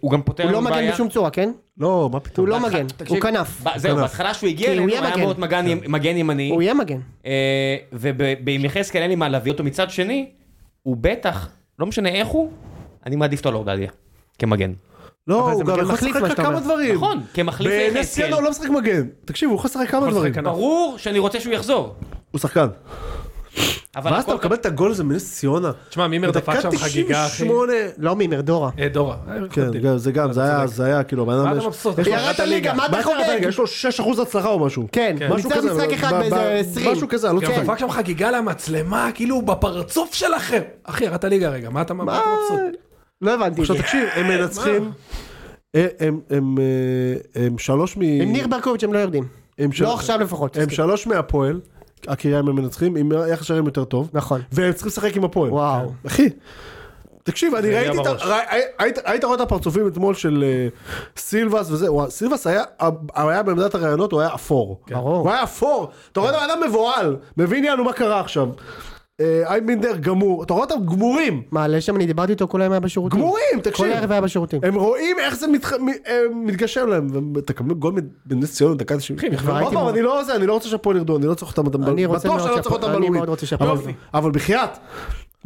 שהוא גם פותר הוא לא לנו מגן בעיה. בשום צורה, כן? לא, מה הוא פתאום. לא מגן, תקשיב, הוא כנף. ב- זהו, כנף. בהתחלה שהוא הגיע כי הוא אלינו, יהיה היה מגן. אמור להיות מגן ימ- מגן ימני. הוא יהיה מגן. אה, ובעם יחזקאל אין לי מה להביא אותו מצד שני, הוא בטח, לא משנה איך הוא, אני מעדיף אותו על עובדיה, כמגן. לא, אבל זה הוא גם מגן יכול מחליף, לשחק מה על שאתה כמה אומר. דברים. נכון, כמחליף בנס ליחזקאל. ציונה הוא לא משחק מגן. תקשיב, הוא יכול לשחק כמה יכול דברים. לשחק כנף. ברור שאני רוצה שהוא יחזור. הוא שחקן. אבל ואז אתה הכל- מקבל את הגול הזה מנס ציונה. תשמע, מימר דפק שם חגיגה, אחי. 98. לא מימר, דורה. אה, דורה. כן, גם- זה גם, זה היה, זה היה, כאילו, הבן מה אדם אתה יש- מבסוט? יש לו- ירד ליגה, מה אתה מה חוגג? אתה רגע, יש לו 6% הצלחה או משהו. כן, כן. הוא משהו ניצח כזה, משחק אבל- אחד ב- באיזה ב- 20. משהו כזה, אני לא גם כן. זוכר. דפק שם חגיגה למצלמה, כאילו הוא בפרצוף שלכם. אחי, ירדת ליגה רגע, מה אתה מה אתה מבסוט? לא הבנתי את זה. עכשיו [laughs] תקשיב, הם מנצחים. הם- הם- הם, אה, הם שלוש מ... עם ניר ברקוביץ' הם לא יורדים. הם של- לא עכשיו לפחות. הם שלוש מהפועל, הקריה הם מנצחים, עם יחס שערים יותר טוב. נכון. והם צריכים לשחק עם הפועל. כן. וואו. אחי. תקשיב, אני נהיה ראיתי את ה... בראש. ראי- היית- היית רואה את הפרצופים אתמול של אה, סילבס וזה, וואו, סילבס היה, הוא היה בעמדת הראיונות, הוא היה אפור. כן. ברור. הוא היה אפור. אתה רואה את האדם מבוהל, מבין יאנו מה קרה עכשיו. אה, אייבינדר גמור, אתה רואה אותם גמורים. מעלה שם, אני דיברתי איתו כל היום היה בשירותים. גמורים, כל תקשיב. הערב היה בשירותים. הם רואים איך זה מתח- מ- אה, מתגשם להם, ואתה מקבל גול בנס ציון דקה 90. כבר עוד הייתי פעם, מאוד- אני לא זה, אני לא רוצה שהפועל ירדו, אני לא צריך אותם בטח אני שאני רוצה מאוד לא צריך שהפועל- אותם אני בלאומית. מאוד רוצה שהפועל אבל- ירדו. אבל בחייאת,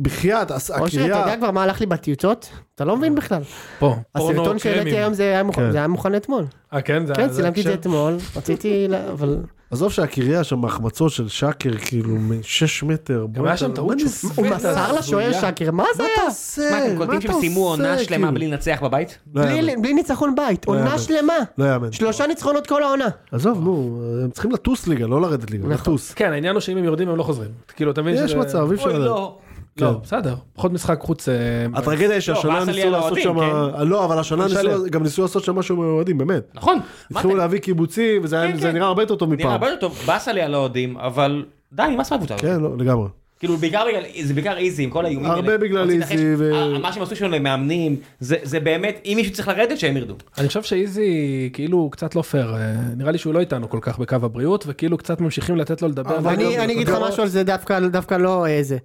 בחייאת, הס- אושר, אתה יודע הקריה, כבר מה הלך לי בטיוטות? אתה לא מבין בכלל. פה, הסרטון שהעליתי היום זה היה כן. מוכן- זה היה מוכן אתמול. אה, כן? זה כן, זה צילמתי את זה הקשר? אתמול, רציתי, ל- אבל... עזוב שהקריה שם החמצות של שקר, כאילו, מ-6 מטר. גם היה שם טעות שהוא... שהוא הוא בטח, מסר לשוער הזויה. שקר, מה זה מה היה? אתה עושה? מה, אתם מה קולטים אתה שהם סיימו עונה עושה, שלמה כאילו? בלי לנצח בבית? לא יאמן. בלי- בלי ניצחון בית, עונה יאמן. שלמה. לא יאמן. שלושה ניצחונות כל העונה. עזוב, נו, הם צריכים לטוס ליגה, לא לרדת ליגה, נכון. לטוס. כן, העניין הוא שאם הם יורדים הם לא חוזרים. כאילו, אתה מבין יש שזה- מצב, אי אפשר אוי, לדעת. לא. כן. לא, בסדר. פחות משחק חוץ... אה, לא, הטרגדיה היא ואז שהשנה עלייה ניסו לעשות לאוהדים, שם, כן? לא אבל השנה לשלם. ניסו- גם ניסו לעשות שם משהו עם האוהדים, באמת. נכון. מה התחילו אתם- להביא קיבוצים וזה היה- כן, זה כן. נראה הרבה יותר טוב נראה מפעם. הרבה יותר טוב, באסה לי על האוהדים, אבל די, נמאס מהקבוצה הזאת. כן, לא, לגמרי. כאילו בעיקר בגלל, זה בעיקר איזי עם כל האיומים הרבה בגלל רוצים להתנחש. איזי ו- אה, מה שהם עשו שם למאמנים, זה זה באמת, אם מישהו צריך לרדת שהם ירדו. אני חושב שאיזי כאילו קצת לא פייר, אה, נראה לי שהוא לא איתנו כל כך בקו הבריאות, וכאילו קצת ממשיכים לתת לו לדבר. אבל אני אני אגיד לך משהו על זה דווקא דווקא לא אה, זה.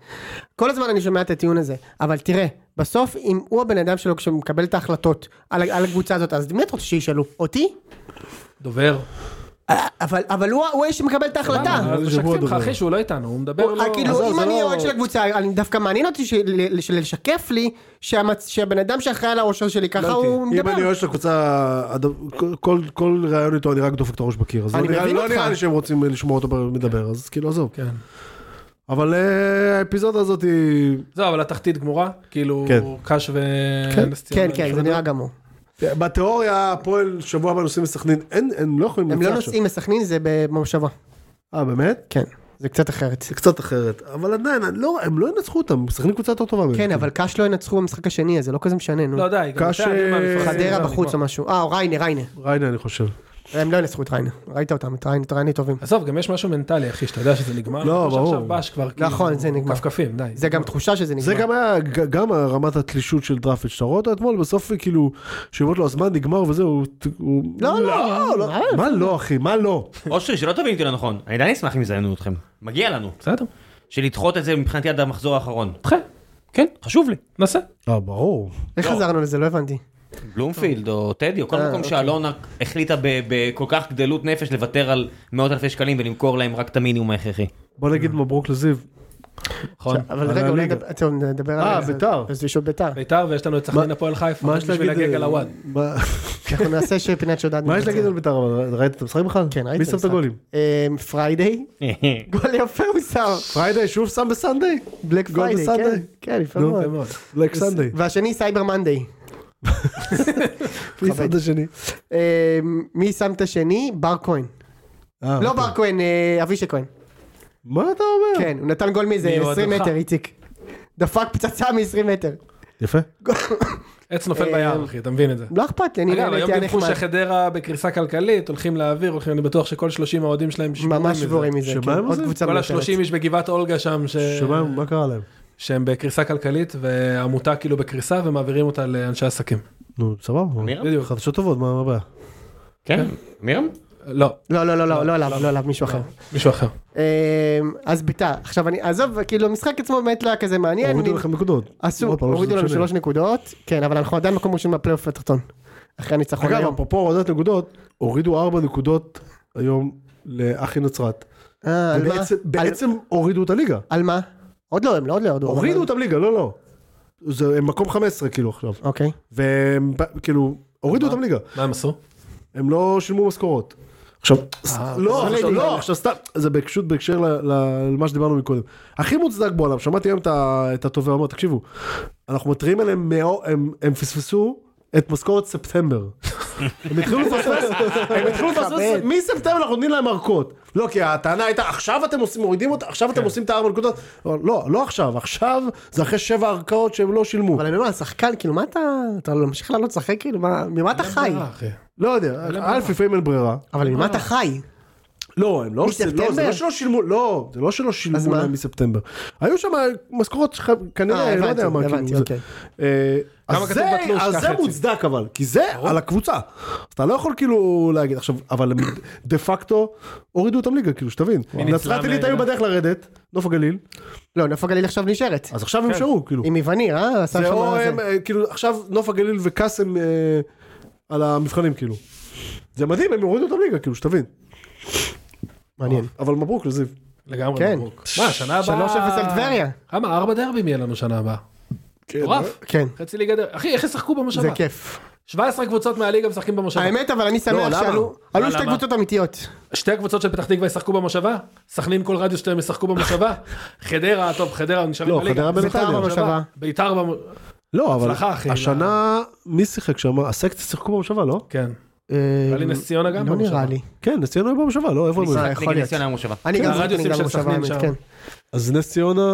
כל הזמן אני שומע את הטיעון הזה, אבל תראה, בסוף אם הוא הבן אדם שלו כשמקבל את ההחלטות על על הקבוצה הזאת, אז מי אתה רוצה שישאלו? אותי? דובר. אה, אבל אבל הוא הוא האיש שמקבל את ההחלטה. אז שבוע משקפים לך דובר. אחי שהוא לא איתנו, הוא מדבר הוא- לא... כאילו עזוב, אם זה אני לא- אוהד של הקבוצה, אני דווקא מעניין אותי של- של- לשקף לי שהמצ- שהבן אדם שאחראי על האושר שלי ככה הוא אם אני מדבר. אוהד של הקבוצה, הד- כל- כל- כל ראיון איתו אני רק דופק את הראש בקיר, אז לא אני נראה לי- מבין לא אותך. נראה לי שהם רוצים לשמוע אותו מדבר, אז כאילו עזוב. כן. אבל אה, האפיזודה הזאת היא... זהו, אבל התחתית גמורה, כאילו כן. קאש ו... כן. נס ציונה כן כן זה נפרדו. נראה גמור. בתיאוריה הפועל שבוע הבא נוסעים לסכנין, אין- הם לא יכולים הם לא לנצח שם. נוסעים לסכנין זה במושבה. אה באמת? כן. זה קצת אחרת. זה קצת אחרת, אבל עדיין, אני לא- הם לא ינצחו אותם, סכנין קבוצה יותר טובה. מהם. כן אבל קאש לא ינצחו במשחק השני אז זה לא כזה משנה נו. לא די, גם קאש, אתה, אני אה, מהמפרשים, חדרה זהו, בחוץ או נגמר. משהו. אה, או ריינה, ריינה. ריינה אני חושב. הם לא ינסחו את ריינה. ראית אותם, את ריינה, את ריינה טובים. עזוב, גם יש משהו מנטלי אחי, שאתה יודע שזה נגמר. לא, אני חושב ברור. שעכשיו בש כבר כאילו... נכון, זה נגמר. כפכפים, די. זה גם תחושה שזה נגמר. זה גם היה, ג- גם הרמת התלישות של דראפיץ', שאתה רואה אותו אתמול, בסוף כאילו, שאומרות לו הזמן נגמר וזהו, הוא... לא, לא, לא, מה לא אחי, מה לא? אושרי, שלא תבין אותי לא נכון, אני עדיין אשמח אם יזיינו אתכם. מגיע לנו. בסדר. שלדחות את זה מבחינתי עד המחזור האחרון. אחי, כן, חשוב לי. נעשה. אה, ברור. איך חזרנו לזה? לא הבנתי. בלומפילד או טדי או כל אה, מקום שאלונה החליטה ב- בכל כך גדלות נפש לוותר על מאות אלפי שקלים ולמכור להם רק את המינימום ההכרחי. אה. בוא נגיד מברוק לזיו. נכון. אבל על רגע, אולי הליגה. נדבר- טוב, נדבר על... אה, בית"ר. אז יש עוד [laughs] בית"ר. ביתר ויש לנו את סכנין הפועל חיפה. מה יש בשביל להגיד? להגיע אה, לוואד. מה- אנחנו נעשה שפינת שודד. מה יש נמצא. להגיד על בית"ר אבל? ראית את המשחק בכלל? כן, ראיתי מי שם את המשחק. הגולים? אה, פריידי. [laughs] גול יפה הוא שם. פריידי שוב שם בסנדיי? בלק גול פריידי, בסנדיי. כן. כן, יפה נו, מאוד. יפה מאוד. בלק סנדיי. והשני סייבר מנדי. מי שם את השני? אה, מי שם את השני? בר כהן. אה, לא אוקיי. בר כהן, אה, אבישי כהן. מה אתה אומר? כן, הוא נתן גול מאיזה מי הוא 20 הדחה? מטר, איציק. דפק פצצה מ-20 מטר. יפה. עץ נופל ביער, אחי, אתה מבין את זה. לא אכפת לי, אני אגב, היום הייתי דיווחו הנחמד. שחדרה בקריסה כלכלית, הולכים לאוויר, הולכים, אני בטוח שכל 30 האוהדים שלהם שבורים ממש מזה. שבורים מזה. שמה כן. הם עוד עושים? קבוצה כל מיותרת. ה-30 איש בגבעת אולגה שם, ש- שמה, אה, מה קרה להם? שהם בקריסה כלכלית, והעמותה כאילו בקריסה, ומעבירים אותה לאנשי עסקים. נו, [laughs] סבבה. מירם? בדיוק. חדשות טובות, מה מה הבעיה? כן? מירם? לא, לא, לא, לא, לא, לא עליו, לא עליו, מישהו אחר. מישהו אחר. אה, אז ביתר. עכשיו אני, עזוב, כאילו המשחק עצמו באמת לא היה כזה מעניין. הורידו אני- לכם נקודות. עשו, עוד פעם, לא הורידו שזה לנו משנה. שלוש נקודות, כן, אבל אנחנו עדיין מקום ראשון בפלייאוף התחתון. אחרי הניצחון אגב, היום. אפרופו הורדת נקודות, הורידו ארבע נקודות היום לאחי נצרת. אה, על מה? ובעצם- על- בעצם הורידו את הליגה. על מה? עוד לא, הם לא עוד לא ירדו. הורידו אבל- אותם ליגה, לא, לא. זה הם מקום 15 כאילו עכשיו. אוקיי. והם ב- כאילו, הורידו אותם ליגה. מה הם עשו? הם לא שילמו משכורות. עכשיו, ס- לא, אה, אתה עכשיו, יודע. לא, עכשיו סתם, זה פשוט בהקשר ל- ל- למה שדיברנו מקודם. הכי מוצדק בעולם, שמעתי היום את ה- את התובע אומר, תקשיבו, אנחנו מתריעים עליהם, מאו- הם- הם פספסו את משכורת [laughs] ספטמבר. הם התחילו לפספס, הם התחילו לפספס, מכבד. מספטמבר אנחנו נותנים להם ארכות. לא, כי הטענה הייתה, עכשיו אתם עושים, מורידים אותה, עכשיו כן. אתם עושים את הארבע נקודות. אבל לא, לא עכשיו, עכשיו זה אחרי שבע ערכאות שהם לא שילמו. אבל אני אומר, השחקן, כאילו, מה אתה, אתה ממשיך לעלות לשחק, כאילו, מה- ממה אתה חי? אה, אחי. לא יודע, א', לפעמים אין ברירה. אבל ממה אתה חי? לא, הם לא, זה מספטמבר? לא, זה לא שלא שילמו, לא, זה לא שלא אז שילמו מה? להם מספטמבר. היו שם משכורות, ח- אה, כנראה, לא יודע הבנתי, מה, הבנתי, כאילו זה. אוקיי. אה, כמה אז כתוב זה- בתלוש? אז קח זה חצי. מוצדק אבל, כי זה על הקבוצה. אז אתה לא יכול כאילו להגיד, עכשיו, אבל הם דה פקטו הורידו אותם ליגה, כאילו, שתבין. נצרת עילית היו בדרך לרדת, נוף הגליל, לא, נוף הגליל עכשיו נשארת. אז עכשיו הם שרו, כאילו. עם יווני, אה? עשה זה שם או זה. הם, אה, כאילו, עכשיו נוף הגליל וקאסם אה, על המבחנים, כאילו. זה מדהים, הם הורידו אותם ליגה, כאילו, שתבין. מעניין. אבל מברוק לזיו. לגמרי כן. מברוק. מה, שנה 3-0 הבאה... על טבריה. כמה, ארבע דרבים יהיה לנו שנה הבאה. אה? מטורף. כן, חצי ליגה דר... אחי, איך ישחקו במושבה? זה כיף. 17 קבוצות מהליגה משחקים במושבה. האמת, אבל אני לא, שמח למה? שעלו עלו שתי למה? קבוצות אמיתיות. שתי הקבוצות של פתח תקווה ישחקו במושבה? סכנין כל רדיוס שלהם ישחקו במושבה? [laughs] חדרה, טוב, חדרה נשארים לא, בליגה. חדרה בליגה. בית"ר במושבה. במושבה. ביתר במ... לא, אבל הצלחה, אחי, השנה, מי שיחק שם? הסקציה שיחקו במושבה, לא? כן. אה, נראה לי נס ציונה גם לא במושבה. נראה לי. כן, נס ציונה היו במושבה, לא? איפה הם היו? אה, משחק יכול נגד להיות. נס ציונה במושבה. אני גם הרדיוסים זוכר של גם במושבה, סכנין האמת, שם. כן. אז נס ציונה...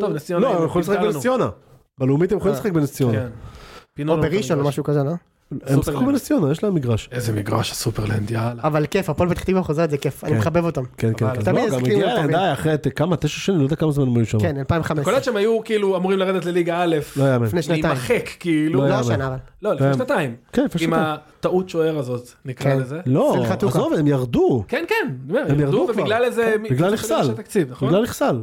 טוב, נס ציונה, לא, הם הם יכולים לשחק פיתרנו. בנס ציונה. בלאומית הם יכולים לשחק בנס ציונה. כן. פינו או לנו את בראשון או המגרש. משהו כזה, לא? הם שיחקו סופרלנד. בנס ציונה, יש להם מגרש. איזה מגרש הסופרלנד, יאללה. אבל כיף, הפועל פתח תקווה חוזרת זה כיף, אני מחבב אותם. כן, כן, כן. תמיד לא, גם הזקנים הגיע הם להם, טובים. די, אחרי את- כמה? תשע שנים? לא יודע כמה זמן הם היו שם. כן, 2015, קולט שהם היו כאילו אמורים לרדת לליגה א', לא יאמן. לפני שנתיים. להימחק, כאילו. לא לא יאמן. השנה אבל. לא, לפני לא. שנתיים. כן, לפני עם שנתיים. הטעות שוער הזאת, נקרא כן. לזה. לא, סליחה, טוקה. עזוב, הם ירדו. כן, כן, אני אומר, הם ירדו כבר. ובגלל איזה... כן, בגלל בגלל נכסל. שהתקציב, נכון? בגלל נכסל.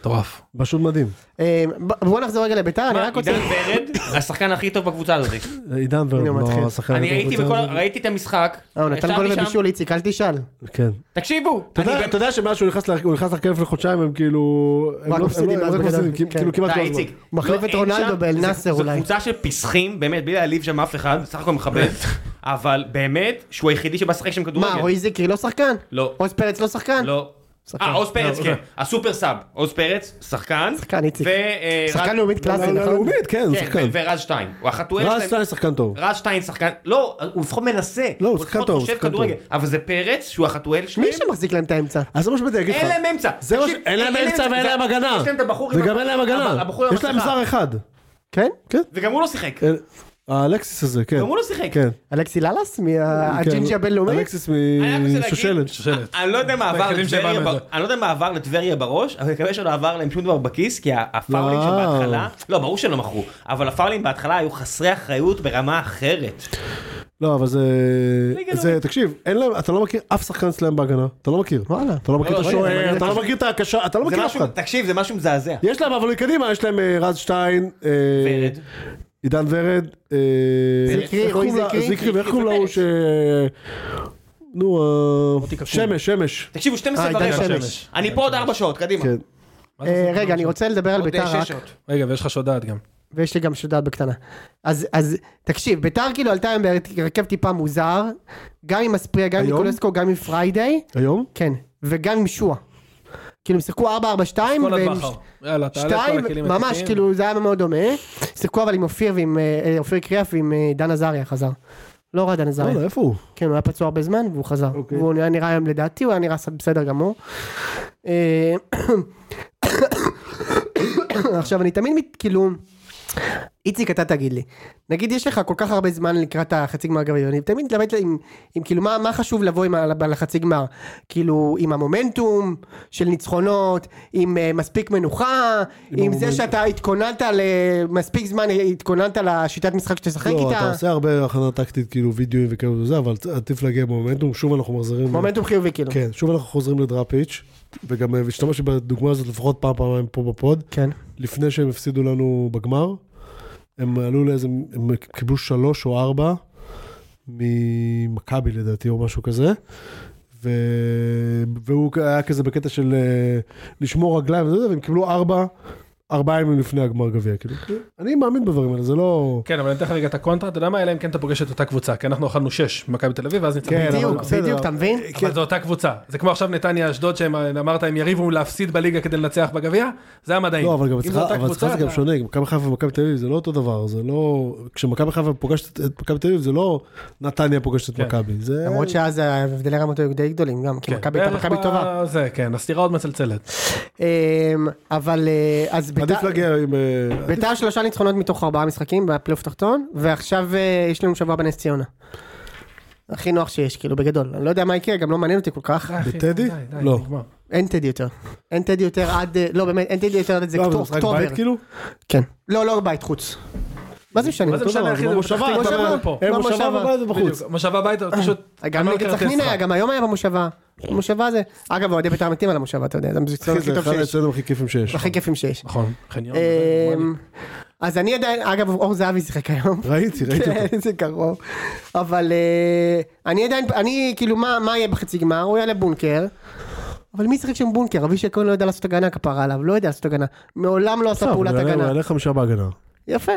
מטורף. פשוט מדהים. אה, ב- בוא נחזור רגע לביתר, אני מה, רק רוצה... אה, עידן ורד, [laughs] השחקן הכי טוב בקבוצה הזאת. עידן ורד, הנה, הוא מתחיל. לא, השחקן. אני היותר ראיתי בקבוצה בכל- הזאת. ראיתי את המשחק. אוקיי, אה, הוא נתן גול ישבתי שם. ובישול, איציק, אל תשאל. כן. תקשיבו, אתה אני יודע- גם- אתה יודע שמאז שהוא נכנס להרכב- הוא נכנס להרכב לחודשיים הם כאילו... הם רק לא- מפסידים, הם לא- הם אז רק בגדול. מפסידים, כן. כאילו כמעט די, כל הזמן. איציק. מחליף לא, את אין רונלדו שם- באל זה- נאסר אולי. זו קבוצה של פיסחים, באמת, בלי להעליב שם אף אחד, בסך הכל [laughs] מכבד, אבל באמת, שהוא היחידי שבא לשחק שם כדורגל. כן. מה, רועי זיקרי לא שחקן? לא. עוז פרץ לא שחקן? לא. אה, עוז פרץ, לא, כן. הסופר סאב. עוז פרץ, שחקן. שחקן, איציק. ו... אה, שחקן רז- לאומית קלאסי, לא, לא, נכון? לאומית, כן, הוא כן, שחקן. ו- אה, ורז שטיין. הוא החתואל רז שלהם. שטיין שחקן טוב. רז שטיין שחקן, לא, הוא לפחות מנסה, הוא הוא שחקן לפחות טוב, הוא חושב שחקן כדורגל, טוב. אבל זה פרץ שהוא החתואל שלהם, מי שמחזיק להם את האמצע? אז זה מה שבאתי להגיד לך. אין להם אמצע, זה מה ש- תקשיב, אין להם אמצע ואין זה- להם הגנה. יש להם את הבחור, עם וגם ה- אין להם הב- הגנה. הבחור עם יש להם המסכה. זר אחד. כן? כן. וגם הוא לא שיחק, אה, האלקסיס הזה, כן. גם הוא לא שיחק, כן. אלכסי ללס? כן. מהג'ינג'י הבינלאומי? אלקסיס אני רק רוצה להגיד- משושלת. שושלת. אני לא יודע מה עבר היחידים לטבריה שהבנו את ב- זה. אני לא יודע מה עבר לטבריה בראש, אבל אני מקווה שלא עבר להם שום דבר בכיס, כי ה- הפאולים לא. שבהתחלה, לא, ברור שלא מכרו, אבל הפאולים בהתחלה היו חסרי אחריות ברמה אחרת. לא, אבל זה... ליגה זה, תקשיב, אין להם, אתה לא מכיר אף שחקן אצלם בהגנה. אתה לא מכיר. וואלה. אתה לא מכיר את לא, לא, השוער, זה- אתה לא מכיר את הקשר, אתה לא זה מכיר אף משהו, אחד. תקשיב, זה משהו מזעזע. יש להם, אבל מקדימה, יש להם אה, רז שטיין, אה, ורד. עידן ורד, אה, זיקרי, איך רועי קוראים לה- זיקרי. זיקרי, ואיך קוראים לה הוא ש... נו, אה, שמש, שמש. תקשיבו, 12 אה, עידן ורבע. שמש. אני פה עוד 4 שעות, קדימה. כן. מה זה אה, עושה? רגע, אני רוצה לדבר על עוד אה, ביתר רק. שש שעות. רגע, ויש לך שודעת גם. ויש לי גם שודעת בקטנה. אז, אז תקשיב, ביתר כאילו עלתה היום בהרכב טיפה מוזר, גם עם אספריה, גם עם היום? ניקולסקו, גם עם פריידיי, היום? כן, וגם עם שועה. כאילו הם שיחקו 4-4-2, כל והם הדבחר. יאללה, תעלה את כל שתיים, הכלים. ממש התקפיים. כאילו זה היה מאוד דומה. שיחקו אבל עם אופיר ועם אה, אה, אופיר קריאף ועם אה, דן עזריה חזר. לא ראה דן עזריה, וואלה, איפה הוא? כן הוא היה פצוע הרבה זמן והוא חזר. אוקיי. והוא היה נראה היום לדעתי, הוא היה נראה בסדר גמור. אה, [coughs] עכשיו אני תמיד מת- כאילו, איציק אתה תגיד לי, נגיד יש לך כל כך הרבה זמן לקראת החצי גמר גביע, אני תמיד מתלבט עם, עם כאילו מה, מה חשוב לבוא עם, ה- לחצי גמר, כאילו עם המומנטום של ניצחונות, עם uh, מספיק מנוחה, עם, עם זה המומנטום. שאתה התכוננת למספיק זמן, התכוננת לשיטת משחק שתשחק לא, אתה איתה, עושה הרבה הכנה טקטית, כאילו וידאוים וכאלה וזה, אבל עדיף להגיע במומנטום, שוב אנחנו מחזירים... מומנטום חיובי כאילו. כן, שוב אנחנו חוזרים לדראפיץ', וגם אה, השתמשתי בדוגמה הזאת לפחות פעם, פעמיים פה בפוד. כן. לפני שהם הפסידו לנו בגמר, הם עלו לאיזה, הם קיבלו שלוש או ארבע ממכבי לדעתי או משהו כזה. ו... והוא היה כזה בקטע של אה, לשמור רגליים וזה, והם קיבלו ארבע, ארבעה ימים לפני הגמר גביע. כאילו, אני מאמין בדברים האלה, זה לא... כן, אבל אני אתן לך רגע את הקונטרה, אתה יודע מה, אלא אם כן אתה פוגש את אותה קבוצה, כי אנחנו אכלנו שש במכבי תל אביב, ואז ניצחנו. כן, את בדיוק, אבל בסדר, אה, כן. בדיוק, אבל- אתה מבין? אבל זו אותה קבוצה. זה כמו עכשיו נתניה אשדוד, שהם אמרת, הם יריבו להפסיד בליגה כדי לנצח בגביע, זה המדעים. לא, אבל גם אם אצלך זו אותה אבל אצלך קבוצה, זה גם אתה- שונה, גם מכבי חיפה ומכבי תל אביב זה לא אותו דבר, זה לא... כשמכבי חיפה פוגשת את מכבי תל אביב זה לא נתניה פוגשת את כן. מכבי, זה... למרות שאז ההבדלי רמות היו די גדולים גם, כי כן, מכבי הייתה בערך מכבי טובה. ב- זה, כן, הסתירה עוד מצלצלת. אמ, אבל אה, אז ביתר- עדיף להגיע עם... אה, ביתר שלושה ניצחונות מתוך ארבעה משחקים בפלייאוף תחתון, ועכשיו אה, יש לנו שבוע בנס ציונה. הכי נוח שיש, כאילו, בגדול. אני לא יודע מה יקרה, גם לא מעניין אותי כל כך. בטדי? די, די, לא. נגמר. אין טדי יותר. אין טדי יותר עד... אה, לא, באמת, אין טדי יותר עד איזה לא, אבל אוקטו- משחק בית אוקטובר. כאילו? כן. לא, לא בית, חוץ. מה זה לא משנה? מה זה אותו משנה, דבר, אחי, זה זה במושבה, פתח תקווה, במושבה. פה. הם לא, מושבה מושבה. בבית ובחוץ. בדיוק, מושב הביתה, פשוט... לא גם אמר אה, נגד כרטיס סכנין לך. היה, גם היום היה במושבה. המושבה זה... אגב, אוהדי בית"ר מתים על המושבה, אתה יודע. זה המזיצון אחי, הכי זה טוב אחד שיש. האצטדיונים הכי כיפים שיש. הכי כיפים שיש. נכון, חניון. אמ, זה נכון. נורמלי. אז אני עדיין, אגב, אור זהבי שיחק היום. ראיתי, [laughs] ראיתי אותו. כן, זה קרוב. אבל אה, אני עדיין, אני כאילו, מה מה יהיה בחצי גמר? הוא יעלה בונקר. אבל מי ישחק שם בונקר? אבישי כהן לא יודע לעשות הגנה כפרה עליו, לא יודע לעשות הגנה. מעולם לא עשה טוב, פעולת הוא יעלה- הוא הגנה. יעלה חמישה בהגנה. יפה.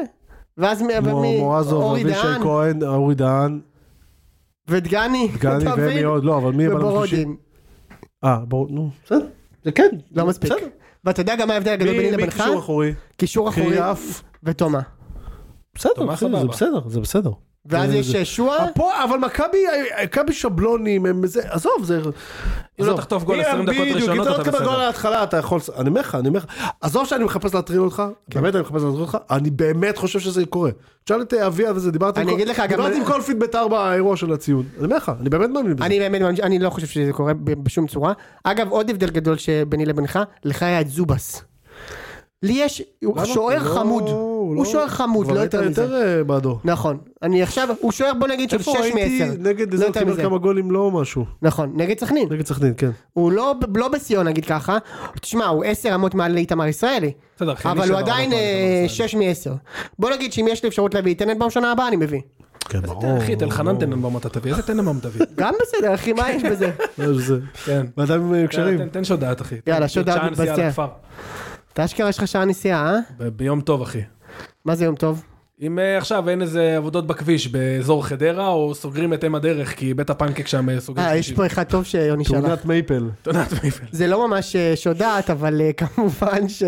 ואז מ- כמו כן, ומי- מורזוב, אורי אבישי דהן כהן, אורי דהן, ודגני, דגני אתה ומי מבין? עוד, לא, אבל מי הבלם השלישי? ובורודין. אה, ברור, נו, בסדר. זה כן. לא מספיק. בסדר. ואתה יודע גם מה ההבדל הגדול ביני מי מי לבינך? קישור אחורי? קישור אחורי קריאף. ותומה. בסדר, תומך אחי, סבבה. זה בסדר, זה בסדר. ואז כן, זה- יש זה- אה, שועה. הפועל- אבל מכבי, מכבי שבלונים, הם זה, עזוב, זה... אם לא תחטוף גול 20 דקות בדיוק, אם ראשונות, אתה לא אתה תקבל גול בסדר. להתחלה, אתה יכול... אני אומר לך, אני אומר לך, עזוב שאני מחפש להטריל אותך, באמת אני מחפש להטריל אותך, אני באמת חושב שזה קורה. תשאל את אה, אביה וזה, דיברתי עם אני כל- אגיד לך, גם- דיברתי עם כל פידבט ארבע האירוע של הציון. אני אומר לך, אני באמת מאמין בזה. אני באמת, מאמין- אני לא חושב שזה קורה ב- בשום צורה. אגב, עוד הבדל גדול שביני לבינך, לך היה את זובס. לי יש, הוא למה? שוער לא, חמוד. הוא הוא לא- שוער חמוד, כבר לא היית יותר מזה. יותר אה, בעדו. נכון. אני עכשיו, לא הוא שוער בוא נגיד של 6 איפה ראיתי מ-10. נגד איזה, הוא קיבל כמה גולים לא משהו. נכון, נגד סכנין. נגד סכנין, כן. הוא לא, לא בשיאון נגיד ככה. תשמע, הוא 10 רמות מעל איתמר ישראלי. בסדר, אחי, מי אבל שלא הוא עדיין אה, רמות מעל איתמר ישראלי. 6 מ-10. בוא נגיד שאם יש לי אפשרות להביא את טננבאום שנה הבאה, אני מביא. כן, ברור. אחי, את אלחנן תננבאום אתה תביא, איזה תננבאום תביא? [laughs] גם בסדר, אחי, מה יש [laughs] בזה? לא, זה- כן. ואדם עם אה, קשרים. תן- תן שודעת, אחי. יאללה, שודעת צ'אנס, יאללה, מתבצע. כפר. אתה אשכרה יש לך שעה נסיעה, אה? ב- ביום טוב, אחי. מה זה יום טוב? אם אה, עכשיו אין איזה עבודות בכביש באזור חדרה, או סוגרים את אם הדרך, כי בית הפנקק שם אה, סוגרים. אה, יש כבישים. פה אחד טוב שיוני שלח. תאונת מייפל. אתה יודע, אתה מבין. זה לא ממש אה, שודעת, אבל אה, [laughs] כמובן ש...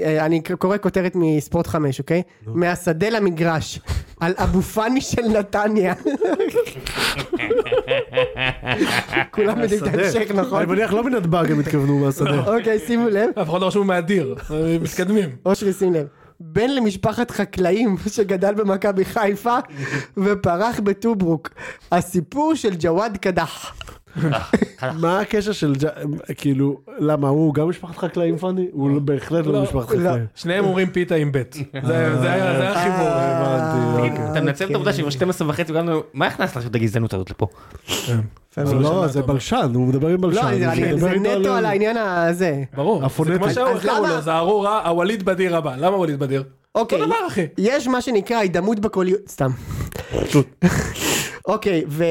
אה, אני קורא כותרת מספורט 5, אוקיי? מהשדה למגרש, על אבו פאני של נתניה. [laughs] כולם יודעים את ההמשך, אני נכון? מניח לא מנתב"ג הם התכוונו [laughs] מהשדה. אוקיי, שימו לב. אף אחד לא רשום מהדיר, אה, מתקדמים. אושרי, שים לב. בן למשפחת חקלאים [laughs] שגדל במכבי [laughs] חיפה ופרח בטוברוק. הסיפור של ג'וואד קדח. נכון. מה הקשר של ג'- כאילו למה הוא גם משפחת חקלאים פאני? הוא בהחלט לא לא, משפחת לא. אה, חקלאים. שניהם אומרים פיתה עם בית. זה זה היה זה היה חיבור. הבנתי, אוקיי. אתה מנצל את העובדה שכבר 12 וחצי, גם לא- מה הכנסת לעשות את הגזענות הזאת לפה? זה לא, זה בלשן, הוא מדבר עם לא. בלשן. לא, זה- הוא אני- מדבר זה איתו נטו על על- העניין הזה. ברור. זה הפונטית. כמו שהאורך אז קראו למה- לו, זה ארור ה- הווליד בדיר הבא. למה ווליד בדיר? אוקיי. אותו דבר, אחי. יש מה שנקרא הידמות בקוליות, סתם. אוקיי, ו...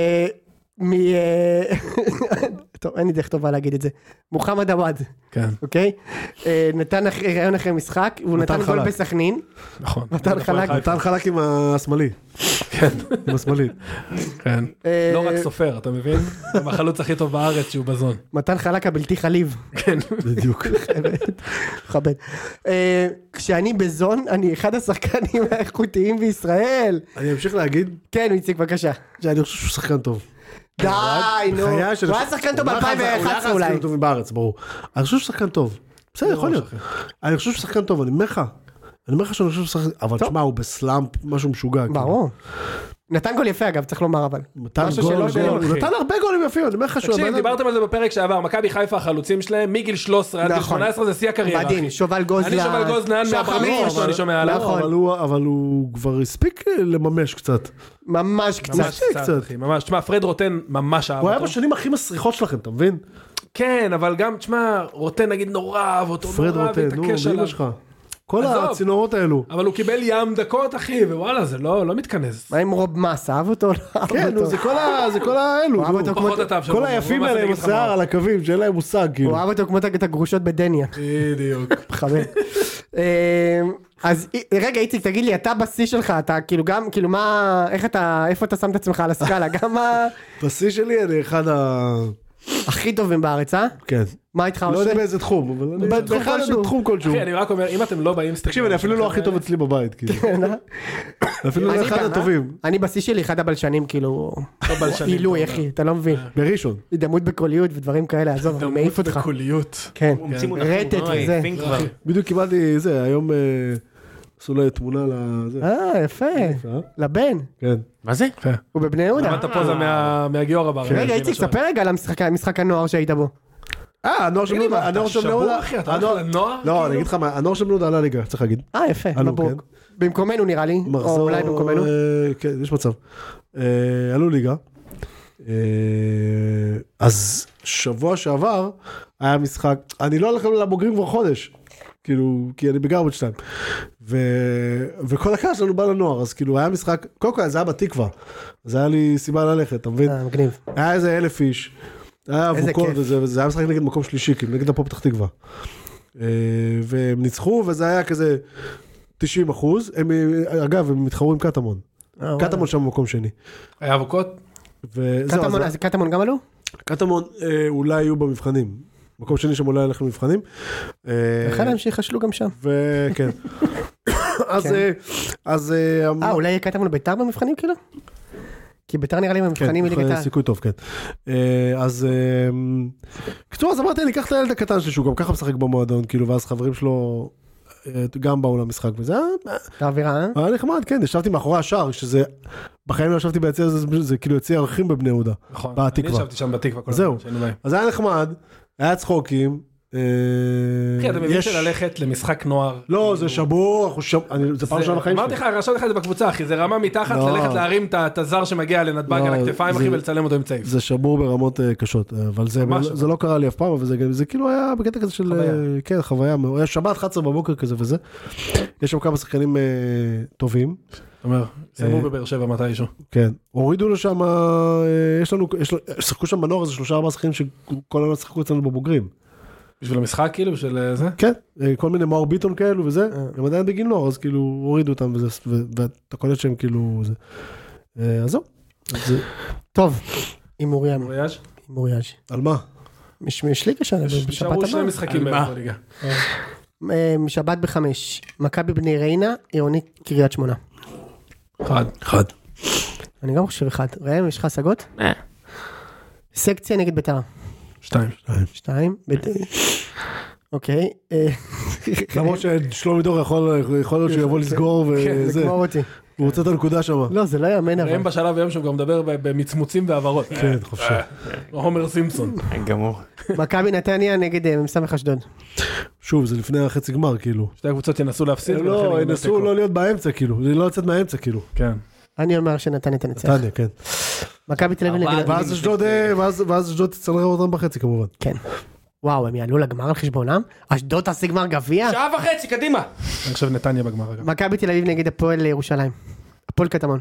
מ... אה, [laughs] טוב, אין לי דרך טובה להגיד את זה. מוחמד עוואד, כן, אוקיי? אה, נתן אח- ראיון אחרי משחק, והוא נתן נתן גול חלק. בסכנין. נכון. נתן חלק. נתן חלק עם השמאלי. כן. עם השמאלי. כן. אה, לא רק סופר, אתה מבין? [laughs] גם החלוץ הכי טוב בארץ שהוא בזון. מתן חלק הבלתי [laughs] חליב. בדיוק. מכבד. אה, כשאני בזון, אני אחד השחקנים האיכותיים בישראל. אני אמשיך להגיד כן, איציק, בבקשה. שאני חושב שהוא שחקן טוב. די, נו. בחיי של- כאילו, הוא היה שחקן טוב הוא לא אחד- הוא לא אחד ב-2011 השחקנים אולי. לא הטובים בארץ, ברור. אני חושב שהוא שחקן טוב. בסדר, יכול להיות. אני חושב שהוא שחקן טוב, אני אומר לך. אני אומר לך שאני חושב שהוא שחקן... אבל טוב. תשמע, הוא בסלאמפ, משהו משוגע. כאילו. ברור. נתן גול יפה אגב, צריך לומר אבל. הוא נתן משהו גול, שלא גול, גול, הוא אחי. נתן הרבה גולים יפים, אני אומר לך שהוא... תקשיב, הבן אדם- דיברתם על זה בפרק שעבר, מכבי חיפה החלוצים שלהם מגיל 13 עד גיל נכון. 18 זה שיא הקריירה. מדהים, אחי. שובל גוזלן. אני שובל גוזלן שחר מהפרמיץ מיטרוש. שלו, אני שומע עליו. נכון. אבל הוא- אבל הוא כבר הספיק אה, לממש קצת. ממש קצת. ממש קצת, קצת, קצת. אחי, ממש. תשמע, פרד רוטן ממש אהב הוא היה אותו. בשנים הכי מסריחות שלכם, אתה מבין? כן, אבל גם, תשמע, רוטן נגיד נורא אהב אותו, פרד נורא רוטן, נו, והתעקש באמא עליו. שלך. כל עזוב. הצינורות האלו. אבל הוא קיבל ים דקות, אחי, ווואלה, זה לא לא מתכנס. מה עם רוב מס, אהב אותו? או לא אהב כן, נו, אותו? זה כל ה- זה כל האלו. הוא אהב נו. אותו כמו- פחות הטעם שלו. כל היפים האלה עם השיער על הקווים, שאין להם מושג, כאילו. הוא אהב אותו כמו את הגרושות בדניה. בדיוק. [laughs] חבר. אה, אז אי- רגע איציק תגיד לי אתה בשיא שלך אתה כאילו גם כאילו מה איך אתה איפה אתה שם את עצמך על הסקאלה גם ה- בשיא שלי אני אחד ה... הכי טובים בארץ אה? כן. מה איתך לא יודע אושר? באיזה תחום, אבל אני... בתחום באחד כלשהו. בתחום כלשהו. אחי, אני רק אומר, אם אתם לא באינסטגרם... תקשיב, אני אפילו לא הכי טוב אצלי [laughs] בבית, כאילו. לא אפילו לא אה? אני אחד גם, אה? הטובים. אני בשיא שלי אחד הבלשנים כאילו הבלשנים, עילוי אתה אה. אחי אתה לא מבין בראשון. הידמות בקוליות ודברים כאלה עזוב אני מעיף אותך קוליות. כן ממציא מונחים, רטט אוי, וזה. פינק כבר. בדיוק קיבלתי זה, היום אה, עשו לי תמונה לזה. אה יפה אה? לבן כן. מה זה? הוא בבני יהודה למדת אה. פוזה מה- מהגיורא בר. רגע איציק ספר רגע על המשחק- משחק הנוער שהיית בו אה, הנוער של בני יהודה, הנוער של בני יהודה, אחי, אתה הולך כאילו, הנוער- לנוער? לא, אני אגיד לך מה, הנוער של בני יהודה עלה ליגה, צריך להגיד. אה יפה עלו, מברוק במקומנו נראה לי או כן. מחזור, אולי במקומנו אה, כן, יש מצב. אה, עלו ליגה. אה, אז שבוע שעבר היה משחק, אני לא הולך לבוגרים כבר חודש. כאילו, כי אני בגרבג' טיים. ו... וכל הקהל שלנו בא לנוער, אז כאילו היה משחק, קודם כל זה היה בתקווה. אז היה לי סיבה ללכת, אתה מבין? אה, מגניב היה איזה אלף איש, היה איזה אבוקות כיף. וזה, וזה היה משחק נגד מקום שלישי, כאילו נגד הפועל פתח תקווה. אה, והם ניצחו, וזה היה כזה 90 אחוז, הם, אה, אגב, הם התחרו עם קטמון, קטמון שם במקום שני. היה אבוקות? וזהו, קטמון, אז אז קטמון גם עלו? קטמון אה, אולי יהיו במבחנים, מקום שני שם אולי ילך למבחנים. אה, אחד מהם שיחשלו גם שם. [laughs] וכן. כן. אז, אה, אז, אה, אה, אולי יהיה קטמון ביתר במבחנים כאילו? כי ביתר נראה לי במבחנים כן, מליגת העל. סיכוי טוב, כן. אה, אז אה, קצור, אז אמרתי, אני אקח את הילד הקטן שלי, שהוא גם ככה משחק במועדון, כאילו, ואז חברים שלו אה, גם באו למשחק, וזה היה- האווירה, אה? היה נחמד, כן, ישבתי מאחורי השער, שזה, בחיים לא ישבתי ביציע, הזה, זה, זה כאילו יציע ערכים בבני יהודה, נכון. אני בתקווה. ישבתי שם בתקווה. כל זהו. אה, הזמן, כשהיינו באים. אז היה נחמד, היה צחוקים. אה, אחי, כן, אתה מבין שללכת למשחק נוער. לא, זה שבור, אנחנו שם, אני- זה פעם זה- ראשונה בחיים אמרתי שלי. לך, רשמתי לך את זה בקבוצה, אחי, זה רמה מתחת לא. ללכת להרים את ה- את הזר שמגיע לנתב"ג לא, על הכתפיים, אחי, זה- ולצלם אותו עם צעיף. זה שבור ברמות אה, קשות, אה, אבל זה, ממש. זה לא קרה לי אף פעם, אבל זה, גם- זה כאילו היה בקטע כזה של, חוויה. אה, כן, חוויה, מאוד. היה שבת 11 בבוקר כזה וזה. יש שם כמה שחקנים אה, טובים, אתה אומר, סיימו אה, בבאר שבע מתישהו. כן. הורידו לו שם, אה, יש לנו, יש לו, שיחקו שם מנור איזה שלושה ארבעה שחקנים שכל הזמן שיחקו אצלנו בבוגרים. בשביל המשחק, כאילו, בשביל אה, זה? כן, אה, כל מיני מאור ביטון כאלו וזה, אה. הם עדיין בגיל נוער, אז כאילו הורידו אותם וזה, ו- ואתה קולט שהם כאילו, זה. אה, אז זהו. זה- טוב, הימור ים, מוריאז'? הימור יאז'. על מה? יש יש ליגה שם, בשבת נשארו שני הבאה. משחקים בערך בליגה. אה, שבת בחמש, מכבי בני ריינה, עירונית קריית שמונה. אחד. אחד. אני גם חושב אחד. ראם, יש לך השגות? אה. סקציה נגד ביתר. שתיים. שתיים. בית- אוקיי. אה, למרות ששלומי דור יכול יכול להיות שהוא יבוא לסגור כן, וזה. לגמור אותי. הוא רוצה את הנקודה שם. לא, זה לא יאמן אבל. ראם בשלב היום שהוא גם מדבר ב- במצמוצים והעברות. כן, חופשי. אה. עומר סימפסון. גמור. מכבי נתניה נגד אה, מ"ס אשדוד. שוב, זה לפני החצי גמר, כאילו. שתי הקבוצות ינסו להפסיד. הם ולכן לא, יגמר ינסו תיקו. לא להיות באמצע, כאילו. זה לא לצאת מהאמצע, כאילו. כן. אני אומר שנתניה תנצח. נתניה, כן. מכבי תל אביב ארבעה נגד... ואז אשדוד, אה, ואז ואז אשדוד תצטרך אותם בחצי, כמובן. כן. וואו, הם יעלו לגמר על חשבונם? אשדוד תעשה גמר גביע? שעה וחצי, קדימה. אני חושב נתניה בגמר אגב. מכבי תל אביב נגד הפועל ירושלים. הפועל אה, קטמון.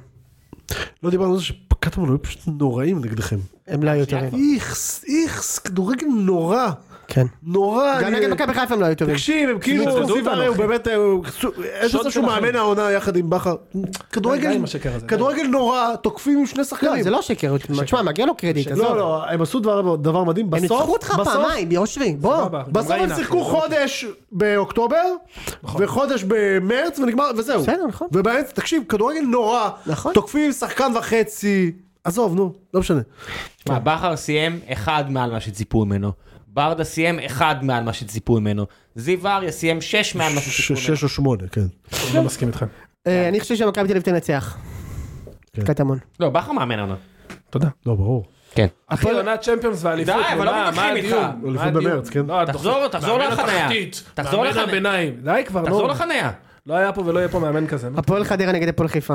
לא דיברנו על זה קטמון היו פשוט נוראים נגדכם. הם לא היו טובים. איכס, איכס, כדורגל נורא. כן. נורא. גם אני- נגד מכבי חיפה הם לא היו טובים. תקשיב, הם כאילו, ניצחו זיו אותנו, הרי הוא אחי. באמת, אה, הוא- איזה מצב שהוא מאמן העונה יחד עם בכר. די, די כדורגל, עם השקר הזה, די. כדורגל נורא, תוקפים עם שני לא, שחקנים. זה לא שקר. תשמע, מגיע לו קרדיט. עזוב. לא, לא, הם עשו דבר דבר מדהים. הם בסוף, ניצחו אותך בסוף- פעמיים, יושבי. בוא. סבבה. גם אה, בסוף הם ריינה, שיחקו אחי. חודש באוקטובר, וחודש במרץ, ונגמר, וזהו. בסדר, נכון. ובאמצע, תקשיב, כדורגל נורא. נכון. תוקפים שחקן וחצי. עזוב, נו, לא משנה. תשמע, בכר סיים אחד מעל מה שציפו ממנו. ברדה סיים אחד מעל מה שציפו ממנו. זיו אריה סיים שש מעל מה [laughs] שציפו ממנו. שש או שמונה, כן. אני לא מסכים איתכם. אה, אני חושב שמכבי תל אביב תנצח. כן. קטמון. לא, בכר מאמן עונה. תודה. לא, ברור. כן. אחי, עונת צ'מפיונס ואליפות. די, אבל לא מה- מתווכחים מה איתך. הדיון? אליפות מה הדיון? במרץ, כן. לא, תחזור- הדוחק. תחזור מאמן לחניה. התחתית, תחזור מאמן לחניה. הביניים. די כבר, תחזור נו. לחניה. לא היה פה ולא יהיה פה מאמן כזה. נו. הפועל חדרה נגד הפועל חיפה.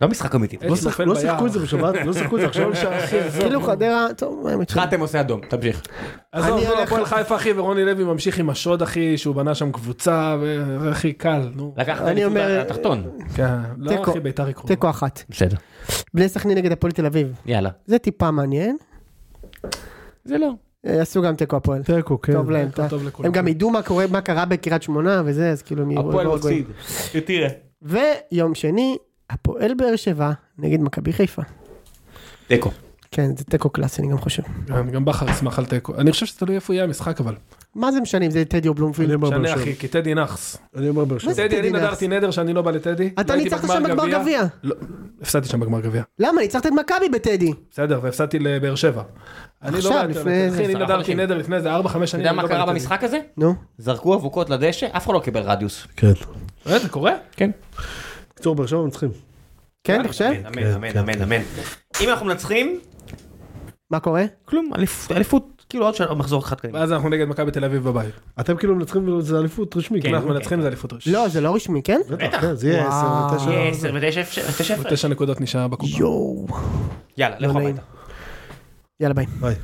לא משחק אמיתי. לא הייתי שחק- נופל לא ביער. שיחקו את זה בשבת, לא שיחקו את זה [laughs] עכשיו. אחי, עזוב, כאילו נו. חדרה, טוב, האמת שלא. חתם עושה אדום, תמשיך. עזוב, אני נו, הולך- הפועל חיפה אחי ורוני לוי ממשיך עם השוד אחי שהוא בנה שם קבוצה ו- הכי קל נו. לקחת אני אליפות אומר- התחתון. כן, לא תיקו. אחי ביתר יקרו. תיקו אחת. בסדר. בני סכנין נגד הפועל תל אביב. יאללה. זה טיפה מעניין. זה לא. אה, עשו גם תיקו הפועל. [laughs] תיקו, כן. טוב להם. טוב אתה- לכולם. הם גם ידעו מה קורה, מה קרה בקריית שמונה וזה, אז כאילו הם יהיו- הפועל יהיו מפסיד. תראה. רגועים. ויום שני, הפועל באר שבע נגד מכבי חיפה. תיקו. כן, זה תיקו קלאסי, אני גם חושב. גם- גם בכר ישמח על תיקו. אני חושב שתלוי איפה יהיה המשחק אבל. מה זה משנה אם זה טדי או אני בלומפילד? אומר באר שנה שבע. אחי כי טדי נאחס. אני אומר באר שבע. זה טדי אני טדי נאחס? נדרתי נדר שאני לא בא לטדי. לא אתה הייתי ניצחת שם בגמר גביע. לא, הפסדתי שם בגמר גביע. למה? ניצחת את מכבי בטדי. בסדר והפסדתי לבאר שבע. אני עכשיו, לא בא לפני לטדי. אחי איזה אני עשרה נדרתי חודשים. נדר לפני איזה 4-5 אתה שנים. יודע אה, אני מה לא בא קרה לטדי. במשחק הזה? נו. זרקו אבוקות לדשא, אף אחד לא קיבל רדיוס. כן. אה, זה קורה? כן. בקיצור, באר שבע מנצחים. כן, אתה חושב? אמן, אמן, אמן, כן. אמן. אם אנחנו מנצחים, מה קורה? כלום, אליפ- אליפות, כאילו עוד שנה, עוד מחזור אחד קדימה. ואז אנחנו נגד מכבי תל אביב בבית. אתם כאילו מנצחים וזה אליפות רשמית. כן, אם אנחנו מנצחים זה אליפות ראשית. לא, זה לא רשמי, כן? בטח. כן, זה יהיה עשר וואו. ותשע. אה, יהיה עשר ותשע אפשר- תשע אפשר. תשע נקודות נשאר בקופה. יואו. יאללה, לכו אה, לא נעים. הביתה. יאללה ביי. ביי.